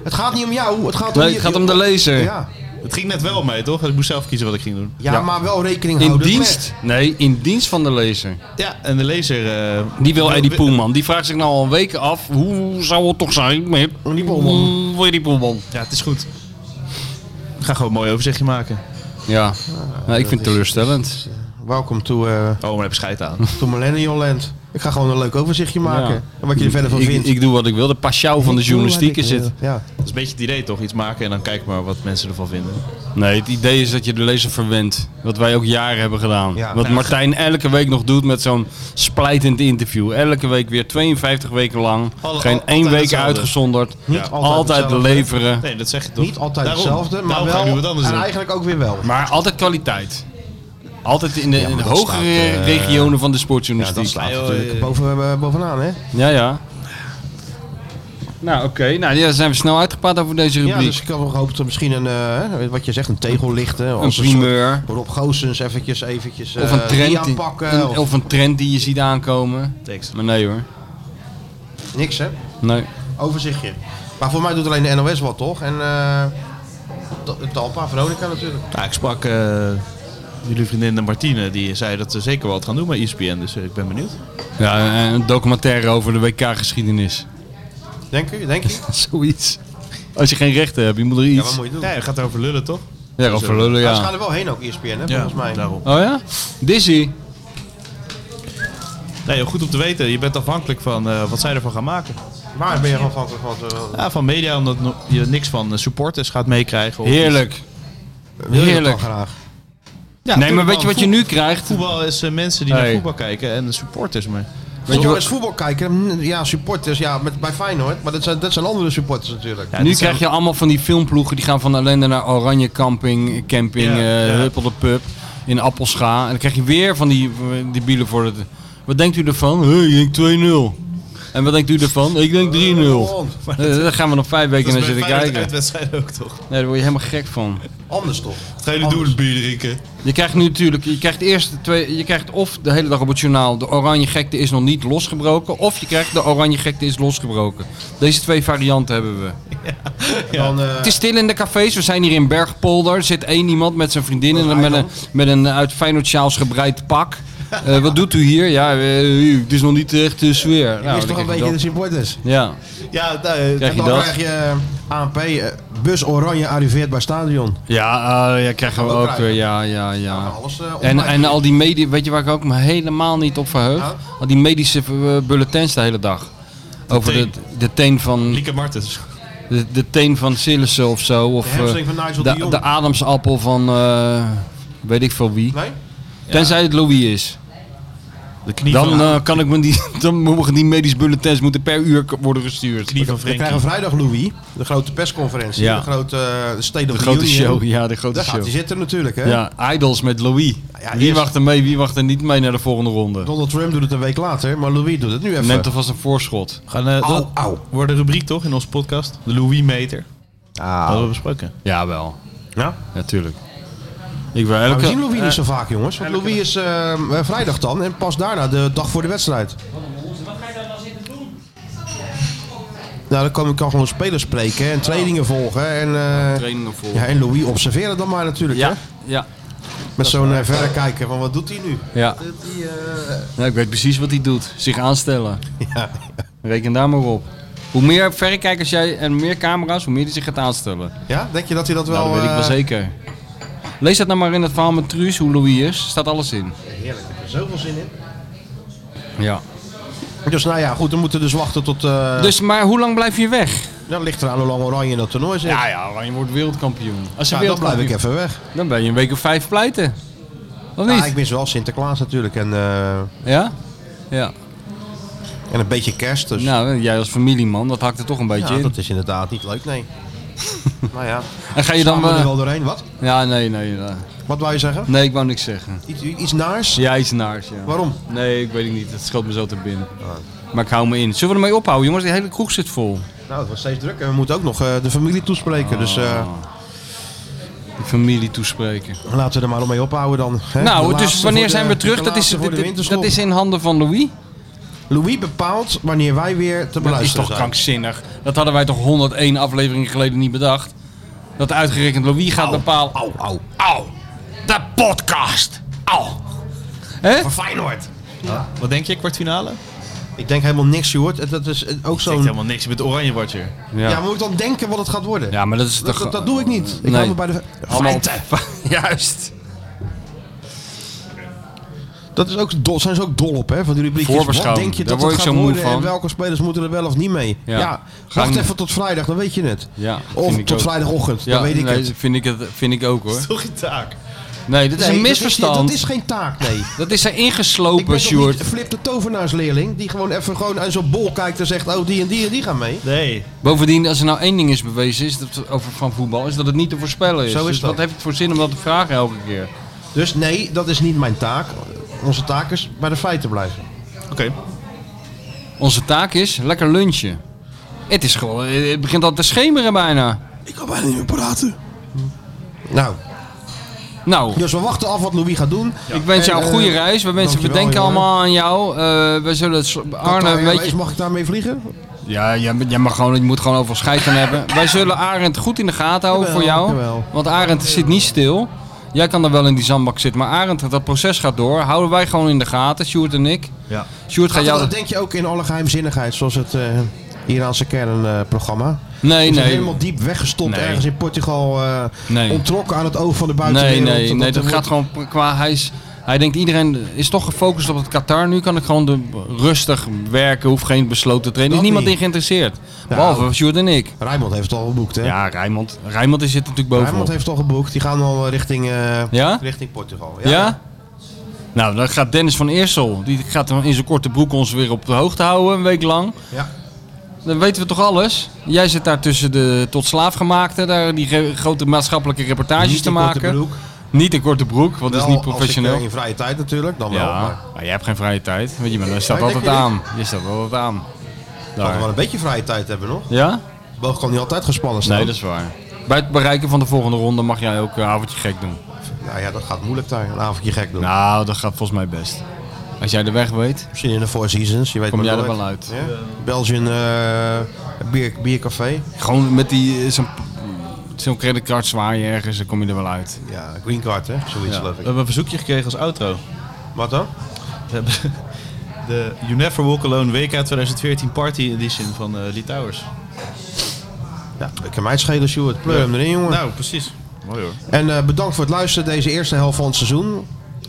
[SPEAKER 2] Het gaat niet om jou, het gaat om...
[SPEAKER 3] Nee,
[SPEAKER 2] je-
[SPEAKER 3] het gaat om de lezer.
[SPEAKER 2] Ja,
[SPEAKER 4] Het ging net wel mee, toch? Ik moest zelf kiezen wat ik ging doen.
[SPEAKER 2] ja,
[SPEAKER 3] Ja.
[SPEAKER 2] maar wel rekening
[SPEAKER 3] In
[SPEAKER 2] houden
[SPEAKER 3] dienst? Nee, in dienst van de lezer.
[SPEAKER 4] Ja, en de lezer... eh,
[SPEAKER 3] Die wil Eddie Poelman. Die vraagt zich nou al een week af. Hoe zou het toch zijn met
[SPEAKER 2] Oh,
[SPEAKER 3] Hmm,
[SPEAKER 2] Die Poelman.
[SPEAKER 3] Hoe Eddie Poelman?
[SPEAKER 4] Ja, het is goed. Ik ga gewoon een mooi overzichtje maken. Oh,
[SPEAKER 3] Ja, nou, ik vind het teleurstellend.
[SPEAKER 2] met. Welcome to, eh,
[SPEAKER 4] Oh, maar heb
[SPEAKER 3] [laughs]
[SPEAKER 4] scheid aan.
[SPEAKER 2] to Millennial Land. Ik ga gewoon een leuk overzichtje maken.
[SPEAKER 3] Ja.
[SPEAKER 2] En wat je er verder van
[SPEAKER 3] ik,
[SPEAKER 2] vindt.
[SPEAKER 3] ik doe wat ik wil. De pasjouw van de
[SPEAKER 2] Ik doe wat
[SPEAKER 3] journalistiek
[SPEAKER 2] ik
[SPEAKER 3] is het.
[SPEAKER 2] wil. Ja.
[SPEAKER 4] Dat is een beetje het idee toch? Iets maken en dan kijk maar wat mensen ervan vinden.
[SPEAKER 3] Nee, het idee is dat je de lezer verwendt. Wat wij ook jaren hebben gedaan.
[SPEAKER 2] Ja. Nou,
[SPEAKER 3] Wat Martijn elke week nog doet met zo'n splijtend interview. Elke week weer 52 weken lang.
[SPEAKER 4] Al-
[SPEAKER 3] Geen
[SPEAKER 4] al-
[SPEAKER 3] één
[SPEAKER 4] altijd
[SPEAKER 3] week
[SPEAKER 4] hetzelfde.
[SPEAKER 3] uitgezonderd.
[SPEAKER 2] Niet altijd
[SPEAKER 3] altijd
[SPEAKER 2] hetzelfde.
[SPEAKER 3] leveren.
[SPEAKER 4] Nee, dat zeg je toch?
[SPEAKER 2] Niet altijd
[SPEAKER 4] Daarom.
[SPEAKER 2] hetzelfde, maar
[SPEAKER 4] Daarom ga ik nu wat
[SPEAKER 2] wel.
[SPEAKER 4] anders
[SPEAKER 2] En
[SPEAKER 4] doen.
[SPEAKER 2] eigenlijk ook weer wel.
[SPEAKER 3] Maar altijd kwaliteit. Altijd in de, in de
[SPEAKER 2] dat
[SPEAKER 3] hogere
[SPEAKER 2] staat, eh,
[SPEAKER 3] regionen van de
[SPEAKER 2] Ja, dat
[SPEAKER 3] sportjournalistiek.
[SPEAKER 2] slaat
[SPEAKER 4] joh,
[SPEAKER 2] natuurlijk
[SPEAKER 4] eh.
[SPEAKER 2] boven, eh, bovenaan, hè?
[SPEAKER 3] Ja, ja. Nou, oké. Nou, ja, dan zijn we snel uitgepraat over deze
[SPEAKER 2] Ja,
[SPEAKER 3] rubriek.
[SPEAKER 2] dus ik had wel gehoopt dat misschien een, eh, wat je zegt, een tegel lichten.
[SPEAKER 3] een
[SPEAKER 2] Als soort
[SPEAKER 3] primeur.
[SPEAKER 2] Rob Goossens eventjes, eventjes
[SPEAKER 3] Of een
[SPEAKER 2] eh,
[SPEAKER 3] trend,
[SPEAKER 2] die
[SPEAKER 3] die-
[SPEAKER 2] aanpakken.
[SPEAKER 3] een-
[SPEAKER 2] of,
[SPEAKER 3] of een trend die je ziet aankomen.
[SPEAKER 4] Thanks.
[SPEAKER 3] Maar nee hoor.
[SPEAKER 2] niks, hè?
[SPEAKER 3] Nee.
[SPEAKER 2] Overzichtje. Maar voor mij doet alleen de NOS wat, toch? En eh, T- Talpa, Veronica natuurlijk.
[SPEAKER 4] Nou, ik sprak eh, jullie vriendin Martine. Die zei dat ze zeker wat gaan doen met ESPN. Dus eh, ik ben benieuwd.
[SPEAKER 3] Ja, een documentaire over de WK-geschiedenis.
[SPEAKER 2] Denk je? Denk je?
[SPEAKER 3] [laughs] Zoiets. Als je geen rechten hebt, je moet er
[SPEAKER 2] Ja, wat
[SPEAKER 3] iets.
[SPEAKER 2] moet je doen?
[SPEAKER 4] Ja, je gaat erover lullen toch?
[SPEAKER 3] Ja, over lullen,
[SPEAKER 2] Maar ze gaan
[SPEAKER 3] ja.
[SPEAKER 2] er wel heen ook, E ESPN, hè, volgens mij.
[SPEAKER 4] daarom.
[SPEAKER 3] Oh ja? Dizzy.
[SPEAKER 4] Nee, goed om te weten. Je bent afhankelijk van eh, wat zij ervan gaan maken.
[SPEAKER 2] Waar ben je gewoon van? van- van- van-
[SPEAKER 4] Ja, van media, omdat no- je niks van eh, supporters gaat meekrijgen. of
[SPEAKER 3] Heerlijk.
[SPEAKER 2] wil je dat
[SPEAKER 3] Heerlijk.
[SPEAKER 2] dan graag?
[SPEAKER 4] iets. Ja,
[SPEAKER 3] Nee, maar
[SPEAKER 4] tuurlijk,
[SPEAKER 3] weet je
[SPEAKER 4] man.
[SPEAKER 3] wat je nu krijgt?
[SPEAKER 4] Voetbal is eh, mensen die naar
[SPEAKER 3] Hey.
[SPEAKER 4] voetbal kijken en de supporters. Maar
[SPEAKER 3] Weet je
[SPEAKER 2] Voetbal
[SPEAKER 3] wat-
[SPEAKER 2] is voetbal kijken. mm, Ja, supporters. Ja, met, bij Feyenoord. Maar dat zijn, dat zijn andere supporters natuurlijk.
[SPEAKER 4] Ja,
[SPEAKER 3] nu
[SPEAKER 4] dat zijn-
[SPEAKER 3] krijg je allemaal van die filmploegen die gaan van Allende naar Oranje Camping, Camping,
[SPEAKER 4] Ja,
[SPEAKER 3] eh
[SPEAKER 4] ja.
[SPEAKER 3] Huppel de Pub in Appelscha. En dan krijg je weer van die, eh, die bielen voor het. Wat denkt u ervan? Hé, ik denk 2-0. En wat denkt u ervan? Ik denk 3-0. Eh, dan gaan we nog vijf weken naar zitten kijken.
[SPEAKER 4] wedstrijd ook toch?
[SPEAKER 3] Nee, daar word je helemaal gek van.
[SPEAKER 2] Anders toch?
[SPEAKER 4] Wat ga jullie doen? Een bier drinken.
[SPEAKER 3] Je krijgt nu natuurlijk, je krijgt eerst de twee, je krijgt of de hele dag op het journaal, de oranje gekte is nog niet losgebroken, of je krijgt de oranje gekte is losgebroken. Deze twee varianten hebben we.
[SPEAKER 2] Dan, eh,
[SPEAKER 3] Het is stil in de cafés. We zijn hier in Bergpolder. Er zit één iemand met zijn vriendin en met een, met een uit Feyenoord sjaals
[SPEAKER 2] [laughs]
[SPEAKER 3] gebreid pak. Eh, wat doet u hier? Ja, eh, het is nog niet echt de sfeer. Nou,
[SPEAKER 2] is toch
[SPEAKER 3] dan
[SPEAKER 2] een
[SPEAKER 3] krijg je
[SPEAKER 2] beetje de
[SPEAKER 3] dat.
[SPEAKER 2] supporters.
[SPEAKER 3] Ja,
[SPEAKER 2] Ja, nou,
[SPEAKER 3] Krijg
[SPEAKER 2] eh,
[SPEAKER 3] je
[SPEAKER 2] dan
[SPEAKER 3] dat?
[SPEAKER 2] krijg je ANP, eh, bus oranje arriveert bij stadion.
[SPEAKER 3] ja, eh, ja krijgen we
[SPEAKER 2] Dat
[SPEAKER 3] ook
[SPEAKER 2] krijgen we.
[SPEAKER 3] weer. Ja, ja, ja.
[SPEAKER 2] Alles, eh,
[SPEAKER 3] En,
[SPEAKER 2] online.
[SPEAKER 3] en al die media, weet je waar ik ook me helemaal niet op verheug?
[SPEAKER 2] Nou?
[SPEAKER 3] Al die medische eh, bulletins de hele dag. Over de,
[SPEAKER 4] teen.
[SPEAKER 3] de teen van
[SPEAKER 4] Lieke Martens.
[SPEAKER 3] de, de teen van Sillissen of zo. Of,
[SPEAKER 2] De hamstring
[SPEAKER 3] eh,
[SPEAKER 2] van Nigel de
[SPEAKER 3] de,
[SPEAKER 2] Jong.
[SPEAKER 3] de ademsappel van eh, weet ik veel wie.
[SPEAKER 2] Nee?
[SPEAKER 3] Tenzij het Louis is.
[SPEAKER 4] De knie
[SPEAKER 3] Dan
[SPEAKER 4] van,
[SPEAKER 3] eh, kan ik me die, [laughs] dan mogen die medisch bulletins moeten per uur k- worden gestuurd.
[SPEAKER 4] knie van
[SPEAKER 2] We
[SPEAKER 4] Frenkie.
[SPEAKER 2] krijgen vrijdag Louis, de grote persconferentie,
[SPEAKER 3] Ja.
[SPEAKER 2] de grote eh, State
[SPEAKER 3] De
[SPEAKER 2] of the
[SPEAKER 3] grote
[SPEAKER 2] Union.
[SPEAKER 3] show, ja, de grote
[SPEAKER 2] Daar gaat
[SPEAKER 3] show.
[SPEAKER 2] hij zitten natuurlijk, hè?
[SPEAKER 3] Ja, Idols met Louis.
[SPEAKER 2] ja,
[SPEAKER 3] wie
[SPEAKER 2] eerst-
[SPEAKER 3] wacht er mee, wie wacht er niet mee naar de volgende ronde?
[SPEAKER 2] Donald Trump doet het een week later, maar Louis doet het nu even.
[SPEAKER 3] Neemt alvast een voorschot.
[SPEAKER 4] Gaan, eh,
[SPEAKER 2] Au,
[SPEAKER 4] dat
[SPEAKER 2] au.
[SPEAKER 4] wordt een rubriek toch in onze podcast? De Louis-meter. Dat
[SPEAKER 2] Ah.
[SPEAKER 4] hebben we besproken.
[SPEAKER 3] Jawel,
[SPEAKER 2] Ja?
[SPEAKER 3] natuurlijk. Ik wil
[SPEAKER 2] Maar
[SPEAKER 3] elke...
[SPEAKER 2] we zien Louis
[SPEAKER 3] Eh,
[SPEAKER 2] niet zo vaak, jongens. Want Louis is eh, eh, vrijdag dan en pas daarna de dag voor de wedstrijd. Nou, dan kan ik kan gewoon spelers spreken en trainingen volgen. En, eh,
[SPEAKER 3] Oh. trainingen volgen.
[SPEAKER 2] Ja, en Louis observeren dan maar natuurlijk, hè?
[SPEAKER 3] Ja, ja,
[SPEAKER 2] Met zo'n eh, verrekijker van wat doet hij nu?
[SPEAKER 3] ja. Ja, ik weet precies wat hij doet. Zich aanstellen.
[SPEAKER 2] [laughs] Ja.
[SPEAKER 3] Reken daar maar op. Hoe meer verrekijkers jij en meer camera's, hoe meer hij zich gaat aanstellen.
[SPEAKER 2] ja, denk je dat hij dat wel...
[SPEAKER 3] Nou, dat weet ik wel
[SPEAKER 2] eh,
[SPEAKER 3] zeker. Lees dat nou maar in het verhaal met Truus, hoe Louis is. Staat alles in.
[SPEAKER 2] Heerlijk, ik heb er zoveel zin in.
[SPEAKER 3] Ja.
[SPEAKER 2] Dus nou ja, goed, we moeten dus wachten tot... eh,
[SPEAKER 3] Dus, maar hoe lang blijf je weg?
[SPEAKER 2] Dat ligt eraan hoe lang Oranje in dat toernooi zit.
[SPEAKER 3] Ja, ja, Oranje wordt wereldkampioen. Als ze
[SPEAKER 2] Nou, dan blijf ik
[SPEAKER 3] wereldkampioen-
[SPEAKER 2] even weg.
[SPEAKER 3] Dan ben je een week of vijf pleiten. Of niet?
[SPEAKER 2] Ja, ik mis wel Sinterklaas natuurlijk. En,
[SPEAKER 3] ja? Ja.
[SPEAKER 2] En een beetje kerst. Dus.
[SPEAKER 3] Nou, jij als familieman, dat hakt er toch een beetje
[SPEAKER 2] Ja,
[SPEAKER 3] in.
[SPEAKER 2] dat is inderdaad niet leuk, nee. [laughs] nou ja.
[SPEAKER 3] En ga je dan...
[SPEAKER 2] Samen
[SPEAKER 3] eh,
[SPEAKER 2] er wel doorheen, wat?
[SPEAKER 3] Ja, nee, nee. eh,
[SPEAKER 2] Wat wou je zeggen?
[SPEAKER 3] Nee, ik wou niks zeggen.
[SPEAKER 2] Iets, iets naars?
[SPEAKER 3] Ja, iets naars, ja.
[SPEAKER 2] Waarom? Ah.
[SPEAKER 3] Nee, ik weet het niet. Het schoot me zo te binnen. Maar ik hou me in. Zullen we ermee ophouden, jongens? Die hele kroeg zit vol.
[SPEAKER 2] Nou, het was steeds druk. En we moeten ook nog eh, de familie toespreken. Dus eh,
[SPEAKER 3] Ah. De familie toespreken.
[SPEAKER 2] laten we er maar mee ophouden dan. hè. De
[SPEAKER 3] nou, dus
[SPEAKER 2] laatste
[SPEAKER 3] wanneer
[SPEAKER 2] voor de-
[SPEAKER 3] zijn we terug?
[SPEAKER 2] de
[SPEAKER 3] Dat is,
[SPEAKER 2] laatste voor de
[SPEAKER 3] dit-
[SPEAKER 2] winterstop.
[SPEAKER 3] dat is in handen van Louis.
[SPEAKER 2] Louis bepaalt wanneer wij weer te
[SPEAKER 3] Dat is
[SPEAKER 2] beluisteren
[SPEAKER 3] toch
[SPEAKER 2] zijn.
[SPEAKER 3] krankzinnig? Dat hadden wij toch 101 afleveringen geleden niet bedacht? Dat uitgerekend Louis gaat bepalen... Au,
[SPEAKER 2] au,
[SPEAKER 3] au. De podcast. Au. Hè?
[SPEAKER 2] Voor Feyenoord.
[SPEAKER 4] Wat denk je, kwartfinale?
[SPEAKER 2] Ik denk helemaal niks, Sjoerd. Het- Dat is eh, ook
[SPEAKER 4] Ik denk
[SPEAKER 2] zo'n...
[SPEAKER 4] helemaal niks. Je bent oranje watcher.
[SPEAKER 2] Ja. maar moet ik dan denken wat het gaat worden?
[SPEAKER 3] Ja, maar dat is
[SPEAKER 2] Dat,
[SPEAKER 3] toch...
[SPEAKER 2] dat, dat doe ik niet. Ik hou me bij de
[SPEAKER 3] Allemaal-
[SPEAKER 2] feiten.
[SPEAKER 3] [laughs] Juist.
[SPEAKER 2] Dat is ook dol, zijn ze ook dol op, hè, van die rubriekjes. Wat
[SPEAKER 3] Voorbeschouwing,
[SPEAKER 2] denk je
[SPEAKER 3] daar
[SPEAKER 2] dat
[SPEAKER 3] word
[SPEAKER 2] het
[SPEAKER 3] ik
[SPEAKER 2] gaat
[SPEAKER 3] zo moe
[SPEAKER 2] worden en
[SPEAKER 3] van.
[SPEAKER 2] welke spelers moeten er wel of niet mee? Ja,
[SPEAKER 3] Ja.
[SPEAKER 2] wacht
[SPEAKER 3] Gang.
[SPEAKER 2] even tot vrijdag, dan weet je het.
[SPEAKER 3] Ja,
[SPEAKER 2] Of
[SPEAKER 3] vind ik
[SPEAKER 2] tot
[SPEAKER 3] ook.
[SPEAKER 2] vrijdagochtend, dan weet ik
[SPEAKER 3] nee,
[SPEAKER 2] het.
[SPEAKER 3] Vind ik, het, vind ik ook hoor.
[SPEAKER 4] [laughs] Toch je taak.
[SPEAKER 3] Nee, dit is
[SPEAKER 2] Nee,
[SPEAKER 3] een
[SPEAKER 2] dat
[SPEAKER 3] misverstand.
[SPEAKER 2] Dat is geen taak,
[SPEAKER 3] [laughs]
[SPEAKER 2] nee.
[SPEAKER 3] Dat is er
[SPEAKER 2] Ik ben
[SPEAKER 3] ingeslopen,
[SPEAKER 2] toch niet
[SPEAKER 3] Sjoerd.
[SPEAKER 2] Flip de tovenaarsleerling, die gewoon even gewoon aan zo'n bol kijkt en zegt, oh die en die en die gaan mee.
[SPEAKER 4] Nee.
[SPEAKER 3] Bovendien, als er nou één ding is bewezen is dat, over van voetbal, is dat het niet te voorspellen is.
[SPEAKER 2] Zo is
[SPEAKER 3] dus
[SPEAKER 2] dat.
[SPEAKER 3] wat heeft het voor zin om dat te vragen elke keer?
[SPEAKER 2] Dus nee, dat is niet mijn taak. Onze taak is bij de feiten blijven.
[SPEAKER 4] Oké.
[SPEAKER 3] Onze taak is lekker lunchen. Het is gewoon, eh, het begint al te schemeren bijna.
[SPEAKER 2] Ik kan bijna niet meer praten. Nou,
[SPEAKER 3] Nou,
[SPEAKER 2] dus we wachten af wat Louis gaat doen.
[SPEAKER 3] ik wens jou
[SPEAKER 2] En,
[SPEAKER 3] een
[SPEAKER 2] eh,
[SPEAKER 3] goede reis. We wensen, we
[SPEAKER 2] dankjewel,
[SPEAKER 3] denken
[SPEAKER 2] jongen.
[SPEAKER 3] allemaal eh, aan jou. Eh, we zullen het sl-
[SPEAKER 2] Qatar
[SPEAKER 3] Arne een
[SPEAKER 2] Airways,
[SPEAKER 3] beetje...
[SPEAKER 2] Mag ik daarmee vliegen?
[SPEAKER 3] Ja, jij, jij mag gewoon, je moet gewoon overal scheid aan hebben. Wij zullen Arend goed in de gaten houden
[SPEAKER 2] Jawel,
[SPEAKER 3] voor jou.
[SPEAKER 2] jawel.
[SPEAKER 3] Want Arend zit niet stil. Jij kan er wel in die zandbak zitten. Maar Arend, dat proces gaat door. Houden wij gewoon in de gaten, Sjoerd en ik.
[SPEAKER 4] Ja.
[SPEAKER 3] Sjoerd, ga
[SPEAKER 2] Gaat
[SPEAKER 3] jou...
[SPEAKER 2] dat denk je ook in alle geheimzinnigheid, zoals het eh, Iraanse kernprogramma?
[SPEAKER 3] Nee,
[SPEAKER 2] Is het
[SPEAKER 3] nee.
[SPEAKER 2] helemaal diep weggestopt
[SPEAKER 3] Nee.
[SPEAKER 2] ergens in Portugal, eh,
[SPEAKER 3] Nee.
[SPEAKER 2] ontrokken aan het oog van de
[SPEAKER 3] Nee,
[SPEAKER 2] buitenwereld.
[SPEAKER 3] nee, nee. Dat
[SPEAKER 2] er
[SPEAKER 3] gaat
[SPEAKER 2] wordt-
[SPEAKER 3] gewoon qua... Hij, is, hij denkt, iedereen is toch gefocust op het Qatar. Nu kan ik gewoon de, rustig werken. Hoef geen besloten training. Er is
[SPEAKER 2] Dat
[SPEAKER 3] niemand
[SPEAKER 2] niet.
[SPEAKER 3] in geïnteresseerd.
[SPEAKER 2] Nou.
[SPEAKER 3] Behalve Sjoerd en ik.
[SPEAKER 2] Rijnmond heeft het al geboekt, hè?
[SPEAKER 3] Ja, Rijmond. Rijmond zit natuurlijk bovenop.
[SPEAKER 2] Rijnmond heeft het al geboekt. Die gaan al richting, eh,
[SPEAKER 3] Ja?
[SPEAKER 2] richting Portugal.
[SPEAKER 3] Ja? Nou, dan gaat Dennis van Eersel. Die gaat dan in zijn korte broek ons weer op de hoogte houden een week lang.
[SPEAKER 2] Ja.
[SPEAKER 3] Dan weten we toch alles? Jij zit daar tussen de tot slaafgemaakte, daar die ge- grote maatschappelijke reportages
[SPEAKER 2] Niet
[SPEAKER 3] te
[SPEAKER 2] in korte
[SPEAKER 3] maken.
[SPEAKER 2] broek.
[SPEAKER 3] Niet in korte broek, want dat is
[SPEAKER 2] Wel,
[SPEAKER 3] niet
[SPEAKER 2] als ik,
[SPEAKER 3] professioneel.
[SPEAKER 2] eh, in vrije tijd natuurlijk, dan wel.
[SPEAKER 3] ja,
[SPEAKER 2] Maar
[SPEAKER 3] maar jij hebt geen vrije tijd. Weet je, maar dan staat
[SPEAKER 2] Ja,
[SPEAKER 3] altijd
[SPEAKER 2] denk je
[SPEAKER 3] aan. Je staat wel wat aan.
[SPEAKER 2] we hadden
[SPEAKER 3] Daar.
[SPEAKER 2] wel een beetje vrije tijd hebben nog.
[SPEAKER 3] Ja?
[SPEAKER 2] Boog kan niet altijd gespannen staan.
[SPEAKER 3] Nee, dat is waar. Bij het bereiken van de volgende ronde mag jij ook een avondje gek doen.
[SPEAKER 2] Nou ja, dat gaat moeilijk daar. Een avondje gek doen.
[SPEAKER 3] Nou, dat gaat volgens mij best. Als jij de weg weet,
[SPEAKER 2] Misschien in de Four Seasons, je weet
[SPEAKER 3] kom
[SPEAKER 2] maar
[SPEAKER 3] jij er
[SPEAKER 2] nooit.
[SPEAKER 3] wel uit.
[SPEAKER 2] Ja? Belgian eh, bier, biercafé.
[SPEAKER 3] Gewoon met die eh, zo'n zo'n creditcard zwaar je ergens, dan kom je er wel uit.
[SPEAKER 2] Ja, green card hè, zoiets
[SPEAKER 4] Ja. We
[SPEAKER 2] geloof ik.
[SPEAKER 3] Eh.
[SPEAKER 4] hebben een verzoekje gekregen als outro.
[SPEAKER 2] Wat dan?
[SPEAKER 4] We hebben [laughs] de You Never Walk Alone WK 2014 Party Edition van eh Lee Towers.
[SPEAKER 2] Ja, ik kan mij het schelen, Sjoerd. Pleur hem erin, jongen.
[SPEAKER 4] Nou, precies. Mooi hoor.
[SPEAKER 2] En eh, bedankt voor het luisteren deze eerste helft van het seizoen.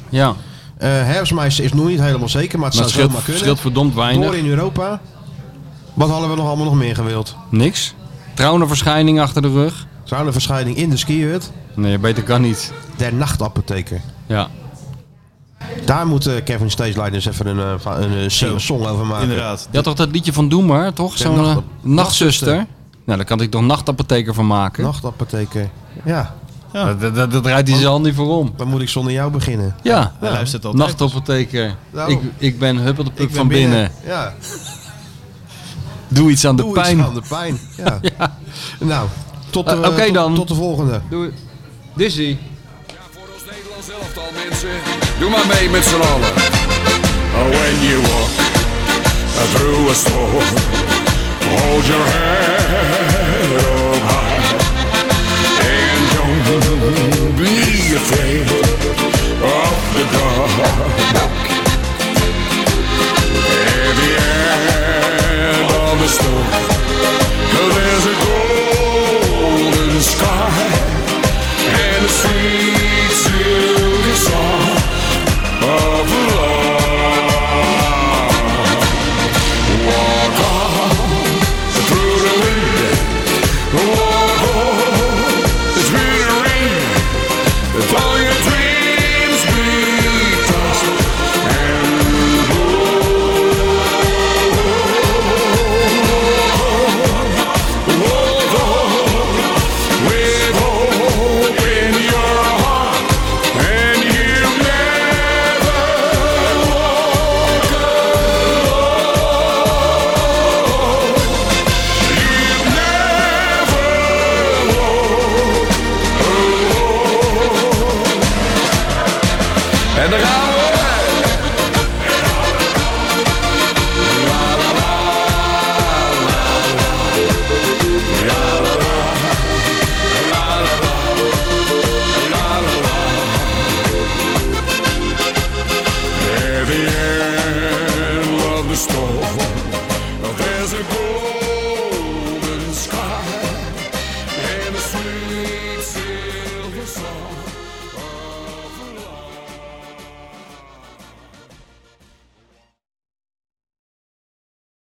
[SPEAKER 3] Ja,
[SPEAKER 2] Eh herfstmeis is nog niet helemaal zeker, maar het
[SPEAKER 3] maar
[SPEAKER 2] zou
[SPEAKER 3] het scheelt,
[SPEAKER 2] zomaar kunnen.
[SPEAKER 3] scheelt verdomd weinig.
[SPEAKER 2] Door in Europa. Wat hadden we nog allemaal nog meer gewild?
[SPEAKER 3] Niks. Trouwende verschijning achter de rug.
[SPEAKER 2] Zuilenverscheiding in de skihut.
[SPEAKER 3] Nee, beter kan niet.
[SPEAKER 2] Der nachtapotheker.
[SPEAKER 3] Ja.
[SPEAKER 2] Daar moet eh, Kevin Stage eens even een, eh, va- een eh, sing-song over maken.
[SPEAKER 4] Inderdaad.
[SPEAKER 3] Je had toch dat liedje van Doe maar, toch?
[SPEAKER 2] Ja,
[SPEAKER 3] Zo'n eh,
[SPEAKER 2] nacht-
[SPEAKER 3] nachtzuster.
[SPEAKER 2] nachtzuster.
[SPEAKER 3] Nou, daar kan ik toch nachtapotheker van maken.
[SPEAKER 2] Nachtapotheker. Ja,
[SPEAKER 3] Dat, dat, dat, dat rijdt hij zijn hand niet voor om.
[SPEAKER 2] dan moet ik zonder jou beginnen.
[SPEAKER 3] Ja,
[SPEAKER 4] Hij luistert altijd.
[SPEAKER 3] nachtapotheker.
[SPEAKER 2] Nou.
[SPEAKER 3] Ik, ik ben huppeldepup
[SPEAKER 2] ben
[SPEAKER 3] van binnen.
[SPEAKER 2] Ja,
[SPEAKER 3] Doe iets aan de
[SPEAKER 2] doe iets
[SPEAKER 3] pijn.
[SPEAKER 2] aan de pijn. Ja.
[SPEAKER 3] [laughs] Ja.
[SPEAKER 2] Nou, tot de,
[SPEAKER 3] Eh, oké
[SPEAKER 2] tot-
[SPEAKER 3] dan.
[SPEAKER 2] tot de volgende.
[SPEAKER 3] Doe Dizzy.
[SPEAKER 5] Nederlands elftal, mensen. Doe maar mee met z'n allen.
[SPEAKER 14] When you walk through a storm, hold your head up high and don't be afraid of the dark. At the end of the storm, there's a golden sky and a sweet silken song of love. Walk on through the wind En dan gaan we.